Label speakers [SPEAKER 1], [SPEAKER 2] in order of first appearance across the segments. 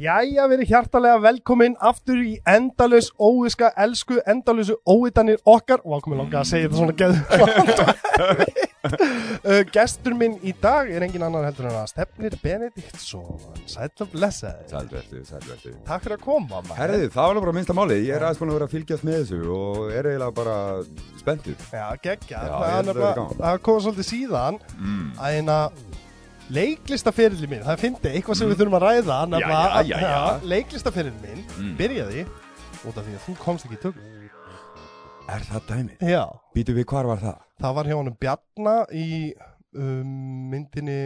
[SPEAKER 1] Jæja, við erum hjartalega velkomin aftur í endalus óiska, elsku, endalusu óitanir okkar og ákomið langa að segja þetta svona geðvægt uh, Gestur minn í dag er engin annar heldur en að Stefnir Benediktsson Sæll og blessaði
[SPEAKER 2] Sælvertu, sælvertu.
[SPEAKER 1] Takk fyrir að koma maður.
[SPEAKER 2] Herði, það var nú bara minnsta máli, ég er aðeins búin að vera að fylgjast með þessu og er eiginlega bara spenntur.
[SPEAKER 1] Já, geggja
[SPEAKER 2] Já,
[SPEAKER 1] Það
[SPEAKER 2] ég
[SPEAKER 1] er
[SPEAKER 2] held að
[SPEAKER 1] nefnilega-
[SPEAKER 2] það verði gaman.
[SPEAKER 1] það kom svolítið síðan
[SPEAKER 2] Mm.
[SPEAKER 1] að eina leiklistaferilin minn, það fyndi eitthvað sem við þurfum að ræða nefnilega-
[SPEAKER 2] Mm. Já, já, já, já.
[SPEAKER 1] Leiklistaferillin minn
[SPEAKER 2] Mm.
[SPEAKER 1] byrjaði út af því að þú komst ekki í tökum
[SPEAKER 2] Er það dæmið?
[SPEAKER 1] Já
[SPEAKER 2] Býtu við hvar var það?
[SPEAKER 1] Það var hjá honum Bjarna í um, myndinni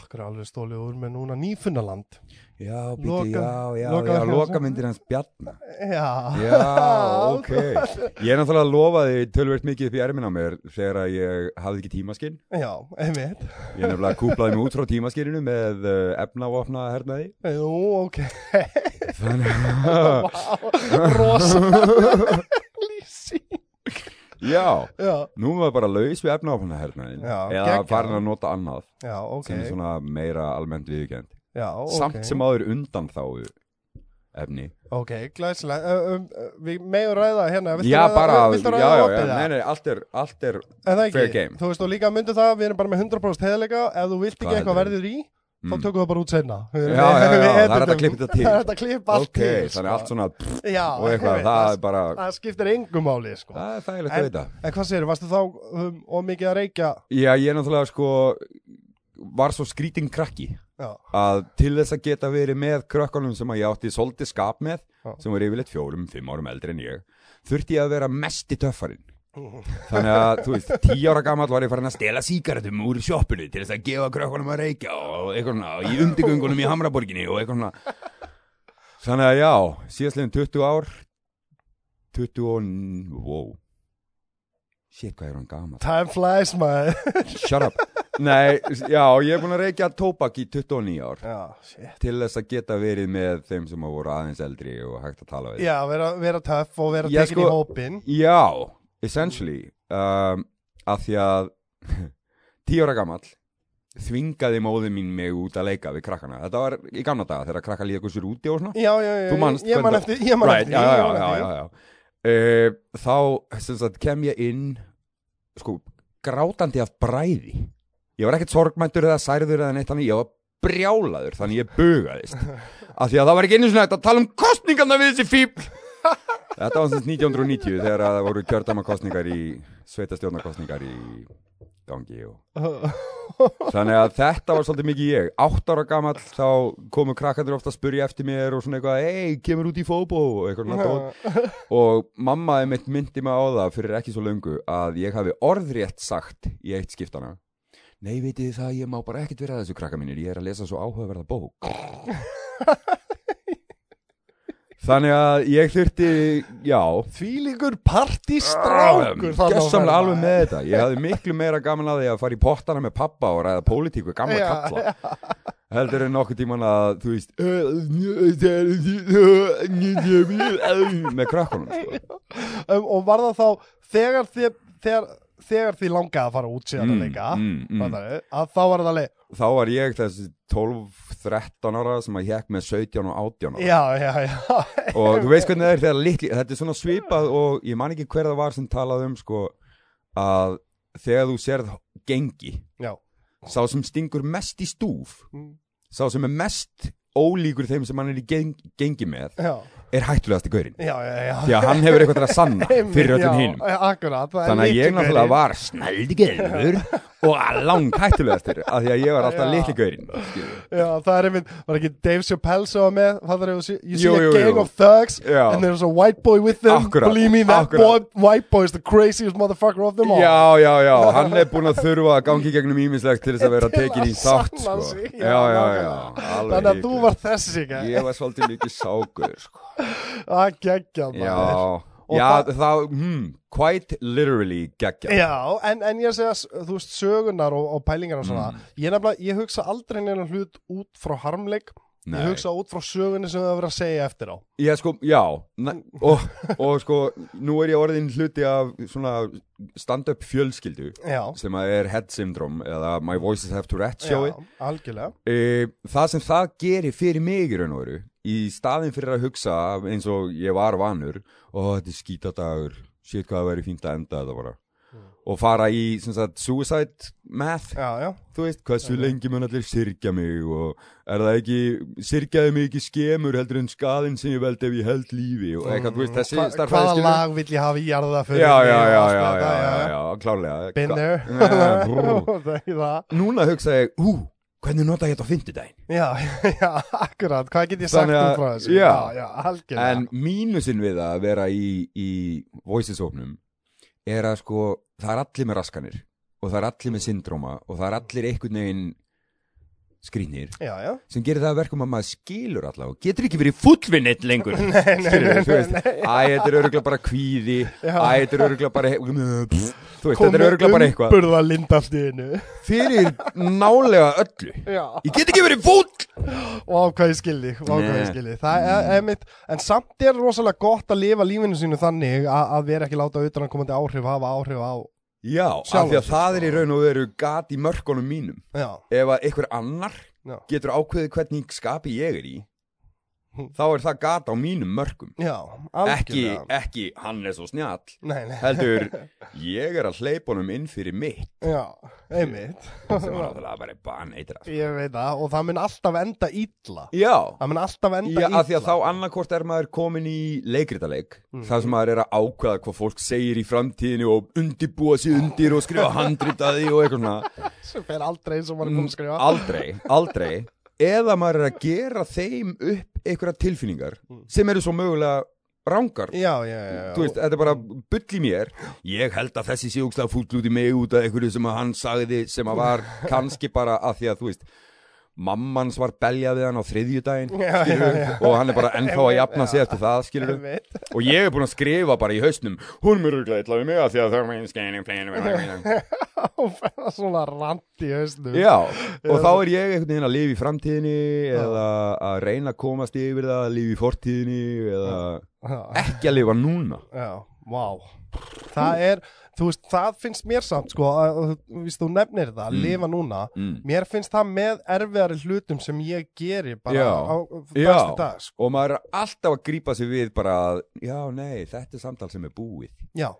[SPEAKER 1] Akkur er alveg stólið úr með núna Nýfunnaland
[SPEAKER 2] Já, býtu,
[SPEAKER 1] Loka-
[SPEAKER 2] já, já,
[SPEAKER 1] loka-
[SPEAKER 2] já, lokamyndir hans Bjarna.
[SPEAKER 1] Já,
[SPEAKER 2] Já, ok. Ég er náttúrulega lofaði tölvert mikið upp í ermin á mér þegar að ég hafði ekki tímaskinn.
[SPEAKER 1] Já, einmitt
[SPEAKER 2] Ég nefnilega kúplaði mig út frá tímaskinninu með uh, efnavopna hernaði.
[SPEAKER 1] Jú, ok
[SPEAKER 2] Þannig
[SPEAKER 1] Vá, Rosa Lýsing
[SPEAKER 2] já,
[SPEAKER 1] Já,
[SPEAKER 2] nú var bara laus við efnavopna hernaðin.
[SPEAKER 1] Já,
[SPEAKER 2] Eða
[SPEAKER 1] geggjað.
[SPEAKER 2] farin að nota annað
[SPEAKER 1] já, ok
[SPEAKER 2] sem er svona meira almennt viðkjönd.
[SPEAKER 1] já, ok.
[SPEAKER 2] samt sem áður undan þá efni
[SPEAKER 1] Ok, glæsilega uh, um, uh, Við meðum ræða hérna viltu
[SPEAKER 2] já
[SPEAKER 1] ræða-
[SPEAKER 2] bara,
[SPEAKER 1] viltu
[SPEAKER 2] já,
[SPEAKER 1] ræða
[SPEAKER 2] já,
[SPEAKER 1] opið
[SPEAKER 2] já,
[SPEAKER 1] það?
[SPEAKER 2] nei, nei, allt er, allt er
[SPEAKER 1] En það ekki,
[SPEAKER 2] fair game.
[SPEAKER 1] þú veist og líka myndu það Við erum bara með 100% heðleika Ef þú vilt
[SPEAKER 2] Hvað
[SPEAKER 1] ekki eitthvað
[SPEAKER 2] heldur
[SPEAKER 1] verður í þá
[SPEAKER 2] mm,
[SPEAKER 1] tökum við bara út senna
[SPEAKER 2] já, já, það er hægt að klippa þetta til.
[SPEAKER 1] Það er hægt að klippa allt
[SPEAKER 2] ok,
[SPEAKER 1] til
[SPEAKER 2] þannig allt svona pff,
[SPEAKER 1] svona sko. já,
[SPEAKER 2] og eitthvað,
[SPEAKER 1] einmitt,
[SPEAKER 2] það er bara
[SPEAKER 1] það skiptir engum máli sko.
[SPEAKER 2] það er þægilegt að veita
[SPEAKER 1] En hvað segir, varstu þá um, og mikið að reykja
[SPEAKER 2] já, ég náttúrulega sko var svo skrítin krakki
[SPEAKER 1] Já,
[SPEAKER 2] að til þess að geta verið með krökkunum sem að ég átti svolítið skap með
[SPEAKER 1] Já.
[SPEAKER 2] sem voru yfirleitt fjórum, fimm árum eldri en ég þurfti ég að vera mest í töffarinn
[SPEAKER 1] Mhm.
[SPEAKER 2] þannig að, þú veist, tíu ára gammal var ég farin að stela sígaretum úr sjoppunni til þess að gefa krökkunum að reykja og eitthvað svona, og í undirgöngunum í Hamraborginni og eitthvað svona þannig að já, síðastliðin 20 ár 20 og, wow shit, hvað er hann gammal
[SPEAKER 1] time flies maður
[SPEAKER 2] shut up, nei, já, ég er búin að reykja tóbak í 29 ár
[SPEAKER 1] Já, shit
[SPEAKER 2] til þess að geta verið með þeim sem að voru aðeins eldri og hægt að tala við
[SPEAKER 1] Já, vera, vera töff og vera
[SPEAKER 2] Já,
[SPEAKER 1] tekin
[SPEAKER 2] sko-
[SPEAKER 1] í hópin
[SPEAKER 2] Já, essentially um, að því að tíu ára gamall þvingaði móði mín mig út að leika við krakkana, þetta var í gamla daga þegar krakka líka sér úti og svona
[SPEAKER 1] Já, já, já,
[SPEAKER 2] Þú manst
[SPEAKER 1] ég man
[SPEAKER 2] hvernig-
[SPEAKER 1] eftir Ég man eftir
[SPEAKER 2] já,
[SPEAKER 1] ég
[SPEAKER 2] já,
[SPEAKER 1] man
[SPEAKER 2] já,
[SPEAKER 1] eftir
[SPEAKER 2] já, já, já. Uh, þá sem sagt, kem ég inn sko, grátandi af bræði ég var ekkert sorgmæntur eða særður eða neitt þannig, ég var brjálaður þannig ég bugaðist af því að það var ekki einu svona hægt að tala um kostningarna við þessi fíbl þetta var sem sagt 1990 þegar að það voru kjördæmakostningar í sveitastjórnarkostningar í gangi og Þannig að þetta var svolítið mikið ég Átt ára gamall þá komu krakkandur ofta að spurja eftir mér og svona eitthvað Ei, kemur út í fóbo og eitthvað svona dót. Og mamma mitt myndi mig á það fyrir ekki svo löngu að ég hafi orðrétt sagt í eitt skiptana Nei, veitir þið það, ég má bara ekkert vera að þessu krakka mínir Ég er að lesa svo áhugaverða bók Þannig að ég þurfti, já
[SPEAKER 1] Þvílíkur partistrákur þarna á
[SPEAKER 2] Gessamlega
[SPEAKER 1] ferð,
[SPEAKER 2] alveg
[SPEAKER 1] maður.
[SPEAKER 2] með þetta Ég hafði miklu meira gaman að því að fara í pottana með pappa og ræða pólitíku gamla
[SPEAKER 1] Já,
[SPEAKER 2] kalla heldur en nokkuð tíman að þú veist með krakkunum sko.
[SPEAKER 1] um, og var það þá þegar þið, þegar, þegar þið langaði að fara út síðan að leika
[SPEAKER 2] mm, mm.
[SPEAKER 1] fattarðu, að þá var það leik
[SPEAKER 2] þá var ég þessi 12-13 ára sem að hekk með 17 og 18 ára
[SPEAKER 1] já, já, já,
[SPEAKER 2] og þú veist hvernig það er þegar litli þetta er svona svipað og ég man ekki hver það var sem talaði um sko að þegar þú sérð gengi
[SPEAKER 1] já.
[SPEAKER 2] sá sem stingur mest í stúf
[SPEAKER 1] Mm,
[SPEAKER 2] sá sem er mest ólíkur þeim sem hann er í geng, gengi með
[SPEAKER 1] já,
[SPEAKER 2] er hættulegast í gaurinn
[SPEAKER 1] já, já, já.
[SPEAKER 2] því að hann hefur eitthvað til að sanna
[SPEAKER 1] Einmitt,
[SPEAKER 2] fyrir öllum
[SPEAKER 1] já,
[SPEAKER 2] hinum
[SPEAKER 1] akkurat, það er
[SPEAKER 2] þannig að ég
[SPEAKER 1] litli
[SPEAKER 2] náttúrulega
[SPEAKER 1] gaurinn.
[SPEAKER 2] var snældigeður og langt hættulegastur af því að ég var alltaf
[SPEAKER 1] Já.
[SPEAKER 2] litli gaurinn
[SPEAKER 1] já, það er einmitt, var ekki Dave Chappelle sem var með, það er you see
[SPEAKER 2] Jú,
[SPEAKER 1] a
[SPEAKER 2] jú,
[SPEAKER 1] gang
[SPEAKER 2] jú.
[SPEAKER 1] of thugs
[SPEAKER 2] Já.
[SPEAKER 1] and there's a white boy with them
[SPEAKER 2] Akkurat,
[SPEAKER 1] believe me that
[SPEAKER 2] akkurat.
[SPEAKER 1] boy, white boy is the craziest motherfucker of them all
[SPEAKER 2] já, já, já, hann er búin að þurfa að gangi gegnum ímislegt til þess að vera
[SPEAKER 1] Til
[SPEAKER 2] tekin
[SPEAKER 1] að
[SPEAKER 2] í þátt
[SPEAKER 1] sanna
[SPEAKER 2] sko.
[SPEAKER 1] sig, já,
[SPEAKER 2] já, já, já,
[SPEAKER 1] nákvæmlega.
[SPEAKER 2] alveg
[SPEAKER 1] þannig að þú
[SPEAKER 2] hiklaust.
[SPEAKER 1] var þessi ekki
[SPEAKER 2] ég var svolítið mikið sákur sko.
[SPEAKER 1] að geggjað
[SPEAKER 2] já,
[SPEAKER 1] maður. Og
[SPEAKER 2] já,
[SPEAKER 1] það-
[SPEAKER 2] það, hmm, quite literally geggja
[SPEAKER 1] Já, en, en ég segja, s- þú
[SPEAKER 2] Mm.
[SPEAKER 1] veist, sögunar og, og pælingar og svona, ég nefnilega, ég hugsa aldrei neina hlut út frá harmleik
[SPEAKER 2] Nei.
[SPEAKER 1] Ég hugsa út frá sögunni sem það verið að segja eftir á
[SPEAKER 2] Ég sko, já, na, og, og sko, nú er ég orðin hluti af svona stand-up fjölskyldu
[SPEAKER 1] Já,
[SPEAKER 2] sem að er head syndrome eða my voices have Tourette sjói.
[SPEAKER 1] já algjörlega
[SPEAKER 2] E, það sem það gerir fyrir mig í raun og veru, í staðin fyrir að hugsa eins og ég var vanur, og þetta er skítadagur, shit hvað það væri fínt að enda þetta bara. Og fara í sem sagt, suicide math
[SPEAKER 1] Já, já,
[SPEAKER 2] þú veist, hversu lengi mun allir syrkja mig og er það ekki, syrkjaði mig ekki skemur heldur en skaðin sem ég veldi ef ég held lífi og eitthvað, þú veist, þessi
[SPEAKER 1] Hva, hvaða
[SPEAKER 2] starffræðiskilur.
[SPEAKER 1] lag vill ég hafa í jarða
[SPEAKER 2] Já,
[SPEAKER 1] fyrir
[SPEAKER 2] já, já,
[SPEAKER 1] mig og allt
[SPEAKER 2] já,
[SPEAKER 1] þetta,
[SPEAKER 2] já, já, já, klárlega.
[SPEAKER 1] Been there.
[SPEAKER 2] Já, brú.
[SPEAKER 1] Það er það.
[SPEAKER 2] Núna hugsa ég, hú, hvernig nota ég þetta á fimmtudaginn?
[SPEAKER 1] Já, já, akkurat, hvað get ég sagt
[SPEAKER 2] Þannig að-
[SPEAKER 1] um frá þessu?
[SPEAKER 2] já.
[SPEAKER 1] já, algjörlega
[SPEAKER 2] En mínusinn við að vera í, í voicesóknum er að sko, það er allir með raskanir og það er allir með syndróma og það er allir einhvern veginn skrýnir
[SPEAKER 1] Já, já
[SPEAKER 2] sem gerir það að verkum að maður skilur allavega og getur ekki verið fullvinnit lengur skilur þú veist æ, þetta er öruglega bara kvíði æ, þetta er öruglega bara pff, þú veist, þetta er öruglega
[SPEAKER 1] um
[SPEAKER 2] bara eitthvað
[SPEAKER 1] Burða lind allt í einu
[SPEAKER 2] fyrir nálega öllu
[SPEAKER 1] Já
[SPEAKER 2] ég get ekki verið fúll
[SPEAKER 1] Vá hvað ég skildi, vá hvað ég
[SPEAKER 2] Nei.
[SPEAKER 1] skildi Það er, er mitt, en samt er rosalega gott að lifa lífinu sínu þannig að, að vera ekki láta utanakomandi áhrif hafa áhrif á
[SPEAKER 2] já, af
[SPEAKER 1] Sjálfan
[SPEAKER 2] því
[SPEAKER 1] sig,
[SPEAKER 2] að það er í raun og veru gat í mörkunum mínum
[SPEAKER 1] Já,
[SPEAKER 2] ef að einhver annar
[SPEAKER 1] já,
[SPEAKER 2] getur ákveðið hvernig skapi ég er í þá er það gat á mínum mörkum
[SPEAKER 1] já,
[SPEAKER 2] ekki,
[SPEAKER 1] algjörlega
[SPEAKER 2] ekki hann er svo snjall
[SPEAKER 1] Nei, nei,
[SPEAKER 2] heldur, ég er að hleypa honum inn fyrir mitt
[SPEAKER 1] já, einmitt
[SPEAKER 2] sem var náttúrulega bara baneitrað
[SPEAKER 1] Ég veit það, og það mun alltaf enda illa
[SPEAKER 2] Já,
[SPEAKER 1] Það mun alltaf enda
[SPEAKER 2] já
[SPEAKER 1] illa
[SPEAKER 2] af því að þá annarkort er maður komin í leikritaleik
[SPEAKER 1] Mm.
[SPEAKER 2] þar sem maður er að ákvaða hvað fólk segir í framtíðinu og undirbúa sig undir og skrifa handrit að því og eitthvað svona
[SPEAKER 1] sem fer aldrei eins og maður er búin að skrifa
[SPEAKER 2] Mm, Aldrei, aldrei Eða maður er að gera þeim upp einhverja tilfinningar
[SPEAKER 1] Mm.
[SPEAKER 2] sem eru svo mögulega rangar
[SPEAKER 1] Já, já, já, já.
[SPEAKER 2] Þú veist, þetta er bara bull í mér Ég held að þessi sé úkslega fúll út í mig út af einhverju sem að hann sagði sem að var kannski bara að því að þú veist mammans var beljað við hann á þriðjudaginn
[SPEAKER 1] Já,
[SPEAKER 2] skilur,
[SPEAKER 1] já, já.
[SPEAKER 2] og hann er bara ennþá að jafna sig eftir það skilur
[SPEAKER 1] Einmitt.
[SPEAKER 2] og ég er búin að skrifa bara í hausnum hún er rúglega illa við mig að því að það er meginn skænum flenum
[SPEAKER 1] og ferða svona rand í hausnum
[SPEAKER 2] já og þá er ég einhvern veginn að lifa í framtíðinni eða að reyna að komast yfir það að lifa í fortíðinni eða
[SPEAKER 1] já,
[SPEAKER 2] ekki að lifa núna
[SPEAKER 1] já, vá það er, þú veist, það finnst mér samt sko, að, að- þú veist, þú nefnir það að lifa núna,
[SPEAKER 2] Mm.
[SPEAKER 1] mér finnst það með erfiðari hlutum sem ég geri bara
[SPEAKER 2] Já.
[SPEAKER 1] á
[SPEAKER 2] já
[SPEAKER 1] bæstu dag sko.
[SPEAKER 2] og maður er alltaf að grípa sig við bara að já nei þetta er samtal sem er búið
[SPEAKER 1] já,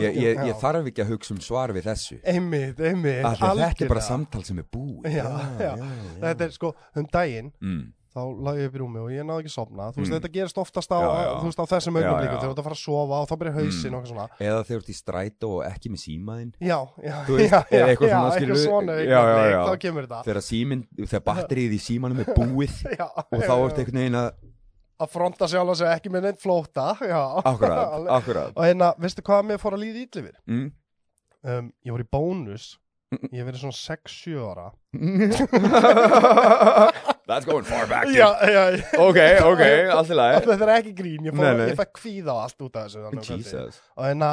[SPEAKER 2] ég, ég, ég
[SPEAKER 1] já.
[SPEAKER 2] þarf ekki að hugsa um svar við þessu
[SPEAKER 1] einmitt, einmitt
[SPEAKER 2] Af því að þetta er bara
[SPEAKER 1] algjörlega.
[SPEAKER 2] samtal sem er búið
[SPEAKER 1] já, já, þetta er sko, um daginn
[SPEAKER 2] Mm.
[SPEAKER 1] þá lagði ég upp í rúmi og ég náði ekki að sofna þú veist,
[SPEAKER 2] Mm.
[SPEAKER 1] þetta gerist oftast á,
[SPEAKER 2] Já, já.
[SPEAKER 1] Þú veist, á þessum
[SPEAKER 2] Já, Mm.
[SPEAKER 1] augnumlíku
[SPEAKER 2] já.
[SPEAKER 1] þegar þú ert að fara að sofa og þá byrja hausin og eitthvað svona
[SPEAKER 2] eða þegar þú ert í strætó og ekki með símaðinn
[SPEAKER 1] já, já,
[SPEAKER 2] Þú veist,
[SPEAKER 1] já, já,
[SPEAKER 2] eða eitthvað
[SPEAKER 1] já,
[SPEAKER 2] svona,
[SPEAKER 1] eitthvað
[SPEAKER 2] skilurðu?
[SPEAKER 1] svona
[SPEAKER 2] Já,
[SPEAKER 1] eitthvað,
[SPEAKER 2] já, já.
[SPEAKER 1] þá kemur þetta
[SPEAKER 2] þegar símin, þegar batterið í símanum er búið
[SPEAKER 1] já,
[SPEAKER 2] og þá ert einhvern veginn að
[SPEAKER 1] að fronta sjálf og segja ekki með neitt flóta já,
[SPEAKER 2] akkurat,
[SPEAKER 1] Alveg.
[SPEAKER 2] akkurat
[SPEAKER 1] og hérna, veistu hvað mér fór að líða ítli við
[SPEAKER 2] mm.
[SPEAKER 1] um, ég voru í bónus ég hef verið svona 6-7 ára
[SPEAKER 2] That's going far back
[SPEAKER 1] já, já, já
[SPEAKER 2] ok, ok, allt í lagi
[SPEAKER 1] þetta er ekki grín, ég, fór,
[SPEAKER 2] Nei, nei.
[SPEAKER 1] ég fæk kvíða á allt út af þessu þarna á kvöldi.
[SPEAKER 2] Jesus
[SPEAKER 1] og, hérna,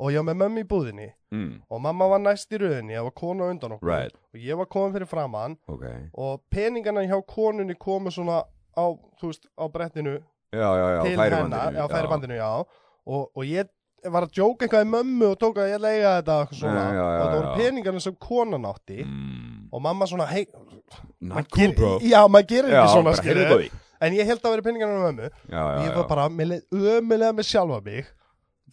[SPEAKER 1] og ég var með mömmu í búðinni
[SPEAKER 2] mm.
[SPEAKER 1] og mamma var næst í röðinni, ég var konu á undan okkur
[SPEAKER 2] right,
[SPEAKER 1] og ég var komin fyrir framann
[SPEAKER 2] ok
[SPEAKER 1] og peningana hjá konunni komu svona á, þú veist, á brettinu
[SPEAKER 2] já, já, já,
[SPEAKER 1] til hennar,
[SPEAKER 2] færibandinu
[SPEAKER 1] já, færibandinu, já og, og ég var að jóka eitthvað í mömmu og tók að ég leiga þetta og eitthvað svona
[SPEAKER 2] Já, já, já,
[SPEAKER 1] og það voru
[SPEAKER 2] já.
[SPEAKER 1] peningana sem konan átti
[SPEAKER 2] mm.
[SPEAKER 1] og mamma svona, hei,
[SPEAKER 2] not cool bro
[SPEAKER 1] já, maður gerir
[SPEAKER 2] já,
[SPEAKER 1] ekki svona,
[SPEAKER 2] bara heyrðu
[SPEAKER 1] skilur
[SPEAKER 2] góði
[SPEAKER 1] en ég held að vera peningana með mömmu
[SPEAKER 2] já,
[SPEAKER 1] og
[SPEAKER 2] já,
[SPEAKER 1] ég
[SPEAKER 2] já.
[SPEAKER 1] var bara, mér leið ömulega með sjálfa mig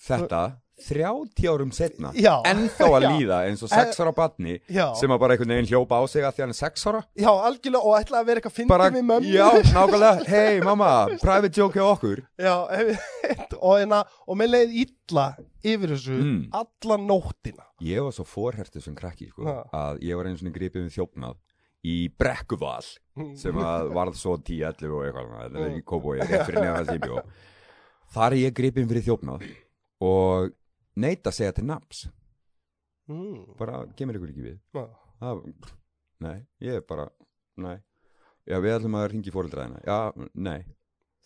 [SPEAKER 2] þetta 30 árum setna
[SPEAKER 1] Já.
[SPEAKER 2] ennþá að
[SPEAKER 1] Já.
[SPEAKER 2] líða eins og 6 ára batni
[SPEAKER 1] Já.
[SPEAKER 2] sem að bara einhvern veginn hljópa á sig að því hann er 6 ára
[SPEAKER 1] já, algjörlega, og ætlaði að vera eitthvað
[SPEAKER 2] bara,
[SPEAKER 1] fyndið við mömmu
[SPEAKER 2] já, nákvæmlega, hei mamma private joke hjá okkur
[SPEAKER 1] Já, einmitt. og, einna, og mér leið illa yfir þessu
[SPEAKER 2] Mm.
[SPEAKER 1] alla nóttina.
[SPEAKER 2] Ég var svo forhertu sem krakki sko,
[SPEAKER 1] Ha.
[SPEAKER 2] að ég var einu svona gripið við þjófnað í brekkuval sem að varð svo 10-11 og eitthvað annað, þetta er ekki kóbói, rétt fyrir nefn að sem ég bjó Þar er ég gripið fyrir þjófnað og neita að segja til naps
[SPEAKER 1] Mm.
[SPEAKER 2] bara kemur ykkur ekki við
[SPEAKER 1] Já.
[SPEAKER 2] það, Nei, ég er bara Nei, já við ætlum að ringi fóreldræðina Já, nei,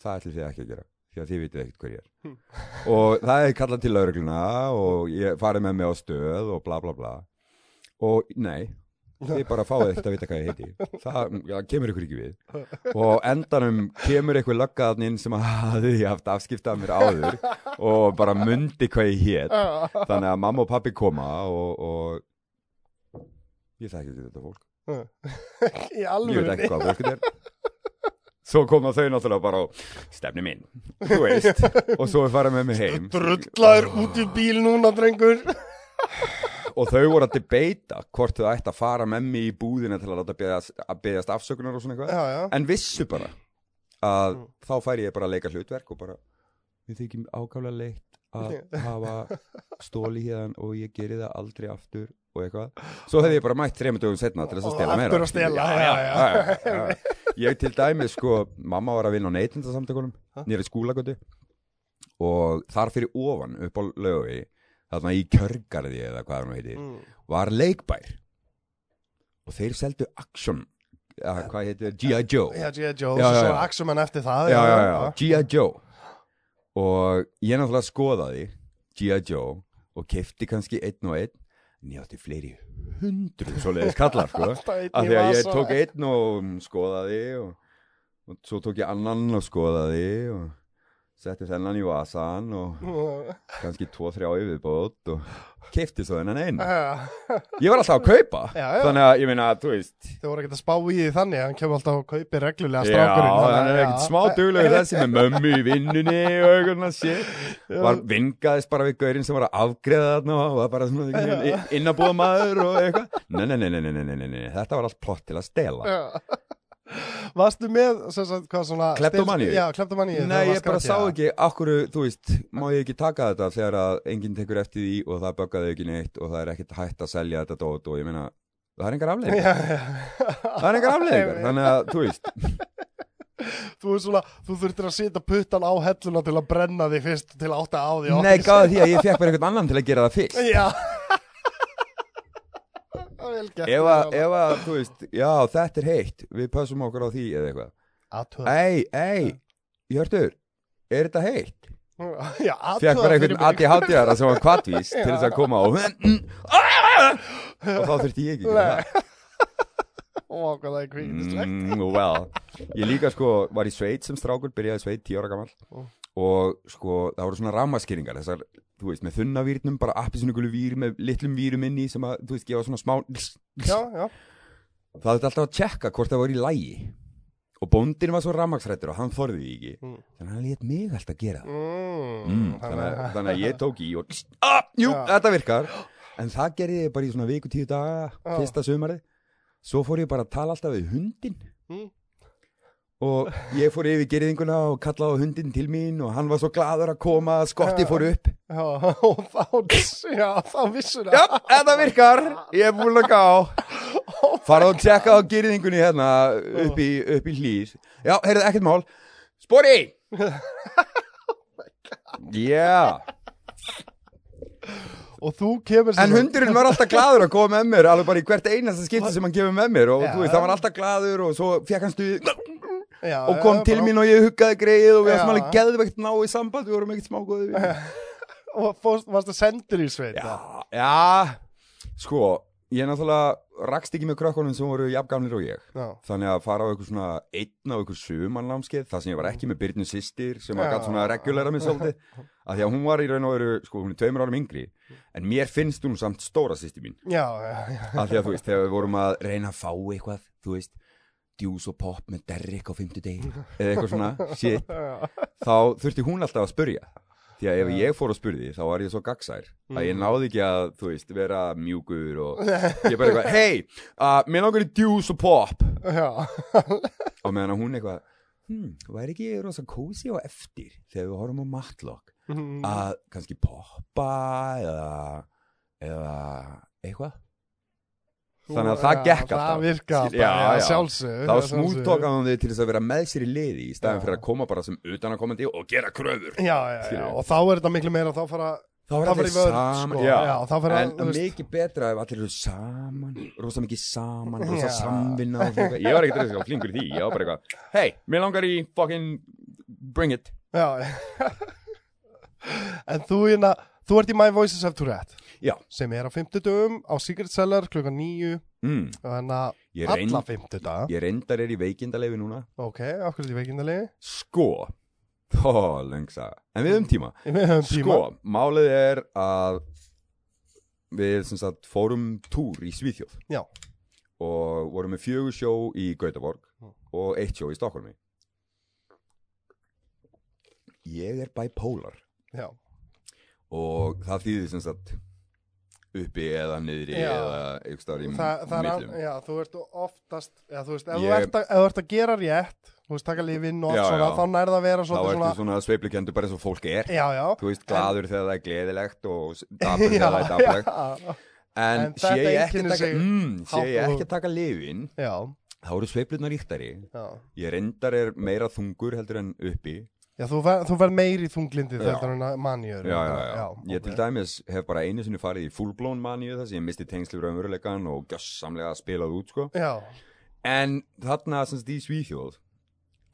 [SPEAKER 2] það ætlum þið ekki að gera því að þið vitið ekkert hver ég er og það er kallað til laurugluna og ég farið með mig á stöð og bla bla bla og nei, þið bara fáið ekkert að vita hvað ég heiti það, það kemur ykkur ekki við og á endanum kemur ykkur löggaðaninn sem hafði haft afskiptað mér áður og bara mundi hvað ég hét
[SPEAKER 1] Ah.
[SPEAKER 2] þannig að mamma og pappi koma og, og ég þekki ekki þetta fólk
[SPEAKER 1] Í
[SPEAKER 2] ég veit
[SPEAKER 1] alvöru
[SPEAKER 2] ekki hvað fólkið er svo koma þau náttúrulega bara og stefni minn, þú veist og svo er farið með mig heim
[SPEAKER 1] Drullaður út í bíl núna, drengur
[SPEAKER 2] og þau voru að debata hvort þau ætti að fara með mig í búðina til að láta beðast, að beðast afsökunar og svona eitthvað
[SPEAKER 1] Já, já
[SPEAKER 2] en vissu bara að
[SPEAKER 1] Mm.
[SPEAKER 2] þá færi ég bara að leika hlutverk og bara við þykjum ákaflega leitt að hafa stóli hérna og ég geri það aldrei aftur og eitthvað svo hefði ég bara mætt þrejum dögum setna til þess að
[SPEAKER 1] Og
[SPEAKER 2] stela meira
[SPEAKER 1] aftur að stela,
[SPEAKER 2] já,
[SPEAKER 1] já,
[SPEAKER 2] já, já, já, ég til dæmi sko mamma var að vinna á neytindasamtökunum nýri skúlagötu og þar fyrir ofan upp á lögu þarna í kjörgarði eða hvað hann heitir
[SPEAKER 1] Mm.
[SPEAKER 2] var leikbær og þeir seldu Action eða hvað heitir, G.I. Joe
[SPEAKER 1] Já, G.I. Joe,
[SPEAKER 2] Já,
[SPEAKER 1] svo
[SPEAKER 2] já,
[SPEAKER 1] svo
[SPEAKER 2] já.
[SPEAKER 1] Axumann eftir það
[SPEAKER 2] já, já, já, G.I. Joe og ég náttúrulega skoðaði G.I. Joe og kefti kannski einn og einn en ég átti fleiri hundru svoleiðis kallar sko,
[SPEAKER 1] Alltaf einn í
[SPEAKER 2] af því að ég
[SPEAKER 1] vasa.
[SPEAKER 2] tók einn og mm, skoðaði og, og svo tók ég annan og skoðaði og setti þennan í vasan og
[SPEAKER 1] já
[SPEAKER 2] kannski tvo, þrjá yfirbót og kefti svo þennan einn
[SPEAKER 1] Já,
[SPEAKER 2] ég var alltaf að kaupa
[SPEAKER 1] Já, já.
[SPEAKER 2] þannig að ég meina, þú veist
[SPEAKER 1] Þau voru ekkert að spá í því þannig Hann kemur alltaf og kaupir reglulega
[SPEAKER 2] Já,
[SPEAKER 1] strákurinn þannig að-
[SPEAKER 2] hann er ekkert smá duglegur þessi með mömmu í vinnunni og eitthvað svona shit var vingaðist bara við gaurinn sem var að afgreða þarna og var bara svona innabúða maður og eitthvað nei, nei, nei, nei, nei, nei, nei, nei, nei, þetta var allt plott til að stela
[SPEAKER 1] Varstu með, sem sagt, hvað svona
[SPEAKER 2] Kleptomaníu?
[SPEAKER 1] Já, kleptomaníu
[SPEAKER 2] Nei, ég bara sá ekki, akkur, þú veist, má ég ekki taka þetta þegar að enginn tekur eftir því og það böggaði ekki neitt og það er ekkert hægt að selja þetta dót og ég meina, það er engar afleðingar,
[SPEAKER 1] Já, já
[SPEAKER 2] það er engar afleðingar, þannig að, þú veist,
[SPEAKER 1] Þú, er svona, þú þurftir að sita puttan á helluna til að brenna þig fyrst til að átta á því
[SPEAKER 2] Nei, gáði því að ég fekk bara einhvern annan til að gera það fyrst
[SPEAKER 1] Já Það er vel gert
[SPEAKER 2] Ef að, ef að, þú veist, já, þetta er heitt Við passum okkur á því eða eitthvað
[SPEAKER 1] Athuga
[SPEAKER 2] Ei, ei, Hjörtur, er þetta heitt?
[SPEAKER 1] Já, athuga
[SPEAKER 2] Fekk bara einhvern
[SPEAKER 1] fyrir mig.
[SPEAKER 2] aði hátíðara sem var kvatvís til þess að koma og Og þá þurfti ég ekki að gera
[SPEAKER 1] Nei. Ó, hvað það er
[SPEAKER 2] það
[SPEAKER 1] kvíkislegt
[SPEAKER 2] mm, well. Ég líka sko, var í sveit sem strákur, byrjaði í sveit, tíu ára gamall Og sko, það voru svona rammaskýringar Þessar, þú veist, með þunnavýrnum, bara appisunugulu vír með litlum vírum inni sem að, þú veist, gefa svona smá
[SPEAKER 1] Já, já
[SPEAKER 2] það þurfti alltaf að tjekka hvort það voru í lægi og bóndin var svo rammaksrættur og hann þorði því ekki
[SPEAKER 1] Mm.
[SPEAKER 2] þannig að hann lét mig alltaf gera það
[SPEAKER 1] mm,
[SPEAKER 2] mm, þannig, að, þannig að ég tók í og ah, jú,
[SPEAKER 1] Já.
[SPEAKER 2] þetta virkar en það gerði ég bara í svona viku tíu daga
[SPEAKER 1] Já.
[SPEAKER 2] fyrsta sömarið svo fór ég bara að tala alltaf við hundin
[SPEAKER 1] Mm.
[SPEAKER 2] og ég fór yfir gerðinguna og kallaði á hundin til mín og hann var svo gladur að koma að skotti fór upp
[SPEAKER 1] Já, og þá, já, þá vissur
[SPEAKER 2] Já, þetta virkar, ég er búin að gá Fara og tjekka á gyrðingunni hérna upp í, upp í hlýs Já, heyrðu ekkert mál Spori Já,
[SPEAKER 1] Og þú kemur sem
[SPEAKER 2] en
[SPEAKER 1] sagt-
[SPEAKER 2] hundurinn var alltaf gladur að koma með mér Alveg bara í hvert einasta skipti sem hann kemur með mér Og
[SPEAKER 1] Já.
[SPEAKER 2] þú veist, hann var alltaf gladur og svo fekk hann stuð
[SPEAKER 1] já,
[SPEAKER 2] Og kom
[SPEAKER 1] já,
[SPEAKER 2] til
[SPEAKER 1] bara-
[SPEAKER 2] mín og ég huggaði greið Og við
[SPEAKER 1] Já.
[SPEAKER 2] varum alveg geðvegt náið samband Við vorum ekkert smágóðið við
[SPEAKER 1] Og fórst, varstu sendur í sveit
[SPEAKER 2] Já, já, sko, ég náttúrulega rakst ekki með krökkunum sem voru jafngamlir og ég
[SPEAKER 1] já.
[SPEAKER 2] þannig að fara á einhver svona einn á einhver sumannámskeið, það sem ég var ekki með Byrnu sýstir sem var
[SPEAKER 1] Já.
[SPEAKER 2] gætt svona regulera mig svolítið, af því að hún var í raun og veru sko, hún er tveimur árum yngri, en mér finnst hún samt stóra sýstir mín,
[SPEAKER 1] já, já, já
[SPEAKER 2] af því að þú veist, þegar við vorum að reyna að fá eitthvað, þú veist djús og pop með Derrick á fimmtudegi eða eitthvað svona, shit þá þurfti hún alltaf að spurja því að ef ég fór og spurði þá var ég svo gagsær að ég náði ekki að, þú veist, vera mjúkur og ég bara eitthvað hei, uh, mér langar í djús og pop
[SPEAKER 1] Já,
[SPEAKER 2] á meðan að hún eitthvað hmm, væri ekki rosa kósi og eftir þegar við horfum á matlokk
[SPEAKER 1] Mm.
[SPEAKER 2] að kannski poppa eða, eða eitthvað þannig að það
[SPEAKER 1] Já,
[SPEAKER 2] gekk
[SPEAKER 1] Það
[SPEAKER 2] alltaf.
[SPEAKER 1] virka
[SPEAKER 2] Skil- já, já.
[SPEAKER 1] sjálfsög
[SPEAKER 2] þá smúttókaði hún þið til þess að vera með sér í liði í staðin fyrir að koma bara sem utanakomandi og gera kröfur
[SPEAKER 1] Já, já, já,
[SPEAKER 2] Skilur.
[SPEAKER 1] og þá er þetta miklu meira þá fara
[SPEAKER 2] þá
[SPEAKER 1] Þá fara í vörn, sko.
[SPEAKER 2] já.
[SPEAKER 1] Já, þá fara-
[SPEAKER 2] en
[SPEAKER 1] þú veist-
[SPEAKER 2] mikið betra ef allir eru saman rosa mikið saman, rosa
[SPEAKER 1] Já.
[SPEAKER 2] samvinna og svona eitthvað. ég var ekkert eitthvað flinkur í því, ég var bara eitthvað hei, mér langar í fucking bring it
[SPEAKER 1] Já En þú hérna, Þú ert í My Voices of Tourette
[SPEAKER 2] Já.
[SPEAKER 1] sem er á fimmtudum á Secret Cellar klukkan nýju
[SPEAKER 2] mm.
[SPEAKER 1] þannig
[SPEAKER 2] ég,
[SPEAKER 1] að alla
[SPEAKER 2] reynd,
[SPEAKER 1] fimmtudaga
[SPEAKER 2] ég reyndar er í veikindaleifi núna
[SPEAKER 1] ok, okkur er því veikindalegi
[SPEAKER 2] sko þá lengsa, en við höfum tíma
[SPEAKER 1] við höfum
[SPEAKER 2] sko,
[SPEAKER 1] tíma
[SPEAKER 2] málið er að við sem sagt fórum túr í Svíþjóð
[SPEAKER 1] Já.
[SPEAKER 2] og vorum með fjögur sjó í Gautaborg
[SPEAKER 1] Mm.
[SPEAKER 2] og eitt sjó í Stokkólmi ég er bipolar
[SPEAKER 1] já,
[SPEAKER 2] og það þýðir sem sagt uppi eða niðri
[SPEAKER 1] Já.
[SPEAKER 2] eða einhvers staðar í
[SPEAKER 1] það, það er að,
[SPEAKER 2] millum.
[SPEAKER 1] já, þú ert oftast já, þú veist, ef, þú
[SPEAKER 2] Ég-
[SPEAKER 1] ert að, ef þú ert að gera rétt þú veist, taka lífinn og
[SPEAKER 2] Já,
[SPEAKER 1] allt svona
[SPEAKER 2] já.
[SPEAKER 1] þá nærða að vera
[SPEAKER 2] þá
[SPEAKER 1] svolítið
[SPEAKER 2] ertu
[SPEAKER 1] svona,
[SPEAKER 2] svona, svona sveiflukendur bara eins og fólk er
[SPEAKER 1] já, já
[SPEAKER 2] þú veist, gladur þegar það er gleðilegt og s- dapur þegar það er dapurlegt
[SPEAKER 1] já,
[SPEAKER 2] en,
[SPEAKER 1] En
[SPEAKER 2] sé
[SPEAKER 1] þetta
[SPEAKER 2] ég ekki
[SPEAKER 1] einkennir
[SPEAKER 2] að taka
[SPEAKER 1] sig-
[SPEAKER 2] mm, sé ég
[SPEAKER 1] Há-
[SPEAKER 2] ekki að taka lifin
[SPEAKER 1] já,
[SPEAKER 2] þá eru sveiflunar ríktari
[SPEAKER 1] já.
[SPEAKER 2] ég reyndar er meira þungur heldur en uppi
[SPEAKER 1] já þú ver- þú verð meiri þunglindi
[SPEAKER 2] Já.
[SPEAKER 1] þegar þú manjur
[SPEAKER 2] já, já, já. ég
[SPEAKER 1] ok.
[SPEAKER 2] til dæmis hef bara einu sinni farið í fullblown maníu þar sem ég misti tengslu raunveruleikan og gjössamlega spilað út sko
[SPEAKER 1] já,
[SPEAKER 2] En þarna sem sagt í Svíþjóð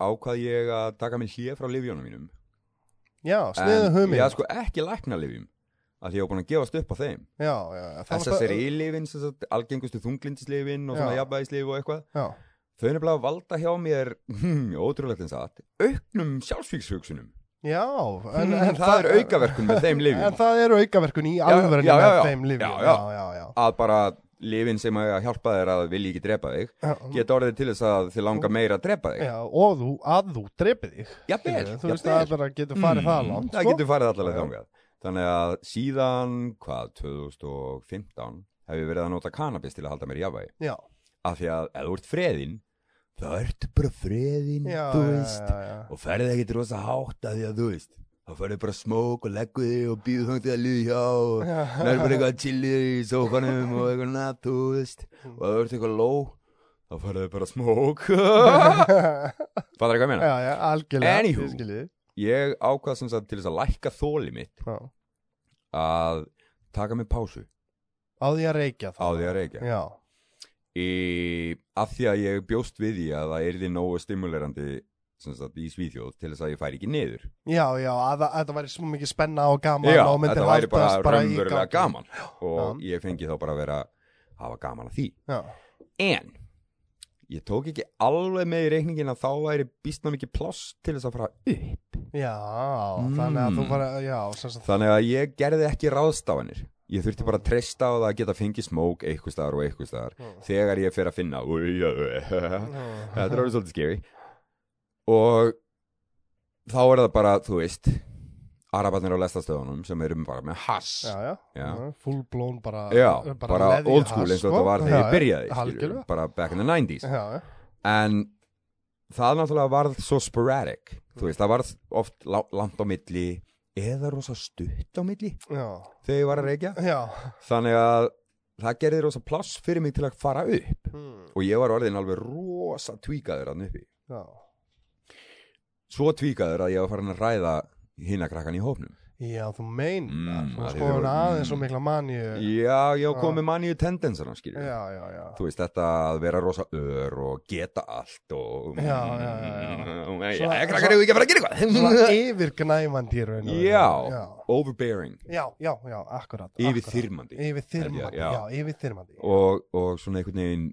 [SPEAKER 2] ákvað ég að taka mér hlið frá livjónum mínum.
[SPEAKER 1] já, sniðu hugmynd
[SPEAKER 2] Ég
[SPEAKER 1] já,
[SPEAKER 2] hafði sko ekki lækna livjum, af því ég var búin að gefast upp á þeim.
[SPEAKER 1] já, já, það var bara-
[SPEAKER 2] SSRI-livin, sem sagt, algengustu þunglindislifin og svona
[SPEAKER 1] Já.
[SPEAKER 2] jafnvægislif og eitthvað.
[SPEAKER 1] já,
[SPEAKER 2] Þau nefnilega valda hjá mér, hmm, ótrúlegt en satt, auknum sjálfsvíkshugsunum.
[SPEAKER 1] já en,
[SPEAKER 2] En, það er aukaverkun með þeim
[SPEAKER 1] En
[SPEAKER 2] livjum.
[SPEAKER 1] það eru aukaverkun í
[SPEAKER 2] já,
[SPEAKER 1] alvörinu
[SPEAKER 2] já, já,
[SPEAKER 1] með
[SPEAKER 2] já.
[SPEAKER 1] þeim lifi.
[SPEAKER 2] Já,
[SPEAKER 1] já,
[SPEAKER 2] já.
[SPEAKER 1] já, já.
[SPEAKER 2] Að bara livin sem að hjálpa þér að vilja ekki drepa þig, geta orðið til þess að þið langar meira að drepa þig.
[SPEAKER 1] Mm. já og þú, að þú drepið þig.
[SPEAKER 2] Jafnvel,
[SPEAKER 1] Skilurðu, Þú veist
[SPEAKER 2] jafnvel.
[SPEAKER 1] að það bara getur farið það langt.
[SPEAKER 2] Mm, Það
[SPEAKER 1] sko.
[SPEAKER 2] getur farið allavega
[SPEAKER 1] Já.
[SPEAKER 2] þangað Þannig að síðan, hvað, 2015 hef ég verið að nota kannabis til að halda mér í jafnvægi
[SPEAKER 1] Já,
[SPEAKER 2] Af því að ef þú ert freðin þá ertu bara freðin,
[SPEAKER 1] já,
[SPEAKER 2] Mm, þú
[SPEAKER 1] já,
[SPEAKER 2] veist
[SPEAKER 1] já, já.
[SPEAKER 2] og ferði ekkit rosa hátt af því að þú veist þá ferði bara smók og leggu þig og býðu þangt að líði hjá og
[SPEAKER 1] Já.
[SPEAKER 2] nær bara eitthvað að chilli þig í sófanum og eitthvað natt, þú veist og ef þú ert eitthvað ló þá ferði bara smók Fattar ekki hvað ég meina?
[SPEAKER 1] já, já, algjörlega.
[SPEAKER 2] Anywho.
[SPEAKER 1] ég skil þig.
[SPEAKER 2] Ég ákvað sem sagt til þess að lækka þóli mitt
[SPEAKER 1] Já.
[SPEAKER 2] að taka mig pásu
[SPEAKER 1] Á því að reykja
[SPEAKER 2] á
[SPEAKER 1] það.
[SPEAKER 2] því að reykja
[SPEAKER 1] Já,
[SPEAKER 2] í, af því að ég bjóst við því að það erði nógu stimulerandi sem sagt, í Svíþjóð til þess að ég færi ekki niður
[SPEAKER 1] já, já, að það- að þetta væri svo mikið spenna og gaman og myndir
[SPEAKER 2] þetta væri bara
[SPEAKER 1] haldast bara í
[SPEAKER 2] raunverulega
[SPEAKER 1] gangi.
[SPEAKER 2] gaman og ég fengi þá bara að vera hafa gaman að því
[SPEAKER 1] Já,
[SPEAKER 2] en ég tók ekki alveg með í reikningin að þá væri býstna mikið pláss til þess að fara upp
[SPEAKER 1] já þannig að þú
[SPEAKER 2] Mm.
[SPEAKER 1] bara, já, sem sagt,
[SPEAKER 2] þannig að ég gerði ekki ráðstafanir ég þurfti bara að treysta á það að geta fengið smók eitthvað staðar og eitthvað staðar
[SPEAKER 1] Mm.
[SPEAKER 2] þegar ég fer að finna "Új, já,
[SPEAKER 1] já,
[SPEAKER 2] já, Þetta er orðið svolítið skeri Og þá er það bara, þú veist Arabarnir á lestastöðunum sem eru bara með hass
[SPEAKER 1] já, já,
[SPEAKER 2] Já.
[SPEAKER 1] full blown bara,
[SPEAKER 2] Já, bara,
[SPEAKER 1] leðja
[SPEAKER 2] old school
[SPEAKER 1] hass,
[SPEAKER 2] eins og
[SPEAKER 1] sko.
[SPEAKER 2] þetta var
[SPEAKER 1] Já,
[SPEAKER 2] þegar ég
[SPEAKER 1] já,
[SPEAKER 2] byrjaði skilur,
[SPEAKER 1] algjörlega.
[SPEAKER 2] Bara back in the 90s
[SPEAKER 1] Já, já.
[SPEAKER 2] En það náttúrulega varð svo sporadic Þú veist, það varð oft lá- langt á milli Eða rosa stutt á milli
[SPEAKER 1] Já,
[SPEAKER 2] Þegar ég var að reykja
[SPEAKER 1] já,
[SPEAKER 2] Þannig að það gerði rosa pláss fyrir mig til að fara upp
[SPEAKER 1] hmm.
[SPEAKER 2] Og ég var orðin alveg rosa tvíkaður að uppi
[SPEAKER 1] já.
[SPEAKER 2] svo tvíkaður að ég var farin að ræða hinna krakkan í hópnum
[SPEAKER 1] Já, þú meina
[SPEAKER 2] Mm,
[SPEAKER 1] mm, Þú
[SPEAKER 2] að þið
[SPEAKER 1] sko
[SPEAKER 2] voru-
[SPEAKER 1] hann aðeins svo
[SPEAKER 2] mm.
[SPEAKER 1] mikla manju Já,
[SPEAKER 2] já, ég var
[SPEAKER 1] Já.
[SPEAKER 2] komið manni í tendensana skilju
[SPEAKER 1] já, já
[SPEAKER 2] þú veist þetta að vera rosa ör og geta allt og
[SPEAKER 1] Já, já, já,
[SPEAKER 2] já,
[SPEAKER 1] Svo-
[SPEAKER 2] krakkar eru ekki að fara að gera
[SPEAKER 1] Svona
[SPEAKER 2] eitthvað
[SPEAKER 1] yfirgnæfandi í raun og veru.
[SPEAKER 2] já,
[SPEAKER 1] já
[SPEAKER 2] overbearing
[SPEAKER 1] Já, já, já, akkurat
[SPEAKER 2] yfir
[SPEAKER 1] akkurat.
[SPEAKER 2] þyrmandi
[SPEAKER 1] Yfir þyrmandi,
[SPEAKER 2] Já.
[SPEAKER 1] já, yfir þyrmandi
[SPEAKER 2] og, og svona einhvern veginn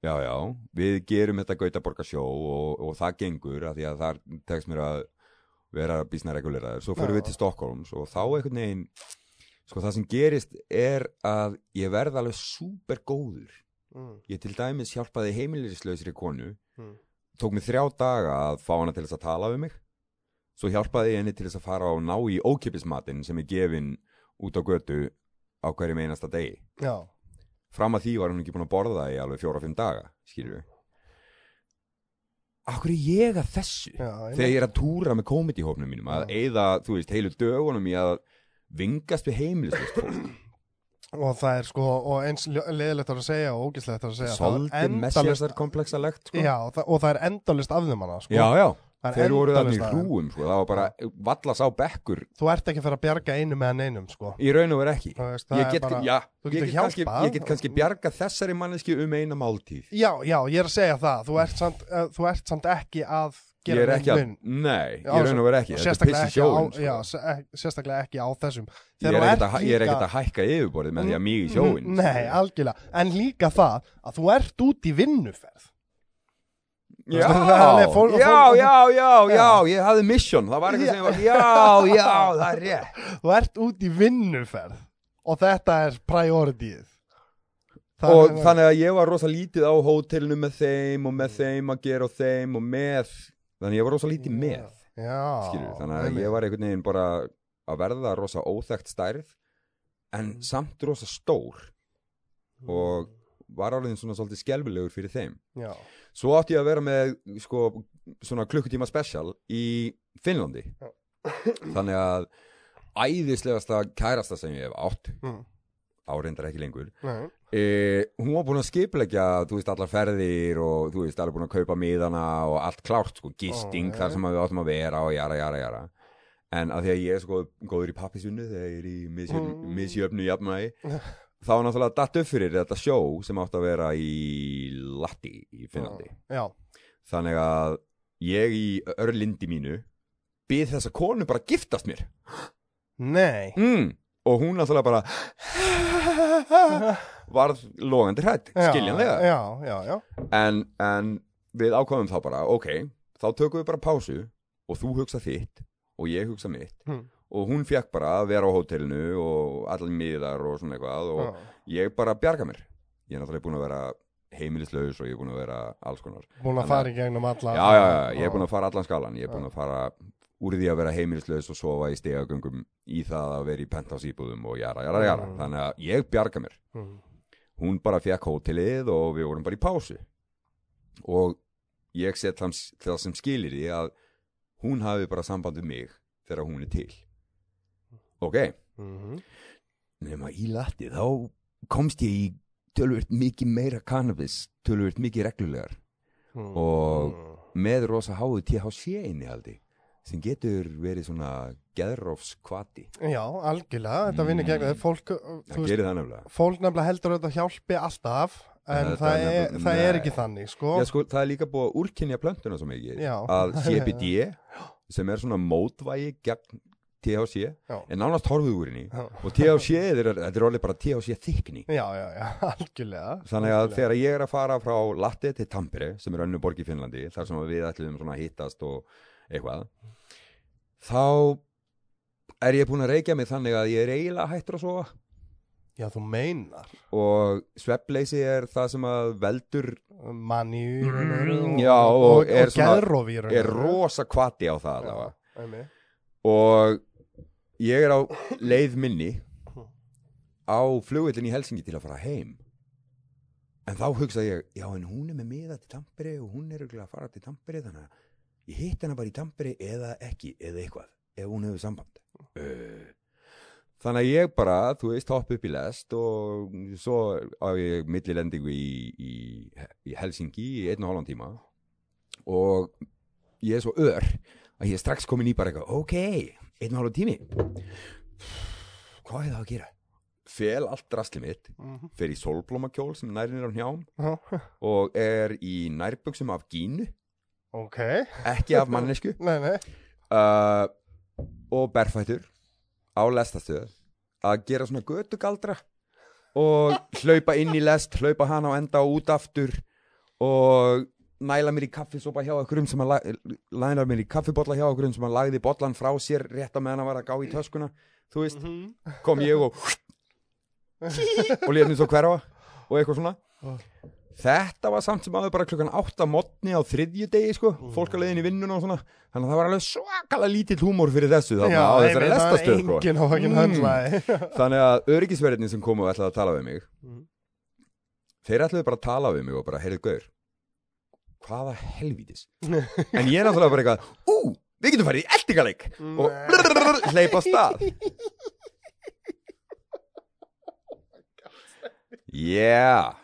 [SPEAKER 2] já, já, við gerum þetta Gautaborgarsjó og, og það gengur af því að þar tekst mér að vera býsna reguleraður, svo fyrir
[SPEAKER 1] Já.
[SPEAKER 2] við til Stokkólums og þá einhvern veginn sko það sem gerist er að ég verð alveg súper góður
[SPEAKER 1] mm,
[SPEAKER 2] ég til dæmis hjálpaði heimilislausri konu
[SPEAKER 1] Mm.
[SPEAKER 2] tók mig þrjá daga að fá hana til þess að tala við mig svo hjálpaði ég henni til þess að fara og ná í ókipismatinn sem er gefin út á götu á hverjum einasta degi
[SPEAKER 1] Já,
[SPEAKER 2] fram að því var hún ekki búin að borða í alveg fjóra-fimm daga, skilur við Akkur er ég að þessu
[SPEAKER 1] já,
[SPEAKER 2] þegar ég er að túra með komedihópnum mínum að
[SPEAKER 1] Já.
[SPEAKER 2] eyða, þú veist, heilu dögunum í að vingast við heimilislust fólk
[SPEAKER 1] Og það er sko, og eins ljó- leiðilegt að segja og ógislegt að segja það er
[SPEAKER 2] svolítið
[SPEAKER 1] endalaust-
[SPEAKER 2] messjastar kompleksalegt sko.
[SPEAKER 1] Já, og það, og það er endalist af þeim hana sko.
[SPEAKER 2] já, já,
[SPEAKER 1] Það er
[SPEAKER 2] þeir voru þannig
[SPEAKER 1] endalaust
[SPEAKER 2] í
[SPEAKER 1] að-
[SPEAKER 2] hrúum sko, það var bara valla sá bekkur
[SPEAKER 1] Þú ert ekki að fara að bjarga einu með hann einum sko.
[SPEAKER 2] í raun og verið ekki
[SPEAKER 1] Þú veist, það
[SPEAKER 2] ég
[SPEAKER 1] er
[SPEAKER 2] get,
[SPEAKER 1] bara-
[SPEAKER 2] já,
[SPEAKER 1] þú
[SPEAKER 2] ég
[SPEAKER 1] getur
[SPEAKER 2] get, kannski,
[SPEAKER 1] hjálpað.
[SPEAKER 2] ég get kannski bjarga þessari manneski um eina máltíð
[SPEAKER 1] Já, já, ég er að segja það Þú ert samt, uh, þú ert samt ekki að
[SPEAKER 2] ég
[SPEAKER 1] gera
[SPEAKER 2] er ekki að,
[SPEAKER 1] neinn mun.
[SPEAKER 2] nei,
[SPEAKER 1] Já,
[SPEAKER 2] ég raun og verið ekki þetta er
[SPEAKER 1] sérstaklega
[SPEAKER 2] piss í
[SPEAKER 1] ekki, á,
[SPEAKER 2] sjóin
[SPEAKER 1] já,
[SPEAKER 2] sko.
[SPEAKER 1] se- ek- sérstaklega ekki á þessum
[SPEAKER 2] ég er
[SPEAKER 1] þú
[SPEAKER 2] ekkert
[SPEAKER 1] ert
[SPEAKER 2] að- ég er
[SPEAKER 1] líka- Mm,
[SPEAKER 2] ekkert að hækka yfirborðið með því að mig í sko. sjóin
[SPEAKER 1] Nei, algjörlega, en líka það að þú ert út í vinnuferð
[SPEAKER 2] Já,
[SPEAKER 1] Það er fólk- fólk-
[SPEAKER 2] já, já, já, já,
[SPEAKER 1] Já.
[SPEAKER 2] ég hafði mission, það var eitthvað sem ég var, já, já, það er rétt.
[SPEAKER 1] Þú ert út í vinnuferð og þetta er priorityð
[SPEAKER 2] Og þannig að ég var rosa lítið á hótelinu með þeim og með þeim að gera og þeim og með, þannig að ég var rosa lítið með,
[SPEAKER 1] Já
[SPEAKER 2] skilur, þannig að ég var einhvern veginn bara að verða rosa óþekkt stærð, en samt rosa stór og var alveg svona svolítið skelfilegur fyrir þeim.
[SPEAKER 1] Já,
[SPEAKER 2] Svo átti ég að vera með sko, svona klukkutíma special í Finnlandi Þannig að æðislegasta kærasta sem ég hef átt
[SPEAKER 1] Mm.
[SPEAKER 2] áreindar ekki lengur
[SPEAKER 1] nei
[SPEAKER 2] e, hún var búin að skipleggja þú veist allar ferðir og þú veist alveg búin að kaupa miðana og allt klárt sko, gisting
[SPEAKER 1] Ó,
[SPEAKER 2] þar sem að við áttum að vera og jara jara jara en að því að ég er sko góður í pappisunni þegar ég er í misjöfn,
[SPEAKER 1] Mm.
[SPEAKER 2] misjöfnu jafnægi þá er náttúrulega datt upp fyrir þetta sjó sem átt að vera í Latti í Finnlandi
[SPEAKER 1] Já,
[SPEAKER 2] þannig að ég í örlindi mínu bið þessa konu bara að giftast mér
[SPEAKER 1] nei
[SPEAKER 2] mm. og hún náttúrulega bara varð logandi hrætt
[SPEAKER 1] Já,
[SPEAKER 2] skiljanlega
[SPEAKER 1] Já, já, já
[SPEAKER 2] en, en við ákváðum þá bara ok, þá tökum við bara pásu og þú hugsa þitt og ég hugsa mitt
[SPEAKER 1] Mm.
[SPEAKER 2] og hún fekk bara að vera á hótelinu og allir miðar og svona eitthvað og
[SPEAKER 1] Já.
[SPEAKER 2] ég bara bjarga mér ég er náttúrulega búin að vera heimilislaus og ég er búin að vera alls konar
[SPEAKER 1] Búin að fara í gegnum alla
[SPEAKER 2] já, já, já, ég er búin að fara allan skalan ég er búin að fara úr því að vera heimilislaus og sofa í stegagöngum í það að vera í penthouse íbúðum og jara, jara, jara
[SPEAKER 1] Mm.
[SPEAKER 2] þannig að ég bjarga mér
[SPEAKER 1] Mm.
[SPEAKER 2] hún bara fekk hótelið og við vorum bara í pásu og ég set það, það sem skilir því að hún hafi bara samband við mig þegar hún er til ok,
[SPEAKER 1] Mhm.
[SPEAKER 2] nema í lati þá komst ég í tölvöld mikið meira cannabis tölvöld mikið reglulegar
[SPEAKER 1] Mm.
[SPEAKER 2] Og-
[SPEAKER 1] Mm.
[SPEAKER 2] með rosa háðu THC innihaldi sem getur verið svona geðrófs kvati
[SPEAKER 1] Já, algjörlega, þetta vinnir gegn þegar fólk, uh,
[SPEAKER 2] Mm.
[SPEAKER 1] þú
[SPEAKER 2] það
[SPEAKER 1] veist,
[SPEAKER 2] gerir það nefnilega
[SPEAKER 1] fólk nefnilega heldur að þetta hjálpi alltaf, en
[SPEAKER 2] Þetta
[SPEAKER 1] það er,
[SPEAKER 2] nefnilega-
[SPEAKER 1] það er
[SPEAKER 2] nei.
[SPEAKER 1] ekki þannig, sko.
[SPEAKER 2] Já, sko, það er líka búið að úrkynja plöntuna svo mikið
[SPEAKER 1] Já.
[SPEAKER 2] að CBD sem er svona mótvægi gegn THC
[SPEAKER 1] Já.
[SPEAKER 2] er nánast horfið úr henni
[SPEAKER 1] Já.
[SPEAKER 2] og THC er, þetta er orðið bara THC þykni
[SPEAKER 1] Já, já, já, algjörlega.
[SPEAKER 2] þannig að
[SPEAKER 1] algjörlega.
[SPEAKER 2] þegar ég er að fara frá Latte til Tampere sem er önnu borg í Finnlandi þar sem við ætlum svona að hittast og eitthvað þá er ég búin að reykja mig þannig að ég er eiginlega hættur að sofa
[SPEAKER 1] Já, þú meinar,
[SPEAKER 2] og sveppleysi er það sem að veldur
[SPEAKER 1] manni
[SPEAKER 2] já, og
[SPEAKER 1] og,
[SPEAKER 2] er
[SPEAKER 1] og
[SPEAKER 2] svona-
[SPEAKER 1] geðrófýrun.
[SPEAKER 2] er rosa kvati á
[SPEAKER 1] Já,
[SPEAKER 2] það allavega
[SPEAKER 1] einmitt.
[SPEAKER 2] og ég er á leið minni á flugvillin í Helsingi til að fara heim en þá hugsa ég já en hún er með miða til Tampere og hún er örugglega að fara til Tampere þannig að ég hitt hana bara í Tampere eða ekki eða eitthvað ef hún hefur samband uh. þannig að ég bara þú veist hopp upp í lest og svo á ég millilendingu í, í, í Helsingi í einn og hálfan tíma og ég er svo ör að ég er strax komin í bara eitthvað, ok, einn og hálf tími hvað er það að gera? Fel allt drastli mitt
[SPEAKER 1] Mhm.
[SPEAKER 2] fer í solblómakjól sem nærinir á hnjám
[SPEAKER 1] Já,
[SPEAKER 2] og er í nærbuksum af gínu
[SPEAKER 1] Ok,
[SPEAKER 2] ekki af mannesku
[SPEAKER 1] nei, nei.
[SPEAKER 2] uh, og berfættur á lestastöð að gera svona götugaldra og hlaupa inn í lest hlaupa hana á enda og út aftur og næla mér í kaffisopa hjá okkurum sem að læna mér í kaffibotla hjá okkurum sem að lagði botlan frá sér rétt á meðan að var að gá í töskuna þú veist, kom ég og og lefnum svo hverfa og eitthvað svona
[SPEAKER 1] Ah.
[SPEAKER 2] Þetta var samt sem aður bara klukkan 8 mótni á þriðju degi sko,
[SPEAKER 1] Mm.
[SPEAKER 2] fólk að leiðin í vinnuna og svona, þannig að það var alveg svakalega lítill húmór fyrir þessu þarna á
[SPEAKER 1] einmitt,
[SPEAKER 2] þessari
[SPEAKER 1] það var
[SPEAKER 2] lestastöð sko.
[SPEAKER 1] enginn og enginn höndlaði.
[SPEAKER 2] Þannig að öryggisverðinni sem komu og ætlaði að tala við mig,
[SPEAKER 1] Mm.
[SPEAKER 2] þeir ætlaði bara að tala við mig og bara, heyrðu gaur, hvaða helvítis? en ég náttúrulega bara eitthvað, ú, við getum farið í eldingaleik og
[SPEAKER 1] Nei.
[SPEAKER 2] brrrr, hleypa á stað. Yeah.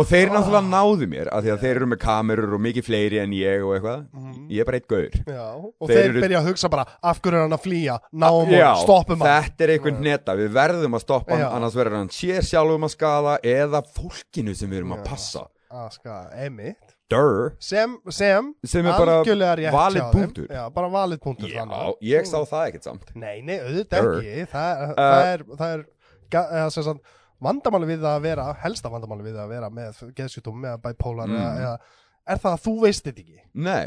[SPEAKER 2] Og þeir náttúrulega náðu mér af því að þeir eru með kamerur og mikið fleiri en ég og eitthvað.
[SPEAKER 1] Mhm.
[SPEAKER 2] ég er bara eitt gaur
[SPEAKER 1] Já, og
[SPEAKER 2] Þeir
[SPEAKER 1] þeir,
[SPEAKER 2] eru-
[SPEAKER 1] byrja að hugsa bara af hverju er hann að flýja, náum
[SPEAKER 2] Já,
[SPEAKER 1] og stoppum hann
[SPEAKER 2] þetta er einhvern neta, við verðum að stoppa hann
[SPEAKER 1] Já.
[SPEAKER 2] annars verður hann sér sjálfum að skada eða fólkinu sem við erum að
[SPEAKER 1] Já.
[SPEAKER 2] passa
[SPEAKER 1] Aska, emitt
[SPEAKER 2] Dörr,
[SPEAKER 1] Ah, sko, sem, sem,
[SPEAKER 2] sem er bara
[SPEAKER 1] algjörlega rétt hjá
[SPEAKER 2] valid
[SPEAKER 1] þeim.
[SPEAKER 2] punktur.
[SPEAKER 1] Já, bara valid punktur
[SPEAKER 2] já,
[SPEAKER 1] þannig.
[SPEAKER 2] ég sá það ekkert samt
[SPEAKER 1] Nei, nei, auðvitað
[SPEAKER 2] Sure.
[SPEAKER 1] ekki Það, uh,
[SPEAKER 2] Uh,
[SPEAKER 1] það er, það er ga- eða, sem sagt, vandamáli við það að vera helsta vandamáli við það að vera með geðsjútum eða bipolar
[SPEAKER 2] Mm.
[SPEAKER 1] eða, eða er það að þú veist þetta ekki
[SPEAKER 2] Nei,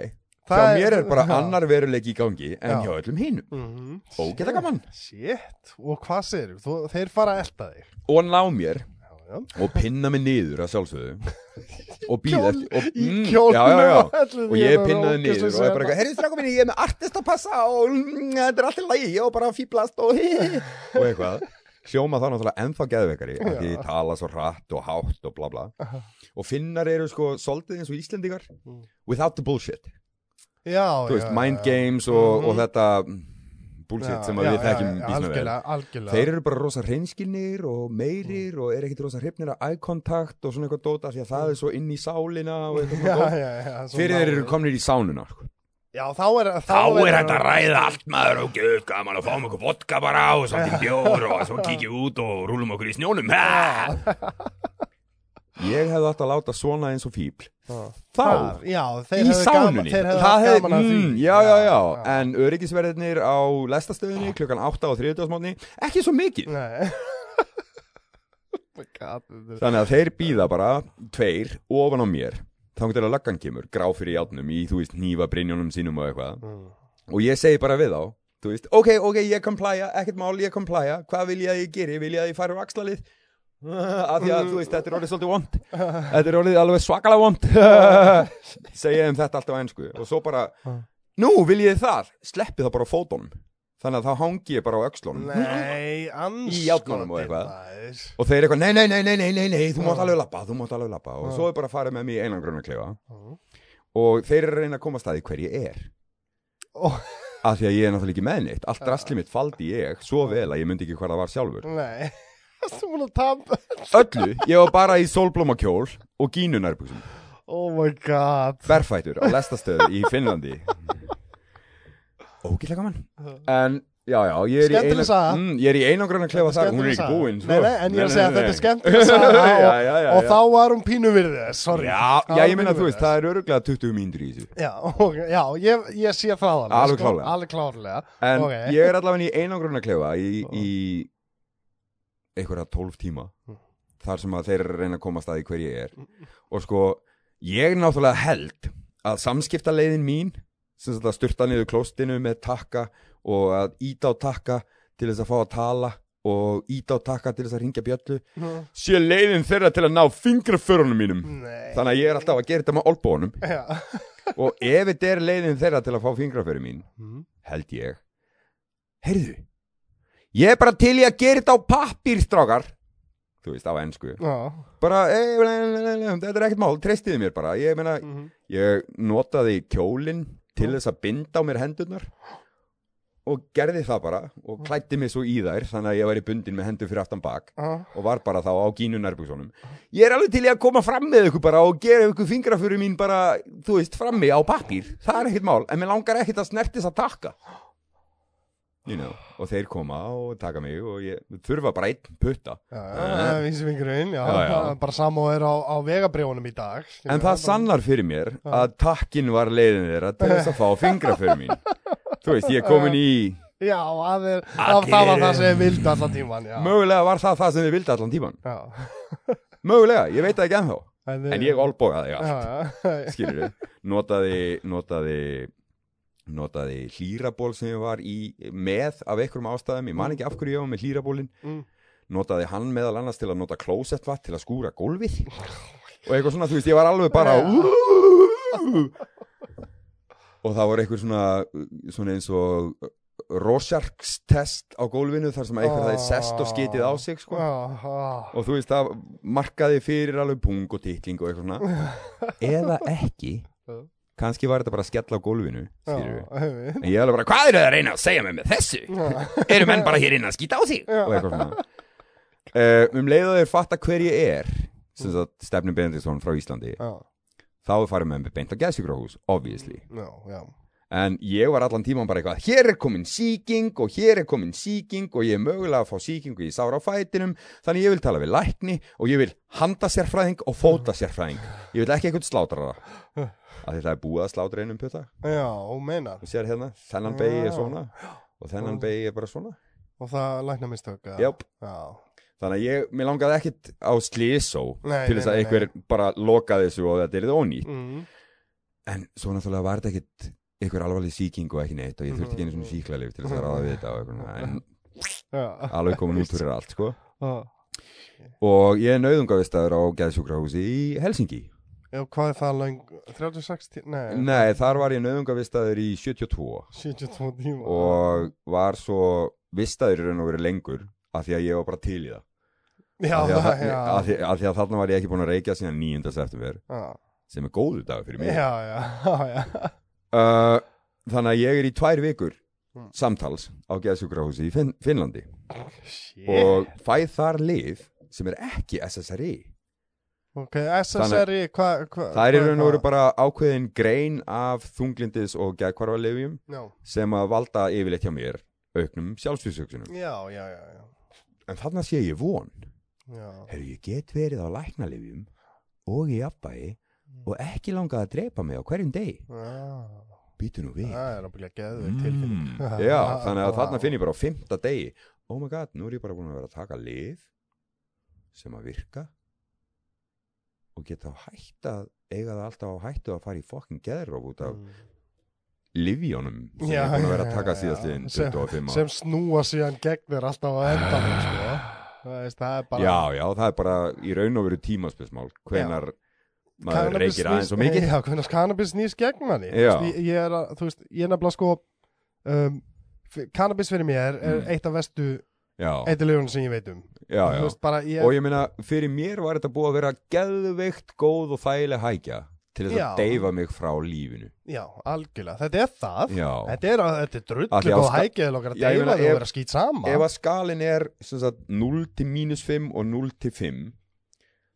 [SPEAKER 1] það
[SPEAKER 2] hjá mér er bara
[SPEAKER 1] já.
[SPEAKER 2] annar veruleik í gangi en
[SPEAKER 1] Já.
[SPEAKER 2] hjá öllum hinum
[SPEAKER 1] Mhm.
[SPEAKER 2] Ógeða gaman
[SPEAKER 1] Shit, og hvað segir þú? Þeir fara að elta þig
[SPEAKER 2] Og ná mér
[SPEAKER 1] Já, já.
[SPEAKER 2] og pinna mig niður að sjálfsögðu og býða
[SPEAKER 1] Kjól-
[SPEAKER 2] og,
[SPEAKER 1] í
[SPEAKER 2] mm,
[SPEAKER 1] kjólnum hérna,
[SPEAKER 2] já, já, já.
[SPEAKER 1] og öllu
[SPEAKER 2] og
[SPEAKER 1] því, það
[SPEAKER 2] ég
[SPEAKER 1] er ógeðslega
[SPEAKER 2] pinnaði niður og er bara
[SPEAKER 1] sætt.
[SPEAKER 2] eitthvað, heyrðu strákum minni, ég er með artist að passa og mm, þetta er allt í lagi, ég er bara að fýblast og og eitthvað hljóma þá náttúrulega ennþá geðveikari af því
[SPEAKER 1] Já.
[SPEAKER 2] ég tala svo hratt og hátt og bla bla og finnar eru sko soldið eins og íslendingar
[SPEAKER 1] Mm.
[SPEAKER 2] without the bullshit
[SPEAKER 1] Já,
[SPEAKER 2] þú veist,
[SPEAKER 1] já,
[SPEAKER 2] mind
[SPEAKER 1] já.
[SPEAKER 2] games og,
[SPEAKER 1] Mhm.
[SPEAKER 2] og þetta mm, bullshit
[SPEAKER 1] Já,
[SPEAKER 2] sem að
[SPEAKER 1] já,
[SPEAKER 2] við
[SPEAKER 1] já,
[SPEAKER 2] þekkjum
[SPEAKER 1] já,
[SPEAKER 2] býsna vel
[SPEAKER 1] Algjörlega, algjörlega
[SPEAKER 2] Þeir eru bara rosa hreinskilnir og meirir og er ekkit rosa hrifnir af eye contact og svona eitthvað dóta því að það er svo inn í sálina og eitthvað
[SPEAKER 1] já,
[SPEAKER 2] svona dót.
[SPEAKER 1] já, já, svona-
[SPEAKER 2] Fyrir þeir eru komnir í sánuna sko.
[SPEAKER 1] Já, þá er
[SPEAKER 2] Þá er
[SPEAKER 1] verður-
[SPEAKER 2] þetta að ræða allt maður og gjöðu gaman að fáum okkur vodka bara og samt í bjór og svo kíkja út og rúlum okkur í snjónum Ha! Ég hefði átt að láta svona eins og fíbl
[SPEAKER 1] Já.
[SPEAKER 2] Þá,
[SPEAKER 1] Þar, Já, þeir
[SPEAKER 2] í
[SPEAKER 1] hefðu gaman-
[SPEAKER 2] sánunni
[SPEAKER 1] Þeir hefðu
[SPEAKER 2] Það
[SPEAKER 1] haft
[SPEAKER 2] hefði-
[SPEAKER 1] gaman að því
[SPEAKER 2] mm, Já, já, já, en öryggisverðinir á lestastöðinni klukkan 8 á 30 smátni ekki svo mikið
[SPEAKER 1] Nei Oh my god, þetta er-
[SPEAKER 2] Þannig að þeir býða bara tveir ofan á mér þá til að löggan kemur, grá fyrir játnum í, þú veist, nýfa brinjónum sínum og eitthvað
[SPEAKER 1] Mm.
[SPEAKER 2] og ég segi bara við þá, þú veist, ok, ok, ég komplæja, ekkert mál, ég komplæja hvað vil ég að ég geri, vil ég að ég fara úr axlalið af því að, þú veist, þetta er orðið svolítið vond þetta er orðið alveg svakalega vond segi ég um þetta alltaf á einsku og svo bara, nú vil ég það sleppi það bara á fótunum þannig að þá hangi ég bara á öxlunum
[SPEAKER 1] Nei, anskotin
[SPEAKER 2] Í járnunum og eitthvað.
[SPEAKER 1] maður.
[SPEAKER 2] og þeir eitthvað, nei, nei, nei, nei, nei, nei, nei þú mátt alveg lappa, þú mátt alveg lappa og svo er bara að fara með mig í einangrunna klefa
[SPEAKER 1] Mm.
[SPEAKER 2] og þeir eru að reyna að koma að staði hver ég er
[SPEAKER 1] Ó,
[SPEAKER 2] af því að ég er náttúrulega ekki með neitt allt drasli mitt faldi ég svo vel að ég myndi ekki hvað það var sjálfur
[SPEAKER 1] Nei Þú múin að tapa
[SPEAKER 2] öllu, ég var bara í sólblómakjól og gínunærbuksum,
[SPEAKER 1] Oh my god
[SPEAKER 2] berfætur á lestastöðu í Finnlandi ógillega gaman en já, já, ég er í,
[SPEAKER 1] Skemmtileg saga.
[SPEAKER 2] mm, ég er í einangrunna klefa þar, hún er ekki búin sko.
[SPEAKER 1] Nei, nei, en ég er að segja að þetta er skemmtileg saga og,
[SPEAKER 2] já, já, já,
[SPEAKER 1] og
[SPEAKER 2] já.
[SPEAKER 1] þá var hún pínu virðið þess, sorry
[SPEAKER 2] Já,
[SPEAKER 1] Það
[SPEAKER 2] já,
[SPEAKER 1] var
[SPEAKER 2] ég meina,
[SPEAKER 1] pínu
[SPEAKER 2] þú
[SPEAKER 1] virði
[SPEAKER 2] veist,
[SPEAKER 1] þess.
[SPEAKER 2] það er öruglega 20 mínútur í þessu
[SPEAKER 1] Já, ok, já ég, ég sé það þannig
[SPEAKER 2] Alveg klárlega.
[SPEAKER 1] Alveg klárlega
[SPEAKER 2] En
[SPEAKER 1] Ok.
[SPEAKER 2] ég er allavega í einangrunna klefa í, í einhverja 12 tíma þar sem að þeir eru að reyna að koma að staði hver ég er og sko, ég náttúrulega held að samskiptaleiðin mín sem þetta styrta niður klóstinu með takka og að íta á takka til þess að fá að tala og íta á takka til þess að ringja bjöllu sé leiðin þeirra til að ná fingraförunum mínum
[SPEAKER 1] Nei
[SPEAKER 2] þannig að ég er alltaf að gera þetta með olbónum
[SPEAKER 1] Já
[SPEAKER 2] og ef þetta er leiðin þeirra til að fá fingraförum mín
[SPEAKER 1] Mm.
[SPEAKER 2] held ég heyrðu ég er bara til í að gera þetta á pappír strákar þú veist á ennsku
[SPEAKER 1] Já
[SPEAKER 2] bara "Ey, le- le- le- le- þetta er ekkert mál, treystiði mér bara ég, meina,
[SPEAKER 1] Mhm.
[SPEAKER 2] ég notaði kjólinn til þess að binda á mér hendurnar og gerði það bara og klætti mig svo í þær þannig að ég væri bundin með hendur fyrir aftan bak
[SPEAKER 1] Já.
[SPEAKER 2] og var bara þá á gínu nærbúksónum ég er alveg til í að koma fram með ykkur bara og gera ykkur fingra fyrir mín bara þú veist, frammi á pappír, það er ekkert mál en mér langar ekkert að snertis að taka you know, og þeir koma og taka mig og ég þurfa bara einn putta
[SPEAKER 1] Já, já, vísi vingurinn, já,
[SPEAKER 2] Eh. Já, já.
[SPEAKER 1] bara samóður á, á vegabrjónum í dag skilur
[SPEAKER 2] en
[SPEAKER 1] við, bara-
[SPEAKER 2] það sannar fyrir mér að takkin var leiðin þeirra til þess að fá fingra fyrir mín þú veist, ég er komin í
[SPEAKER 1] Já, að er, að það var það sem ég vildi allan tíman já.
[SPEAKER 2] mögulega var það það sem þið vildi allan tíman
[SPEAKER 1] já.
[SPEAKER 2] mögulega, ég veit það ekki ennþá
[SPEAKER 1] En,
[SPEAKER 2] en ég olbogaði allt
[SPEAKER 1] Já, já.
[SPEAKER 2] skilur notaði, notaði notaði hlýraból sem ég var í með af einhverjum ástæðum, ég man ekki af hverju ég var með hlýrabólin
[SPEAKER 1] Mm.
[SPEAKER 2] notaði hann meðal annars til að nota klósettvatt til að skúra gólfið og eitthvað svona, þú veist, ég var alveg bara og það var einhver svona svona eins og rosjarkstest á gólfinu þar sem einhver það er sest og skitið á sig sko.
[SPEAKER 1] Já, já.
[SPEAKER 2] og þú veist, það markaði fyrir alveg pung og titling og eitthvað svona eða ekki
[SPEAKER 1] Já.
[SPEAKER 2] kannski var þetta bara að skella á gólfinu skilur við
[SPEAKER 1] Já, einmitt.
[SPEAKER 2] en ég er alveg bara, hvað eru það að reyna að segja mig með þessu eru menn bara hér inn að skýta á sig
[SPEAKER 1] Já.
[SPEAKER 2] og eitthvað svona Eh, uh, um leið að þeir fatta hver ég er sem sagt Stefnir Benediktsson frá Íslandi
[SPEAKER 1] Já.
[SPEAKER 2] þá er farið með mig beint á geðsíkróhús, obviously
[SPEAKER 1] Já, já.
[SPEAKER 2] en ég var allan tíman bara eitthvað hér er komin sýking og hér er komin sýking og ég er mögulega að fá sýkingu í sára á fætinum þannig ég vil tala við lækni og ég vil handa sérfræðing og fóta sérfræðing ég vil ekki eitthvað slátrara að þetta er búið að slátra einum pjöta
[SPEAKER 1] Já, og meinar.
[SPEAKER 2] og sér hérna, þennan begi er
[SPEAKER 1] Já.
[SPEAKER 2] svona og þennan begi er bara svona
[SPEAKER 1] Og það lækna mistök. eða?
[SPEAKER 2] Jáp.
[SPEAKER 1] Já.
[SPEAKER 2] þannig að ég, mér langaði ekkit á slísó
[SPEAKER 1] Nei,
[SPEAKER 2] til þess
[SPEAKER 1] nei,
[SPEAKER 2] að
[SPEAKER 1] nei,
[SPEAKER 2] einhver bara loka þessu og þetta er þið ónýtt
[SPEAKER 1] Mm.
[SPEAKER 2] en svo náttúrulega var þetta ekkit einhver alvarleg sýking og ekki neitt og ég þurfti ekki einu svona síklarleif til þess að ráða við þetta og eitthvað en
[SPEAKER 1] Já.
[SPEAKER 2] alveg komin út fyrir allt sko
[SPEAKER 1] Já.
[SPEAKER 2] og ég er nauðungavistaður á geðsjúkrahúsi í Helsingi
[SPEAKER 1] Já, hvað er það löng? 36 tíma? Nei,
[SPEAKER 2] nei, þar var ég nauðungavistaður í 72
[SPEAKER 1] 72 tíma.
[SPEAKER 2] og var svo vistaður í raun og verið lengur af því að ég var bara til í það
[SPEAKER 1] já,
[SPEAKER 2] af því að,
[SPEAKER 1] það,
[SPEAKER 2] þa-
[SPEAKER 1] já. Ah.
[SPEAKER 2] af því, af því að þarna var ég ekki búin að reykja síðan 9. september
[SPEAKER 1] Já.
[SPEAKER 2] sem er góðu dag fyrir mig
[SPEAKER 1] Já, já, já, já.
[SPEAKER 2] uh, þannig að ég er í tvær vikur
[SPEAKER 1] Mm.
[SPEAKER 2] samtals á geðsjúkrahúsi í Finn, Finnlandi
[SPEAKER 1] Shit.
[SPEAKER 2] og fæð þar lif sem er ekki SSRI
[SPEAKER 1] ok, SSRI, hvað? Hva,
[SPEAKER 2] það er í raun og verið bara ákveðin grein af þunglindis og geðkvarfalifjum
[SPEAKER 1] Já,
[SPEAKER 2] sem að valda yfirleitt hjá mér auknum sjálfsvísöksunum
[SPEAKER 1] já, já, já, já.
[SPEAKER 2] en þarna sé ég von
[SPEAKER 1] Já,
[SPEAKER 2] hefur ég get verið á læknalifjum og í afbæi og ekki langað að drepa mig á hverjum degi
[SPEAKER 1] já.
[SPEAKER 2] býtu nú við
[SPEAKER 1] Það er ábygglega geðveik tilfinning.
[SPEAKER 2] mm. já, þannig að þarna finn ég bara á fymta degi oh my god, nú er ég bara búin að vera að taka lif sem að virka og geta á hætt að eiga það alltaf á hættu að fara í fokkin geðróf út af
[SPEAKER 1] Mm.
[SPEAKER 2] livjónum sem
[SPEAKER 1] Já,
[SPEAKER 2] ég er búin að vera að
[SPEAKER 1] já,
[SPEAKER 2] taka
[SPEAKER 1] já,
[SPEAKER 2] síðast
[SPEAKER 1] já.
[SPEAKER 2] 25 ára
[SPEAKER 1] sem snúa síðan gegn þér alltaf á endanum, sko. Það, veist, það er bara...
[SPEAKER 2] Ah. já, já, það er bara í raun og veru tímaspesmál hvenar maður
[SPEAKER 1] Cannabis
[SPEAKER 2] reykir aðeins
[SPEAKER 1] snýst-
[SPEAKER 2] og mikið
[SPEAKER 1] Já, hvernig cannabis nýst gegn manni
[SPEAKER 2] Já.
[SPEAKER 1] Þú veist, ég, ég er að, þú veist, ég er nefnilega sko um, f- Cannabis fyrir mér er
[SPEAKER 2] Mm.
[SPEAKER 1] eitt af vestu
[SPEAKER 2] já,
[SPEAKER 1] eitthilegunum sem ég veit um
[SPEAKER 2] já, já.
[SPEAKER 1] Þú veist, bara, ég,
[SPEAKER 2] og ég meina, fyrir mér var þetta búið að vera geðveikt, góð og þægileg hækja til þess
[SPEAKER 1] Já.
[SPEAKER 2] að deyfa mig frá lífinu
[SPEAKER 1] Já, algjörlega, þetta er það
[SPEAKER 2] já,
[SPEAKER 1] Þetta er, þetta er
[SPEAKER 2] Af því
[SPEAKER 1] drullu
[SPEAKER 2] að
[SPEAKER 1] og
[SPEAKER 2] ska-
[SPEAKER 1] hækjaðil okkar að
[SPEAKER 2] Já, ég
[SPEAKER 1] deyfa
[SPEAKER 2] meina,
[SPEAKER 1] þau og
[SPEAKER 2] ef-
[SPEAKER 1] vera skýt sama
[SPEAKER 2] ef að skalin er sem sagt, 0 til mínus 5 og 0 til 5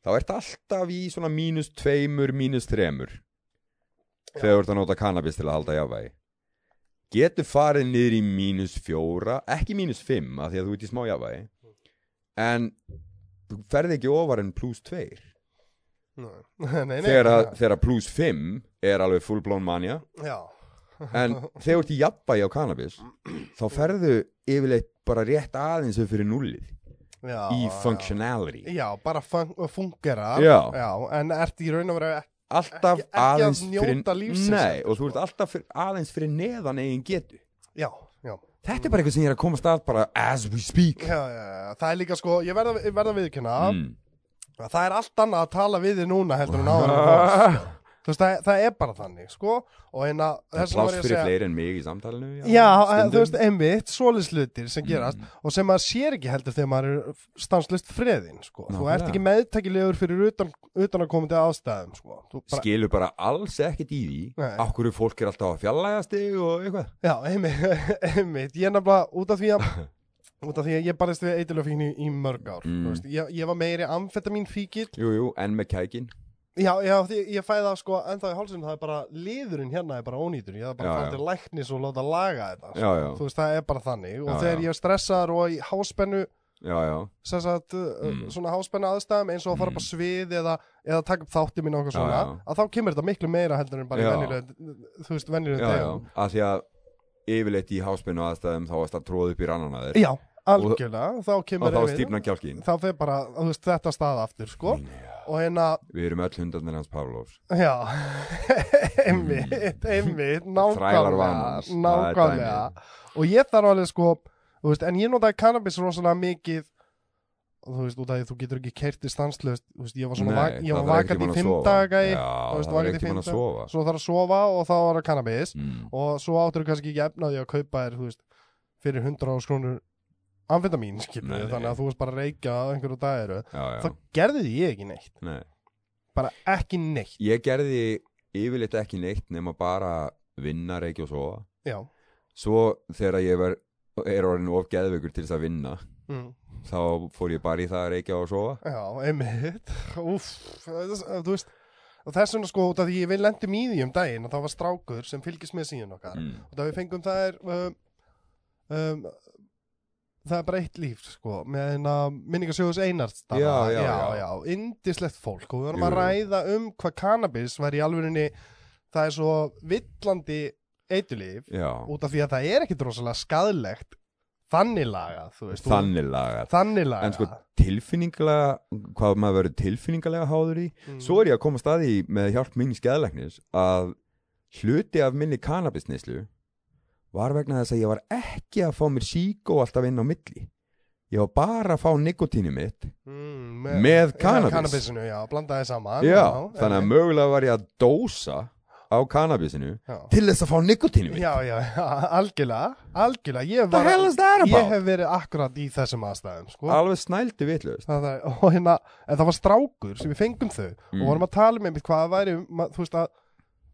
[SPEAKER 2] þá ert alltaf í svona mínus 2, mínus 3 þegar þú ert að nota kannabis til að halda jávægi getur farið niður í mínus 4 ekki mínus 5 af því að þú ert í smá jávægi en þú ferð ekki ofar en plus 2
[SPEAKER 1] Nei, nei, nei,
[SPEAKER 2] þegar, að,
[SPEAKER 1] já,
[SPEAKER 2] þegar að plus 5 er alveg full blown mania
[SPEAKER 1] Já,
[SPEAKER 2] en þegar þú ert í jafnvægi á kannabis þá ferðu yfirleitt bara rétt aðeins upp fyrir nullið
[SPEAKER 1] já
[SPEAKER 2] í
[SPEAKER 1] já.
[SPEAKER 2] functionality
[SPEAKER 1] Já, bara fun fungera
[SPEAKER 2] Já.
[SPEAKER 1] En ertu í raun og vera
[SPEAKER 2] alltaf
[SPEAKER 1] Ekki- ekki að
[SPEAKER 2] aðeins
[SPEAKER 1] njóta lífsins
[SPEAKER 2] nei,
[SPEAKER 1] heldur, sko.
[SPEAKER 2] og þú ert alltaf fyrir, aðeins fyrir neðan eigin getu
[SPEAKER 1] Já, já
[SPEAKER 2] þetta er bara eitthvað sem ég er að komast að bara as we speak
[SPEAKER 1] Já, já, já, það er líka sko, ég verða, ég verða viðkynna
[SPEAKER 2] mm.
[SPEAKER 1] að það er allt annað að tala við þið núna heldur en áður en áður. Þú veist, það, það er bara þannig, sko, og eina,
[SPEAKER 2] það er
[SPEAKER 1] þess að var
[SPEAKER 2] pláss
[SPEAKER 1] ég að
[SPEAKER 2] fyrir
[SPEAKER 1] segja,
[SPEAKER 2] fleiri en mig í samtalinu
[SPEAKER 1] já, eh,
[SPEAKER 2] stundum. Mm.
[SPEAKER 1] þú veist, e- einmitt, svolislutir sem gerast og sem maður sér ekki heldur þegar maður er stanslust freðin, sko, þú
[SPEAKER 2] Nákvæmlega.
[SPEAKER 1] ert ekki meðtækilegur fyrir utan, utan að komandi aðstæðum, sko, þú bara,
[SPEAKER 2] skilur bara alls ekkert í því
[SPEAKER 1] Nei.
[SPEAKER 2] okkur fólk er alltaf að fjallægast þig og eitthvað
[SPEAKER 1] já, einmitt, einmitt, ég er nefnilega út af því að, út af því að ég barist við eitilöfíkni í, í mörg ár,
[SPEAKER 2] Mm.
[SPEAKER 1] þú veist, ég, ég var meiri amfetamin fíkil
[SPEAKER 2] jú, jú, en með kækin
[SPEAKER 1] Já, já, því ég fæði það sko ennþá í hálsum, það er bara liðurinn hérna er bara ónýtur, ég þarf bara
[SPEAKER 2] Já,
[SPEAKER 1] að fara
[SPEAKER 2] já.
[SPEAKER 1] til læknis og láta laga þetta, sko.
[SPEAKER 2] já, já,
[SPEAKER 1] þú veist, það er bara þannig og
[SPEAKER 2] Já,
[SPEAKER 1] þegar
[SPEAKER 2] já.
[SPEAKER 1] ég er stressaður og í háspennu
[SPEAKER 2] já, já,
[SPEAKER 1] sem sagt, mm.
[SPEAKER 2] Mm.
[SPEAKER 1] svona háspennu aðstæðum eins og að fara
[SPEAKER 2] Mm.
[SPEAKER 1] bara svið eða, eða taka upp þátti mín og eitthvað
[SPEAKER 2] Já,
[SPEAKER 1] svona,
[SPEAKER 2] já.
[SPEAKER 1] að þá kemur þetta miklu meira heldur en bara í
[SPEAKER 2] Já.
[SPEAKER 1] venjulegum, uh, þú veist, venjulegum
[SPEAKER 2] já, já.
[SPEAKER 1] degum.
[SPEAKER 2] að því að yfirleitt í háspennu aðstæðum þá varst að tróða upp í rannan að þér
[SPEAKER 1] Já, algjörlega, þá
[SPEAKER 2] og
[SPEAKER 1] kemur
[SPEAKER 2] þá
[SPEAKER 1] yfir-
[SPEAKER 2] stýpna kjálkin
[SPEAKER 1] þá fer bara, þú veist, þetta stað aftur, sko,
[SPEAKER 2] Mm.
[SPEAKER 1] og hérna,
[SPEAKER 2] við erum öll hundarnir hans Pavlovs
[SPEAKER 1] Já,
[SPEAKER 2] Mm.
[SPEAKER 1] einmitt, einmitt,
[SPEAKER 2] Þrælar
[SPEAKER 1] nákvæmlega,
[SPEAKER 2] vanans, það er
[SPEAKER 1] nákvæmlega og ég þarf alveg sko, þú veist, en ég notaði cannabis rosalega mikið, og þú veist, út af því að þú getur ekki kerti stanslöst, þú veist, ég var svona, vak, ég var vakandi í fimm daga í,
[SPEAKER 2] já,
[SPEAKER 1] þú veist,
[SPEAKER 2] það er
[SPEAKER 1] vakandi í
[SPEAKER 2] ekki
[SPEAKER 1] fimm
[SPEAKER 2] mann að sofa sko.
[SPEAKER 1] daga, svo þarf að sofa og þá var það cannabis
[SPEAKER 2] mm.
[SPEAKER 1] og svo áttur þú kannski ekki efnaði að kaupa þér, þú veist, fyrir 100 skrónur amfetamín, skilur,
[SPEAKER 2] Nei, nei.
[SPEAKER 1] þannig að þú veist bara að reykja á einhverju dagiru,
[SPEAKER 2] já, já,
[SPEAKER 1] þá gerði ég ekki neitt,
[SPEAKER 2] nei
[SPEAKER 1] bara ekki neitt,
[SPEAKER 2] ég gerði yfirleitt ekki neitt nema bara vinna, reykja og sofa
[SPEAKER 1] já,
[SPEAKER 2] svo þegar ég var, er orðin of geðveikur til þess að vinna
[SPEAKER 1] mm.
[SPEAKER 2] þá fór ég bara í það að reykja og sofa
[SPEAKER 1] Já, einmitt Úf, þú veist og þess vegna sko út af því við lendum í því um daginn og það var strákur sem fylgist með síðan okkar
[SPEAKER 2] Mm.
[SPEAKER 1] og það við fengum það er um, um, það er bara eitt líf sko, með hérna minningasjóðus Einars þarna.
[SPEAKER 2] Já, já, já.
[SPEAKER 1] já, já, indislegt fólk og við varum að
[SPEAKER 2] Jú.
[SPEAKER 1] ræða um hvað cannabis var í alvörinni það er svo villandi eitulíf
[SPEAKER 2] Já,
[SPEAKER 1] út af því að það er ekkit rosalega skadlegt þannig lagað, þú veist þú-
[SPEAKER 2] þannig lagað
[SPEAKER 1] þannig lagað
[SPEAKER 2] En sko tilfinningalega, hvað maður verður tilfinningalega háður í
[SPEAKER 1] Mm.
[SPEAKER 2] Svo er ég að koma að staði með hjálp minni skeðlæknis að hluti af minni kannabisnislu var vegna þess að ég var ekki að fá mér síkó alltaf inn á milli Ég var bara að fá nikotínu mitt
[SPEAKER 1] mm,
[SPEAKER 2] með
[SPEAKER 1] innan
[SPEAKER 2] kannabis.
[SPEAKER 1] kannabisinu, já, blandaði saman
[SPEAKER 2] Já, þannig að
[SPEAKER 1] einmitt.
[SPEAKER 2] mögulega var ég að dósa á kannabisinu
[SPEAKER 1] já.
[SPEAKER 2] til þess að fá nikotínu mitt
[SPEAKER 1] já, já, já, algjörlega algjörlega, ég
[SPEAKER 2] The
[SPEAKER 1] var
[SPEAKER 2] hell is that
[SPEAKER 1] ég
[SPEAKER 2] about?
[SPEAKER 1] hef verið akkurat í þessum aðstæðum sko.
[SPEAKER 2] Alveg snældi vitlaust
[SPEAKER 1] það er, og hérna, en það var strákur sem við fengum þau
[SPEAKER 2] Mm.
[SPEAKER 1] og vorum að tala með einmitt hvað það væri ma- þú veist að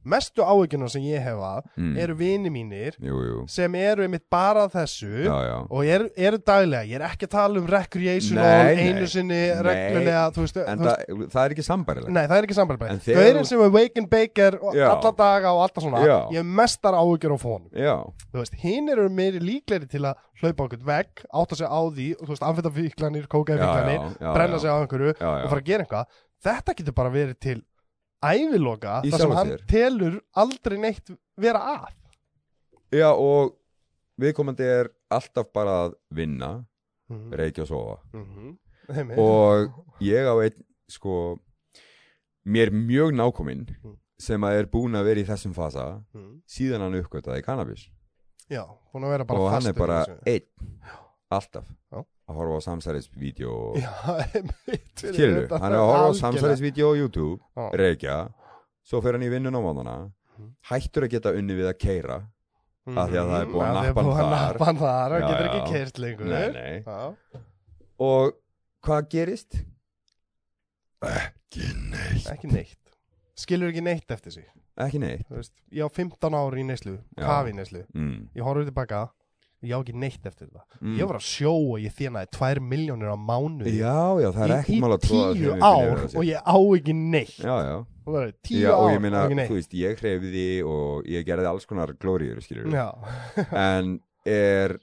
[SPEAKER 1] mestu áhyggjuna sem ég hefa
[SPEAKER 2] Mm.
[SPEAKER 1] eru vini mínir
[SPEAKER 2] Jú, jú,
[SPEAKER 1] sem eru einmitt bara að þessu
[SPEAKER 2] já, já
[SPEAKER 1] og eru, eru daglega, ég er ekki að tala um recreational
[SPEAKER 2] Nei, nei.
[SPEAKER 1] einu sinni
[SPEAKER 2] Nei.
[SPEAKER 1] reglulega, þú veist,
[SPEAKER 2] En
[SPEAKER 1] þú veist
[SPEAKER 2] það, það er ekki sambarilegt
[SPEAKER 1] Nei, það er ekki sambarlega
[SPEAKER 2] En þegar
[SPEAKER 1] Gaurin
[SPEAKER 2] þú-
[SPEAKER 1] sem er wake and baker og
[SPEAKER 2] Já.
[SPEAKER 1] alla daga og alltaf svona
[SPEAKER 2] Já.
[SPEAKER 1] Ég hef mestar áhugjur á fónum
[SPEAKER 2] Já,
[SPEAKER 1] Þú veist, hinn eru meiri líklegri til að hlaupa okkur vegg Átta sig á því, þú veist, amfetafíklanir, kókaðfíklanir
[SPEAKER 2] já, já,
[SPEAKER 1] Brenna
[SPEAKER 2] já.
[SPEAKER 1] sig á einhverju
[SPEAKER 2] já, já.
[SPEAKER 1] og fara að gera eitthvað Þetta getur bara verið til æviloka
[SPEAKER 2] Í
[SPEAKER 1] þar sem
[SPEAKER 2] sjálfu
[SPEAKER 1] hann
[SPEAKER 2] sér.
[SPEAKER 1] telur aldrei neitt vera að
[SPEAKER 2] Já og viðkomandi er alltaf bara að vinna,
[SPEAKER 1] Mhm,
[SPEAKER 2] reykja og sofa
[SPEAKER 1] mhm, einmitt.
[SPEAKER 2] og ég á einn sko mér mjög nákominn
[SPEAKER 1] Mm.
[SPEAKER 2] sem að er búin að vera í þessum fasa
[SPEAKER 1] Mhm.
[SPEAKER 2] síðan hann uppgötaði kannabis
[SPEAKER 1] Já, búin að vera bara
[SPEAKER 2] og hann
[SPEAKER 1] fastur
[SPEAKER 2] er
[SPEAKER 1] í
[SPEAKER 2] bara
[SPEAKER 1] þessu.
[SPEAKER 2] einn alltaf
[SPEAKER 1] Já.
[SPEAKER 2] að horfa á samsærisvídeó og...
[SPEAKER 1] Já, einmitt fyrir
[SPEAKER 2] skilur,
[SPEAKER 1] utan
[SPEAKER 2] hann er að horfa á
[SPEAKER 1] algjörlega.
[SPEAKER 2] samsærisvídeó á YouTube,
[SPEAKER 1] Já.
[SPEAKER 2] reykja svo fer hann í vinnun á mánana
[SPEAKER 1] Mhm.
[SPEAKER 2] hættur að geta unni við að keira Af því að það er búið að
[SPEAKER 1] Mhm, af því
[SPEAKER 2] nappa hann
[SPEAKER 1] búið að
[SPEAKER 2] þar.
[SPEAKER 1] nappa hann þar, hann
[SPEAKER 2] Já,
[SPEAKER 1] getur
[SPEAKER 2] já.
[SPEAKER 1] ekki kert lengur
[SPEAKER 2] nei, nei
[SPEAKER 1] Já,
[SPEAKER 2] Og hvað gerist? Ekki neitt
[SPEAKER 1] ekki neitt skilur ekki neitt eftir sig
[SPEAKER 2] Ekki neitt
[SPEAKER 1] þú veist. ég á 15 ári í neyslu,
[SPEAKER 2] Já.
[SPEAKER 1] kafi í neyslu
[SPEAKER 2] mm.
[SPEAKER 1] ég horfði tilbaka, ég á ekki neitt eftir það
[SPEAKER 2] Mm.
[SPEAKER 1] ég var að sjó og ég þjónaði 2 miljónir á mánu
[SPEAKER 2] Já, já, það er
[SPEAKER 1] í,
[SPEAKER 2] ekkert mál
[SPEAKER 1] í
[SPEAKER 2] að tróða
[SPEAKER 1] tíu
[SPEAKER 2] þeim upp í
[SPEAKER 1] ár
[SPEAKER 2] nefið á sér.
[SPEAKER 1] og ég á ekki neitt
[SPEAKER 2] Já, já,
[SPEAKER 1] Þú veist, tíu
[SPEAKER 2] já
[SPEAKER 1] ár
[SPEAKER 2] og ég meina,
[SPEAKER 1] á ekki neitt
[SPEAKER 2] þú veist, ég hreyfði og ég gerði alls konar glóriður, skilur við
[SPEAKER 1] já,
[SPEAKER 2] En er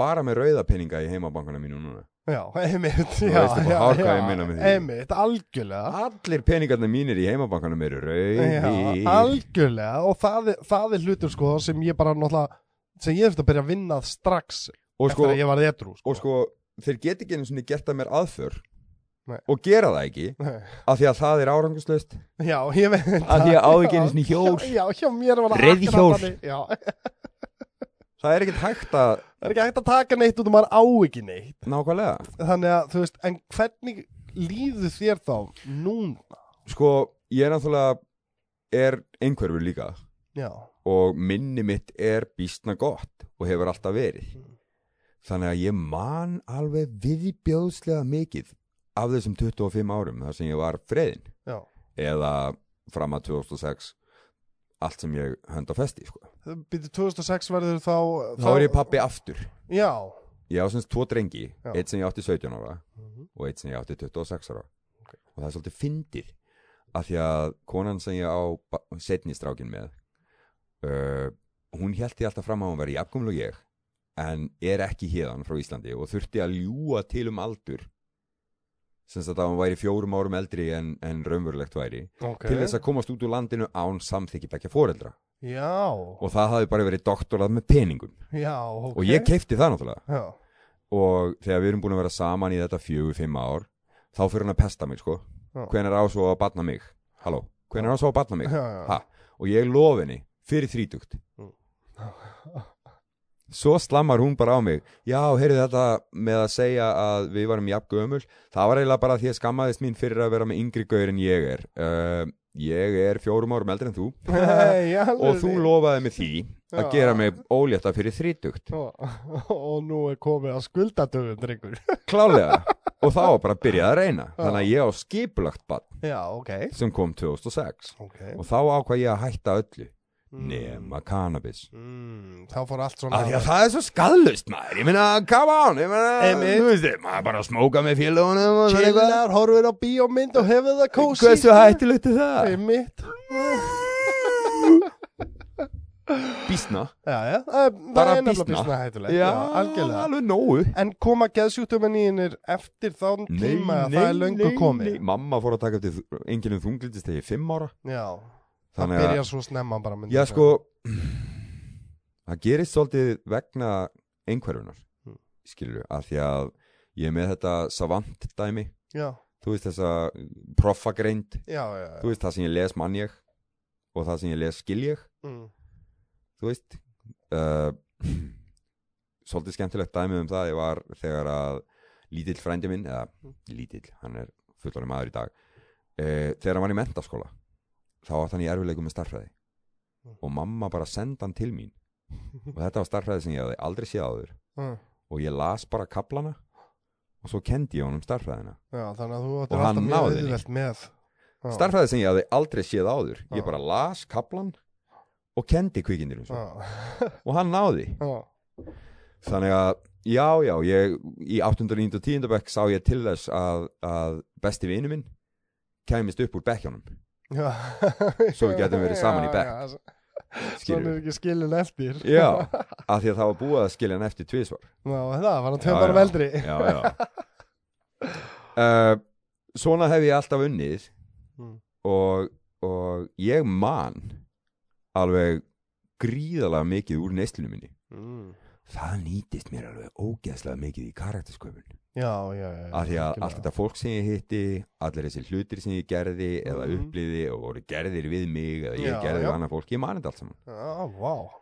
[SPEAKER 2] bara með rauða peninga í heimabankana mínu núna
[SPEAKER 1] já, einmitt
[SPEAKER 2] Þú
[SPEAKER 1] já,
[SPEAKER 2] veist upp á
[SPEAKER 1] já,
[SPEAKER 2] hár hvað
[SPEAKER 1] já,
[SPEAKER 2] ég meina með því.
[SPEAKER 1] einmitt, algjörlega
[SPEAKER 2] Allir peningarnir mínir í heimabankanum eru rauði
[SPEAKER 1] Já, algjörlega og það er, það er hlutur sko sem ég bara náttúrulega sem ég þurfti að byrja að vinna að strax
[SPEAKER 2] Og sko,
[SPEAKER 1] eftir að ég var edru sko.
[SPEAKER 2] og sko, þeir get ekki einu sinni gert það mér aðför
[SPEAKER 1] Nei.
[SPEAKER 2] Og gera það ekki, af því að það er árangurslaust
[SPEAKER 1] Já, ég veit
[SPEAKER 2] Af því að á ekki einu sinni hjól
[SPEAKER 1] Já, hjá mér var það
[SPEAKER 2] Reiðhjól.
[SPEAKER 1] akkurat þannig. Já,
[SPEAKER 2] Það er ekkert hægt að
[SPEAKER 1] það er ekki hægt að taka neitt út og maður á ekki neitt
[SPEAKER 2] nákvæmlega
[SPEAKER 1] Þannig að, þú veist, en hvernig líður þér þá núna?
[SPEAKER 2] Sko, ég er náttúrulega er einhverfur líka
[SPEAKER 1] Já,
[SPEAKER 2] og minni mitt er býstna gott og hefur alltaf verið
[SPEAKER 1] Mm.
[SPEAKER 2] Þannig að ég man alveg viðbjóðslega mikið af þessum 25 árum þar sem ég var freðin
[SPEAKER 1] já
[SPEAKER 2] eða fram að 2006 allt sem ég hönda festi sko.
[SPEAKER 1] Býttu 2006 verður þá
[SPEAKER 2] Þá er ég pappi aftur
[SPEAKER 1] Já
[SPEAKER 2] Ég á semst tvo drengi,
[SPEAKER 1] Já.
[SPEAKER 2] eitt sem ég átti 17 ára
[SPEAKER 1] Mhm.
[SPEAKER 2] og eitt sem ég átti 26 ára og það er svolítið fyndið af því að konan sem ég á setni strákin með uh, hún held því alltaf fram að hún veri jafnkumlu ég en er ekki hérðan frá Íslandi og þurfti að ljúa til um aldur sem sagt að hún væri fjórum árum eldri en, en raunverulegt væri
[SPEAKER 1] Ok.
[SPEAKER 2] til þess að komast út úr landinu án samþykki bekja foreldra
[SPEAKER 1] Já,
[SPEAKER 2] og það hafi bara verið doktorað með peningum
[SPEAKER 1] já, ok
[SPEAKER 2] og ég keipti það náttúrulega
[SPEAKER 1] Já,
[SPEAKER 2] og þegar við erum búin að vera saman í þetta fjögur, fimm ár þá fyrir hann að pesta mig sko
[SPEAKER 1] Já.
[SPEAKER 2] hvenær á svo að batna mig halló, hvenær á svo að batna mig
[SPEAKER 1] já, já
[SPEAKER 2] ha, og ég lof henni fyrir þrítugt
[SPEAKER 1] Mm.
[SPEAKER 2] svo slammar hún bara á mig já, heyrðu þetta með að segja að við varum jafn gömul það var eiginlega bara því að skammaðist mín fyrir að vera með yngri gaur en ég er uh, ég er fjórum árum eldri en þú
[SPEAKER 1] Nei,
[SPEAKER 2] og þú lofaði mig því að
[SPEAKER 1] Já.
[SPEAKER 2] gera mig ólétta fyrir þrítugt
[SPEAKER 1] Og, og nú er komið að skulda dögum, drengur.
[SPEAKER 2] klálega og það var bara að byrja að reyna þannig að ég á skipulagt bann
[SPEAKER 1] Já, ok.
[SPEAKER 2] sem kom 2006
[SPEAKER 1] Ok.
[SPEAKER 2] og þá ákvað ég að hætta öllu nema cannabis
[SPEAKER 1] Mm, þá fór allt svona
[SPEAKER 2] Af því að það er svo skadlust maður, ég meina, come on, ég meina,
[SPEAKER 1] Einmitt.
[SPEAKER 2] þú veist, maður bara að smóka með félagunum og það er eitthvað.
[SPEAKER 1] Chillar, horfir á bíómynd og hefur það kósi
[SPEAKER 2] Hversu hættilegt er það?
[SPEAKER 1] Einmitt
[SPEAKER 2] Bísna.
[SPEAKER 1] Já, já, það er- það
[SPEAKER 2] Bara
[SPEAKER 1] er nefnilega
[SPEAKER 2] býsna.
[SPEAKER 1] bísna hættulega Já, algjörlega
[SPEAKER 2] Alveg nógu.
[SPEAKER 1] En koma geðsjúkdómin í hennir eftir þann tíma að það er löngu komið
[SPEAKER 2] Mamma fór að taka eftir enginnum þunglindist þegar ég er fimm ára.
[SPEAKER 1] Já, það
[SPEAKER 2] Þannig
[SPEAKER 1] byrja
[SPEAKER 2] að,
[SPEAKER 1] svo snemma bara myndi
[SPEAKER 2] já
[SPEAKER 1] ég segja.
[SPEAKER 2] sko, það gerist svolítið vegna einhverfunar,
[SPEAKER 1] Mm.
[SPEAKER 2] skilur, af því að ég er með þetta savant dæmi,
[SPEAKER 1] Já,
[SPEAKER 2] þú veist þessa proffagreind
[SPEAKER 1] já, já, já.
[SPEAKER 2] þú veist, það sem ég les mann ég og það sem ég les skil ég,
[SPEAKER 1] Mm.
[SPEAKER 2] þú veist uh, svolítið skemmtilegt dæmið um það ég var þegar að lítill frændi minn eða
[SPEAKER 1] Mm.
[SPEAKER 2] lítill, hann er fullorinn maður í dag uh, þegar hann var í mentaskóla þá átt hann í erfileikum með starfræði
[SPEAKER 1] Mm.
[SPEAKER 2] og mamma bara sendi hann til mín og þetta var starfræði sem ég hafði aldrei séð áður
[SPEAKER 1] Mm.
[SPEAKER 2] og ég las bara kaplana og svo kendi ég honum starfræðina
[SPEAKER 1] já, þannig að þú
[SPEAKER 2] Og
[SPEAKER 1] áttir
[SPEAKER 2] hann
[SPEAKER 1] alltaf mjög
[SPEAKER 2] náði henni.
[SPEAKER 1] auðvelt með Já,
[SPEAKER 2] starfræði sem ég hafði aldrei séð áður
[SPEAKER 1] Já.
[SPEAKER 2] ég bara las kaplan og kendi kvikindirum svo
[SPEAKER 1] Já,
[SPEAKER 2] og hann náði
[SPEAKER 1] já,
[SPEAKER 2] þannig að já já ég, í 809 og 10. bekk sá ég til þess að, að besti vinu minn kæmist upp úr bekkjánum
[SPEAKER 1] já
[SPEAKER 2] Svo við gætum verið saman í bekk,
[SPEAKER 1] Já, já, Svona
[SPEAKER 2] skilur
[SPEAKER 1] er ekki skilin eftir
[SPEAKER 2] já, af því að það var búið að skilja hann eftir tvísvar
[SPEAKER 1] Já, það var hann
[SPEAKER 2] Já,
[SPEAKER 1] tveim árum
[SPEAKER 2] já.
[SPEAKER 1] eldri
[SPEAKER 2] já já uh, svona hef ég alltaf unnið
[SPEAKER 1] Mm.
[SPEAKER 2] og, og ég man alveg gríðalega mikið úr neyslunum minni
[SPEAKER 1] Mm.
[SPEAKER 2] það nýtist mér alveg ógeðslega mikið í karaktersköpun
[SPEAKER 1] Já, já, já
[SPEAKER 2] af því að
[SPEAKER 1] algjörlega.
[SPEAKER 2] allt þetta fólk sem ég hitti allir þessi hlutir sem ég gerði eða
[SPEAKER 1] Mhm.
[SPEAKER 2] upplýði og voru gerðir við mig eða ég
[SPEAKER 1] Já, já.
[SPEAKER 2] gerði við annað fólk, ég mani þetta allt saman
[SPEAKER 1] Já, vá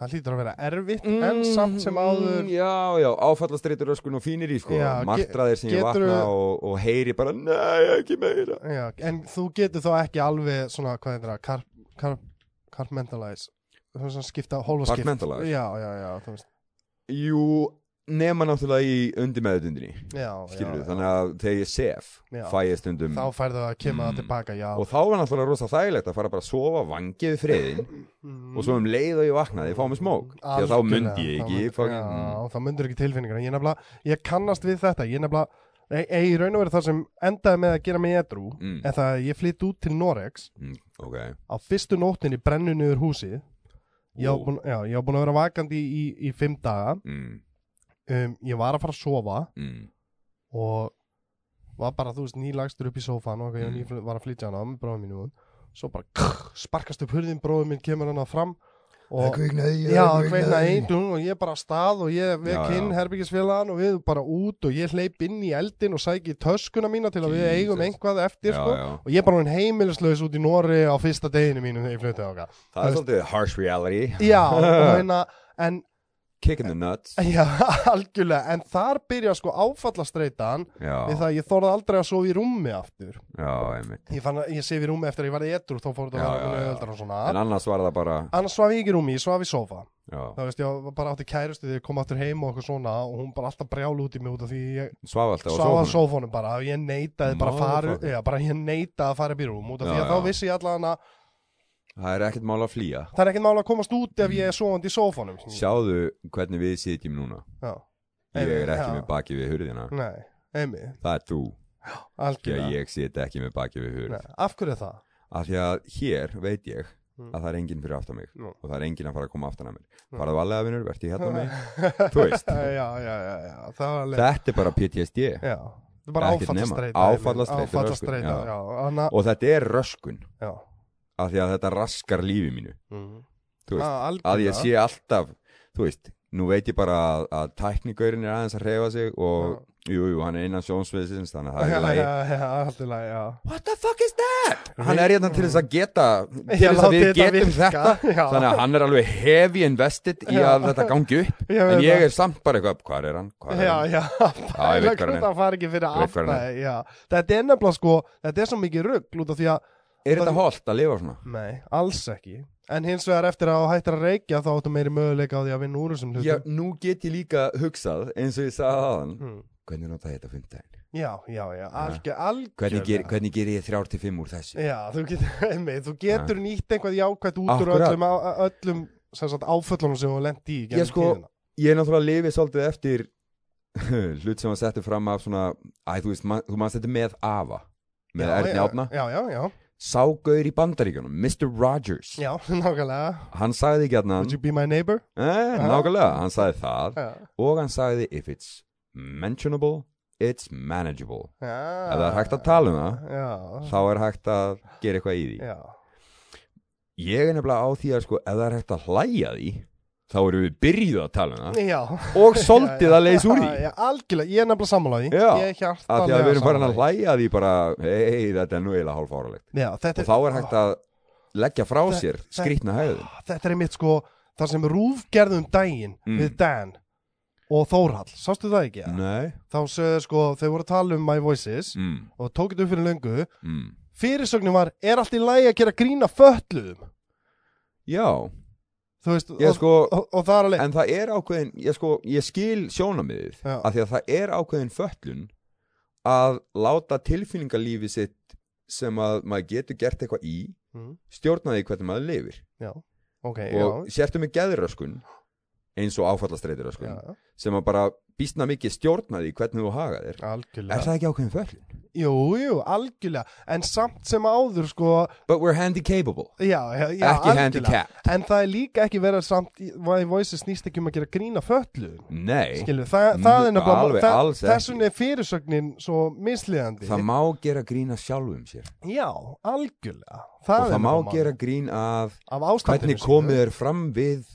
[SPEAKER 1] Það hlýtur að vera erfitt en
[SPEAKER 2] Mm,
[SPEAKER 1] samt sem áður
[SPEAKER 2] Mhm, Já, já, áfallastreitur öskun og fínir í sko
[SPEAKER 1] Já, ge-
[SPEAKER 2] martraðir sem ég
[SPEAKER 1] geturðu-
[SPEAKER 2] vakna og, og heyri bara, nei, ekki meira
[SPEAKER 1] Já, en þú getur þá ekki alveg svona, hvað heitir það, carp, carp, carpmentalize þú veist að skipta, hólfa skipt
[SPEAKER 2] Parkmentalize?
[SPEAKER 1] Já, já, já, þú veist
[SPEAKER 2] Jú, nema náttúrulega í undir meðutundinni
[SPEAKER 1] Já,
[SPEAKER 2] skilur
[SPEAKER 1] já,
[SPEAKER 2] þannig að þegar ég sef
[SPEAKER 1] Já.
[SPEAKER 2] fæ ég stundum
[SPEAKER 1] þá færðu að kemur það
[SPEAKER 2] Mm.
[SPEAKER 1] tilbaka, já
[SPEAKER 2] og þá var náttúrulega rosa þægilegt að fara bara að sofa vangið friðin
[SPEAKER 1] mm.
[SPEAKER 2] og svo um leið og ég vaknaði, ég fá mig smók því að þá
[SPEAKER 1] Algjörlega,
[SPEAKER 2] myndi
[SPEAKER 1] þá
[SPEAKER 2] ég ekki mm.
[SPEAKER 1] myndi-
[SPEAKER 2] ég fá-
[SPEAKER 1] Já, þá myndir ekki tilfinningar Ég nefnilega, ég kannast við þetta Ég nefnilega, e, e, í raun og verið það sem endaði með að gera mig edrú
[SPEAKER 2] Mm.
[SPEAKER 1] er það að ég flytt út til Noregs
[SPEAKER 2] Mm, ok,
[SPEAKER 1] á fyrstu nóttinni brennu niður húsið ég á
[SPEAKER 2] Ó.
[SPEAKER 1] búin, já, ég á búin að vera vakandi í, í, í fimm daga
[SPEAKER 2] mm,
[SPEAKER 1] um, ég var að fara að sofa
[SPEAKER 2] mm,
[SPEAKER 1] og var bara, þú veist, nýlagstur upp í sófan og
[SPEAKER 2] Mm.
[SPEAKER 1] mm. ég var að flytja hana með bróðum mínum og svo bara krr, sparkast upp hurðin, bróðum minn kemur hana fram og
[SPEAKER 2] kviknaði
[SPEAKER 1] já, kveikna eindun og ég bara af stað og ég
[SPEAKER 2] Já,
[SPEAKER 1] vekk
[SPEAKER 2] já.
[SPEAKER 1] inn herbyggisfélagan og við bara út og ég hleyp inn í eldin og sæki töskuna mína til að við
[SPEAKER 2] Jesus.
[SPEAKER 1] eigum einhvað eftir
[SPEAKER 2] já,
[SPEAKER 1] sko.
[SPEAKER 2] já.
[SPEAKER 1] og ég er bara hún heimilislaus út í Nóri á fyrsta deginu mínu þegar ég flytti á
[SPEAKER 2] það er svolítið harsh reality
[SPEAKER 1] Já, og hérna, en,
[SPEAKER 2] kick in the nuts
[SPEAKER 1] já, algjörlega, en þar byrja sko áfallastreitan við
[SPEAKER 2] já,
[SPEAKER 1] það að ég þorði aldrei að sofa í rúmi aftur.
[SPEAKER 2] já, einmitt
[SPEAKER 1] Ég fann að ég sef í rúmi eftir að ég varði etru, þá fór þetta
[SPEAKER 2] Já,
[SPEAKER 1] að vera
[SPEAKER 2] já, já.
[SPEAKER 1] auðvöldar og svona.
[SPEAKER 2] en annars var það bara
[SPEAKER 1] Annars svaf ég ekki í rúmi, ég svaf í sofa.
[SPEAKER 2] já,
[SPEAKER 1] Þá veist, ég var bara átti kærustu þegar ég kom aftur heim og okkur svona og hún bara alltaf brjálu út í mig út af því ég
[SPEAKER 2] svaf alltaf á
[SPEAKER 1] svaf á
[SPEAKER 2] sófanum.
[SPEAKER 1] sófónum bara. Ég neitaði bara að fara,
[SPEAKER 2] Motherfucker.
[SPEAKER 1] já, bara ég neitaði að fara upp í rúm út af
[SPEAKER 2] Já,
[SPEAKER 1] því að
[SPEAKER 2] já.
[SPEAKER 1] þá vissi ég allan að
[SPEAKER 2] það er ekkert mál að flýja
[SPEAKER 1] það er ekkert mála að komast út ef ég er sofandi í sófónum.
[SPEAKER 2] sjáðu hvernig við sitjum núna
[SPEAKER 1] Já,
[SPEAKER 2] ég er ekki
[SPEAKER 1] Já. Mm.
[SPEAKER 2] með baki við hurðina
[SPEAKER 1] nei, emi,
[SPEAKER 2] það er þú, því
[SPEAKER 1] algjörlega.
[SPEAKER 2] að ég sit ekki með baki við hurð
[SPEAKER 1] Nei, af hverju er það?
[SPEAKER 2] af því að hér veit ég
[SPEAKER 1] Mm.
[SPEAKER 2] að það er enginn fyrir aftan mig
[SPEAKER 1] Nú.
[SPEAKER 2] og það er enginn að fara að koma aftan að mér
[SPEAKER 1] Mm.
[SPEAKER 2] farað varlega vinnur, verði hérna á mig þú veist,
[SPEAKER 1] já, já, já, já, það var alveg
[SPEAKER 2] þetta er bara PTSD
[SPEAKER 1] Já, það er bara
[SPEAKER 2] Ekkert nema.
[SPEAKER 1] áfallastreita
[SPEAKER 2] Áfallastreita,
[SPEAKER 1] Áfallastreita,
[SPEAKER 2] röskun, já.
[SPEAKER 1] já, anna,
[SPEAKER 2] og þetta er röskun
[SPEAKER 1] já.
[SPEAKER 2] af því að þetta raskar lífi mínu
[SPEAKER 1] Mm.
[SPEAKER 2] Þú veist,
[SPEAKER 1] veist,
[SPEAKER 2] að ég sé alltaf, þú veist nú veit ég bara að, að tæknigaurin er aðeins að hreyfa sig og jú, jú, hann er innan sjónsviðsins þannig að það er í lagi
[SPEAKER 1] Já, já, allt í lagi, já
[SPEAKER 2] What the fuck is that? Hann er hérna til þess að geta til
[SPEAKER 1] Ég
[SPEAKER 2] þess að
[SPEAKER 1] láti
[SPEAKER 2] við
[SPEAKER 1] þetta
[SPEAKER 2] getum
[SPEAKER 1] virka,
[SPEAKER 2] þetta
[SPEAKER 1] já.
[SPEAKER 2] þannig að hann er alveg heavy invested í að þetta gangi upp
[SPEAKER 1] Ég veit
[SPEAKER 2] en ég
[SPEAKER 1] það.
[SPEAKER 2] er samt bara eitthvað, hvað er hann? Hvar er
[SPEAKER 1] Já,
[SPEAKER 2] hann?
[SPEAKER 1] já,
[SPEAKER 2] ég veit hvar hann er.
[SPEAKER 1] það fari ekki fyrir
[SPEAKER 2] Ég veit hvar hann er.
[SPEAKER 1] aftæði, já Þetta er nefnilega sko, þetta er svo mikið rugg út af því að,
[SPEAKER 2] Er þetta holdt að lifa svona?
[SPEAKER 1] nei, alls ekki En hins vegar eftir að þú hættir að reykja þá áttu meiri möguleika á því að vinna úr þessum
[SPEAKER 2] Já,
[SPEAKER 1] hlutum
[SPEAKER 2] nú get ég líka hugsað eins og ég sagði aðan
[SPEAKER 1] Mm.
[SPEAKER 2] Hvernig nota ég þetta fundaginn?
[SPEAKER 1] já, já, já, algjör, algjör
[SPEAKER 2] Hvernig, ger, hvernig ger ég þrjár til fimm úr þessu?
[SPEAKER 1] Já, þú getur, einmitt, þú getur nýtt einhvað jákvætt út úr
[SPEAKER 2] Akkurat.
[SPEAKER 1] öllum, á- á- öllum sem sagt, áföllunum sem þú lendi í gegnum
[SPEAKER 2] Ég sko-
[SPEAKER 1] tíðina.
[SPEAKER 2] Ég er náttúrulega lifið svolítið eftir hlut sem að setja fram af svona Æ, þú veist, man, þú manst þetta með afa með
[SPEAKER 1] Já,
[SPEAKER 2] Erni
[SPEAKER 1] já,
[SPEAKER 2] Átna
[SPEAKER 1] Já, já, já,
[SPEAKER 2] Ságaur í bandaríkjunum, Mr. Rogers
[SPEAKER 1] já, nákvæmlega
[SPEAKER 2] Hann sagði ekki hérna
[SPEAKER 1] Would you Uh-huh. be my neighbor?
[SPEAKER 2] eh,
[SPEAKER 1] Aha.
[SPEAKER 2] Nákvæmlega, hann sagði það
[SPEAKER 1] Já,
[SPEAKER 2] og hann sagði if it's mentionable, it's manageable
[SPEAKER 1] já
[SPEAKER 2] ef það er hægt að tala um það
[SPEAKER 1] Já,
[SPEAKER 2] þá er hægt að gera eitthvað í því
[SPEAKER 1] Uh-huh. já,
[SPEAKER 2] ég er nefnilega á því að sko ef það er hægt að hlæja því þá erum við byrjuð að tala um
[SPEAKER 1] já
[SPEAKER 2] það og soldið að leysa úr því
[SPEAKER 1] Já, algjörlega, ég er nefnilega sammálaði
[SPEAKER 2] Já,
[SPEAKER 1] Ég er
[SPEAKER 2] að því
[SPEAKER 1] hjartanlega
[SPEAKER 2] að við erum farin að
[SPEAKER 1] sammála
[SPEAKER 2] hlæja því bara hei, þetta er nú eiginlega hálf áralegt
[SPEAKER 1] því. Já, þetta
[SPEAKER 2] og þá er hægt að leggja frá sér
[SPEAKER 1] þetta-
[SPEAKER 2] skrýtna hæðin
[SPEAKER 1] Þetta er einmitt sko Það sem Rúf gerði um daginn
[SPEAKER 2] Mm.
[SPEAKER 1] Við Dan og Þórhall Sástu það ekki?
[SPEAKER 2] nei
[SPEAKER 1] Þá sögðu sko, þau voru að tala um My Voices
[SPEAKER 2] mm,
[SPEAKER 1] Og tók þetta upp fyrir löngu
[SPEAKER 2] mm.
[SPEAKER 1] Fyrirsögnin var, er allt í lagi að gera grína fötluðum?
[SPEAKER 2] já,
[SPEAKER 1] Þú veist,
[SPEAKER 2] ég sko
[SPEAKER 1] og, og, og það er alveg
[SPEAKER 2] en það er ákveðin, ég sko ég skil sjónamiðið
[SPEAKER 1] Já.
[SPEAKER 2] að því að það er ákveðin föllun að láta tilfinningalífi sitt sem að maður getur gert eitthvað í
[SPEAKER 1] mm,
[SPEAKER 2] stjórna því hvernig maður lifir
[SPEAKER 1] Já, ok,
[SPEAKER 2] og sértu með geðröskun eins og
[SPEAKER 1] já,
[SPEAKER 2] áfallastreitiröskun
[SPEAKER 1] já
[SPEAKER 2] sem að bara býstna mikið stjórna því hvernig þú haga þér
[SPEAKER 1] Algjörlega
[SPEAKER 2] er það ekki ákveðin föllun?
[SPEAKER 1] Jú, jú, algjörlega En samt sem áður sko
[SPEAKER 2] But we're handicapable
[SPEAKER 1] Já, já, já
[SPEAKER 2] ekki
[SPEAKER 1] algjörlega.
[SPEAKER 2] handicapped
[SPEAKER 1] En það er líka ekki verið samt í- My Voices snýst ekki um að gera grína fötluðum
[SPEAKER 2] Nei,
[SPEAKER 1] Skilju, það, það er
[SPEAKER 2] Mm,
[SPEAKER 1] nefnilega
[SPEAKER 2] alveg,
[SPEAKER 1] það-
[SPEAKER 2] alls
[SPEAKER 1] Þess
[SPEAKER 2] ekki.
[SPEAKER 1] vegna er fyrirsögnin svo misliðandi
[SPEAKER 2] það má gera grín að sjálfum sér
[SPEAKER 1] Já, algjörlega er
[SPEAKER 2] og það má
[SPEAKER 1] nefnilega
[SPEAKER 2] gera
[SPEAKER 1] málið.
[SPEAKER 2] grín að
[SPEAKER 1] Af ástandinu
[SPEAKER 2] hvernig
[SPEAKER 1] sínu.
[SPEAKER 2] komið er fram við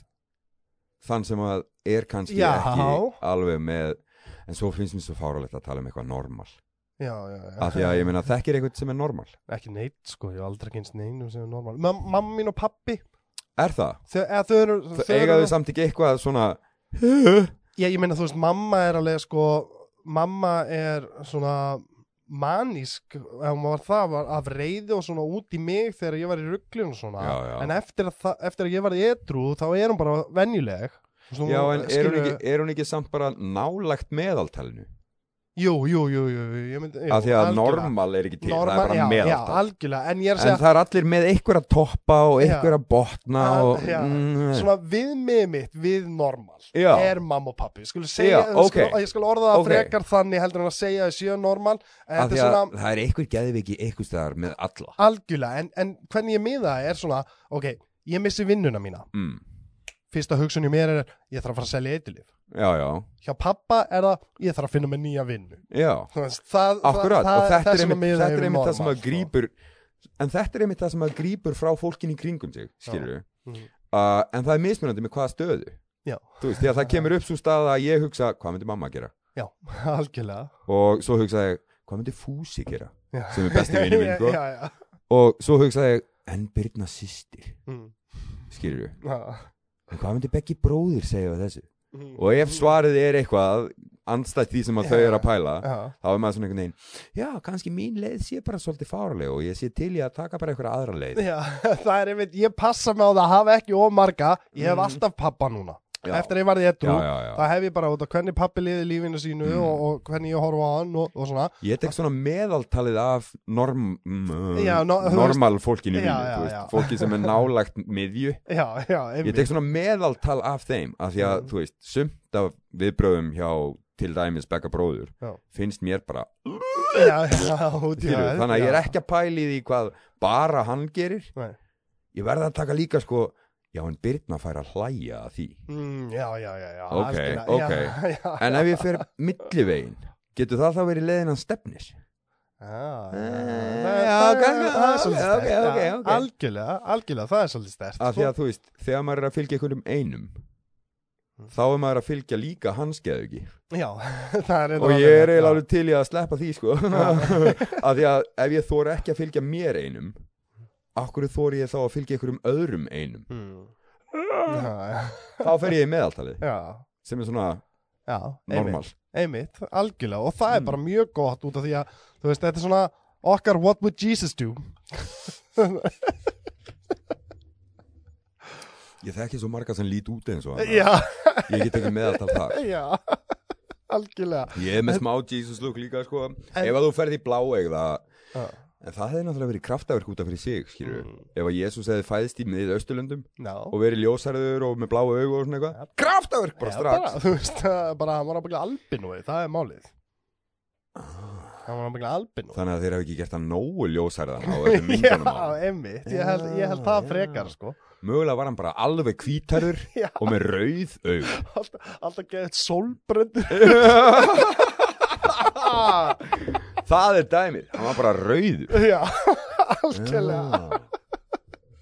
[SPEAKER 2] þann sem að er kannski
[SPEAKER 1] Já.
[SPEAKER 2] ekki alveg með en svo finnst mér svo fáralegt að tala um eitthvað normal
[SPEAKER 1] Já, já, já
[SPEAKER 2] af því að ég meina þekkir eitthvað sem er normal
[SPEAKER 1] Ekki neitt, sko, ég hef aldrei kynst neinu sem er normal Mam, Mamma mín og pappi
[SPEAKER 2] er það?
[SPEAKER 1] Þau, eða, þau eru
[SPEAKER 2] það
[SPEAKER 1] eru-
[SPEAKER 2] eigaðu samt ekki eitthvað svona
[SPEAKER 1] Já, ég meina, þú veist, mamma er alveg, sko Mamma er svona manísk, ef hún var það var af reyði og svona út í mig þegar ég var í rugglun og svona
[SPEAKER 2] Já, já.
[SPEAKER 1] en eftir að, það- eftir að ég var í edru þá er hún bara venjuleg Svo-
[SPEAKER 2] já en er hún,
[SPEAKER 1] skilurðu-
[SPEAKER 2] ekki, er hún ekki samt bara nálægt meðaltalinu
[SPEAKER 1] Jú, jú, jú, jú, jú, ég myndi, jú
[SPEAKER 2] af því að
[SPEAKER 1] algjörlega.
[SPEAKER 2] normal er ekki til það
[SPEAKER 1] Normal,
[SPEAKER 2] er bara
[SPEAKER 1] já, já,
[SPEAKER 2] meðaltal
[SPEAKER 1] algjörlega, en ég er að
[SPEAKER 2] en
[SPEAKER 1] segja
[SPEAKER 2] það er allir með einhverja toppa og
[SPEAKER 1] Já.
[SPEAKER 2] einhverja botna
[SPEAKER 1] Al-
[SPEAKER 2] og
[SPEAKER 1] já.
[SPEAKER 2] mm,
[SPEAKER 1] svona viðmið mitt við normal
[SPEAKER 2] Já.
[SPEAKER 1] er mamma og pappi, skulle segja
[SPEAKER 2] Já,
[SPEAKER 1] já, okay.
[SPEAKER 2] ok.
[SPEAKER 1] skal, ég skal orða það
[SPEAKER 2] Ok.
[SPEAKER 1] frekar þannig heldur en að segja að séu normal en
[SPEAKER 2] af
[SPEAKER 1] þetta
[SPEAKER 2] því
[SPEAKER 1] er
[SPEAKER 2] að
[SPEAKER 1] svona
[SPEAKER 2] það er einhver geðviki einhver staðar með alla
[SPEAKER 1] algjörlega, en, en hvernig ég miða það er svona, ok, ég missi vinnuna mína
[SPEAKER 2] mm.
[SPEAKER 1] fyrsta hugsun í mér er ég þarf að fara að selja eitilif
[SPEAKER 2] já já
[SPEAKER 1] hjá pappa er það, ég þarf að finna mig nýja vinnu
[SPEAKER 2] já
[SPEAKER 1] Þú veist, það,
[SPEAKER 2] Akkurat, og þetta
[SPEAKER 1] það
[SPEAKER 2] er
[SPEAKER 1] sem að
[SPEAKER 2] einmitt,
[SPEAKER 1] miða
[SPEAKER 2] þetta
[SPEAKER 1] yfir
[SPEAKER 2] er einmitt það sem
[SPEAKER 1] normal,
[SPEAKER 2] að
[SPEAKER 1] sko.
[SPEAKER 2] grípur en þetta er einmitt það sem að grípur frá fólkin í kringum sig, skilur við
[SPEAKER 1] Mhm.
[SPEAKER 2] en það er mismunandi með hvaða stöðu
[SPEAKER 1] Já.
[SPEAKER 2] þú veist, þegar það kemur upp svo stað að ég hugsa hvað myndi mamma gera
[SPEAKER 1] já, algjörlega
[SPEAKER 2] og svo hugsa ég, hvað myndi Fúsi gera
[SPEAKER 1] Já.
[SPEAKER 2] sem er besti vinur minn sko.
[SPEAKER 1] já, já,
[SPEAKER 2] og svo hugsa ég, en Birna sýstir
[SPEAKER 1] Mm,
[SPEAKER 2] skilur við,
[SPEAKER 1] já.
[SPEAKER 2] en hvað myndi Beggi bróðir segja við þessu,
[SPEAKER 1] Mm.
[SPEAKER 2] og ef svarið er eitthvað andstætt því sem að þau
[SPEAKER 1] Já.
[SPEAKER 2] eru að pæla
[SPEAKER 1] Já,
[SPEAKER 2] þá er maður svona einhvern veginn já, kannski mín leið sé bara svolítið fáraleg og ég sé til í að taka bara einhverja aðra leið
[SPEAKER 1] já, það er einmitt, ég passa mig á það að hafa ekki ómarga, ég hef
[SPEAKER 2] Mm.
[SPEAKER 1] alltaf pappa núna
[SPEAKER 2] Já.
[SPEAKER 1] eftir að ég varði
[SPEAKER 2] já,
[SPEAKER 1] edru,
[SPEAKER 2] já, já.
[SPEAKER 1] það hef ég bara út að hvernig pappi liði lífinu sínu
[SPEAKER 2] Mm.
[SPEAKER 1] og, og hvernig ég horfa á hann og, og svona
[SPEAKER 2] ég tek svona meðaltalið af norm, mm,
[SPEAKER 1] Já, no- þú
[SPEAKER 2] normal fólkinu
[SPEAKER 1] Já,
[SPEAKER 2] mínu,
[SPEAKER 1] já,
[SPEAKER 2] þú veist,
[SPEAKER 1] já.
[SPEAKER 2] fólki sem er nálægt miðju,
[SPEAKER 1] já, já,
[SPEAKER 2] ég
[SPEAKER 1] einmitt
[SPEAKER 2] tek svona meðaltal af þeim, af því að
[SPEAKER 1] Mm.
[SPEAKER 2] þú veist, sumt af viðbröðum hjá til dæmis Begga bróður,
[SPEAKER 1] Já.
[SPEAKER 2] finnst mér bara
[SPEAKER 1] já, já, út í
[SPEAKER 2] skilur,
[SPEAKER 1] það,
[SPEAKER 2] þannig að ég er
[SPEAKER 1] já.
[SPEAKER 2] ekki að pæli því hvað bara hann gerir
[SPEAKER 1] Nei.
[SPEAKER 2] ég verða að taka líka sko já, en Birna fær að hlæja að því
[SPEAKER 1] mm, já, já, já, já,
[SPEAKER 2] Ok,
[SPEAKER 1] algjörlega,
[SPEAKER 2] ok.
[SPEAKER 1] já, já, já,
[SPEAKER 2] En ef ég fer millivegin Getur það þá verið leiðin hans stefnis?
[SPEAKER 1] það-
[SPEAKER 2] Eh, Já,
[SPEAKER 1] það-
[SPEAKER 2] kann-
[SPEAKER 1] það er svolítið
[SPEAKER 2] ok,
[SPEAKER 1] sterkt,
[SPEAKER 2] ok,
[SPEAKER 1] já.
[SPEAKER 2] ok.
[SPEAKER 1] algjörlega, algjörlega, það er svolítið stert
[SPEAKER 2] Af því að þú veist, þegar maður er að fylgja einhverjum einum
[SPEAKER 1] Mm.
[SPEAKER 2] Þá er maður að fylgja líka hans geðugi
[SPEAKER 1] já, það er
[SPEAKER 2] Og ég er eiginlega alveg til í að sleppa því sko Af því að ef ég þóra ekki að fylgja mér einum Akkur þóri ég þá að fylgja einhverjum öðrum einum
[SPEAKER 1] alveg Mm. já, já,
[SPEAKER 2] Þá fer ég í meðaltalið
[SPEAKER 1] já
[SPEAKER 2] Sem er svona
[SPEAKER 1] Já,
[SPEAKER 2] normal
[SPEAKER 1] einmitt, einmitt, algjörlega og það er
[SPEAKER 2] Mm.
[SPEAKER 1] bara mjög gott út af því að þú veist, þetta er svona okkar what would Jesus do
[SPEAKER 2] Ég þekki svo marga sem lít út eins og hann
[SPEAKER 1] Já,
[SPEAKER 2] Ég get ekki meðaltal þar
[SPEAKER 1] já algjörlega
[SPEAKER 2] Ég er með smá Jesus look líka sko Ef að þú ferð í blá eigða
[SPEAKER 1] Já.
[SPEAKER 2] En það hefði náttúrulega verið kraftaverk út af fyrir sig skilur
[SPEAKER 1] Mm.
[SPEAKER 2] Ef að Jesus hefði fæðst í miðið Östurlöndum
[SPEAKER 1] Já,
[SPEAKER 2] Og verið ljósarður og með blá augu og svona eitthvað Kraftaverk bara
[SPEAKER 1] Já,
[SPEAKER 2] strax
[SPEAKER 1] bara, þú veist, það er bara, hann var ábygglega albinói, það er málið
[SPEAKER 2] Ah.
[SPEAKER 1] Hann var ábygglega albinói
[SPEAKER 2] Þannig að þeir hafi ekki gert hann nógu ljósarðan á öllum myndunum á
[SPEAKER 1] Já, einmitt, ég held, ég held það
[SPEAKER 2] Já,
[SPEAKER 1] frekar sko
[SPEAKER 2] Mögulega var hann bara alveg hvítarður
[SPEAKER 1] Já.
[SPEAKER 2] og með rauð augu
[SPEAKER 1] Alltaf, alltaf geðið sólbrendur Ah,
[SPEAKER 2] Það er dæmið, hann var bara rauður
[SPEAKER 1] Já, algjörlega
[SPEAKER 2] Já.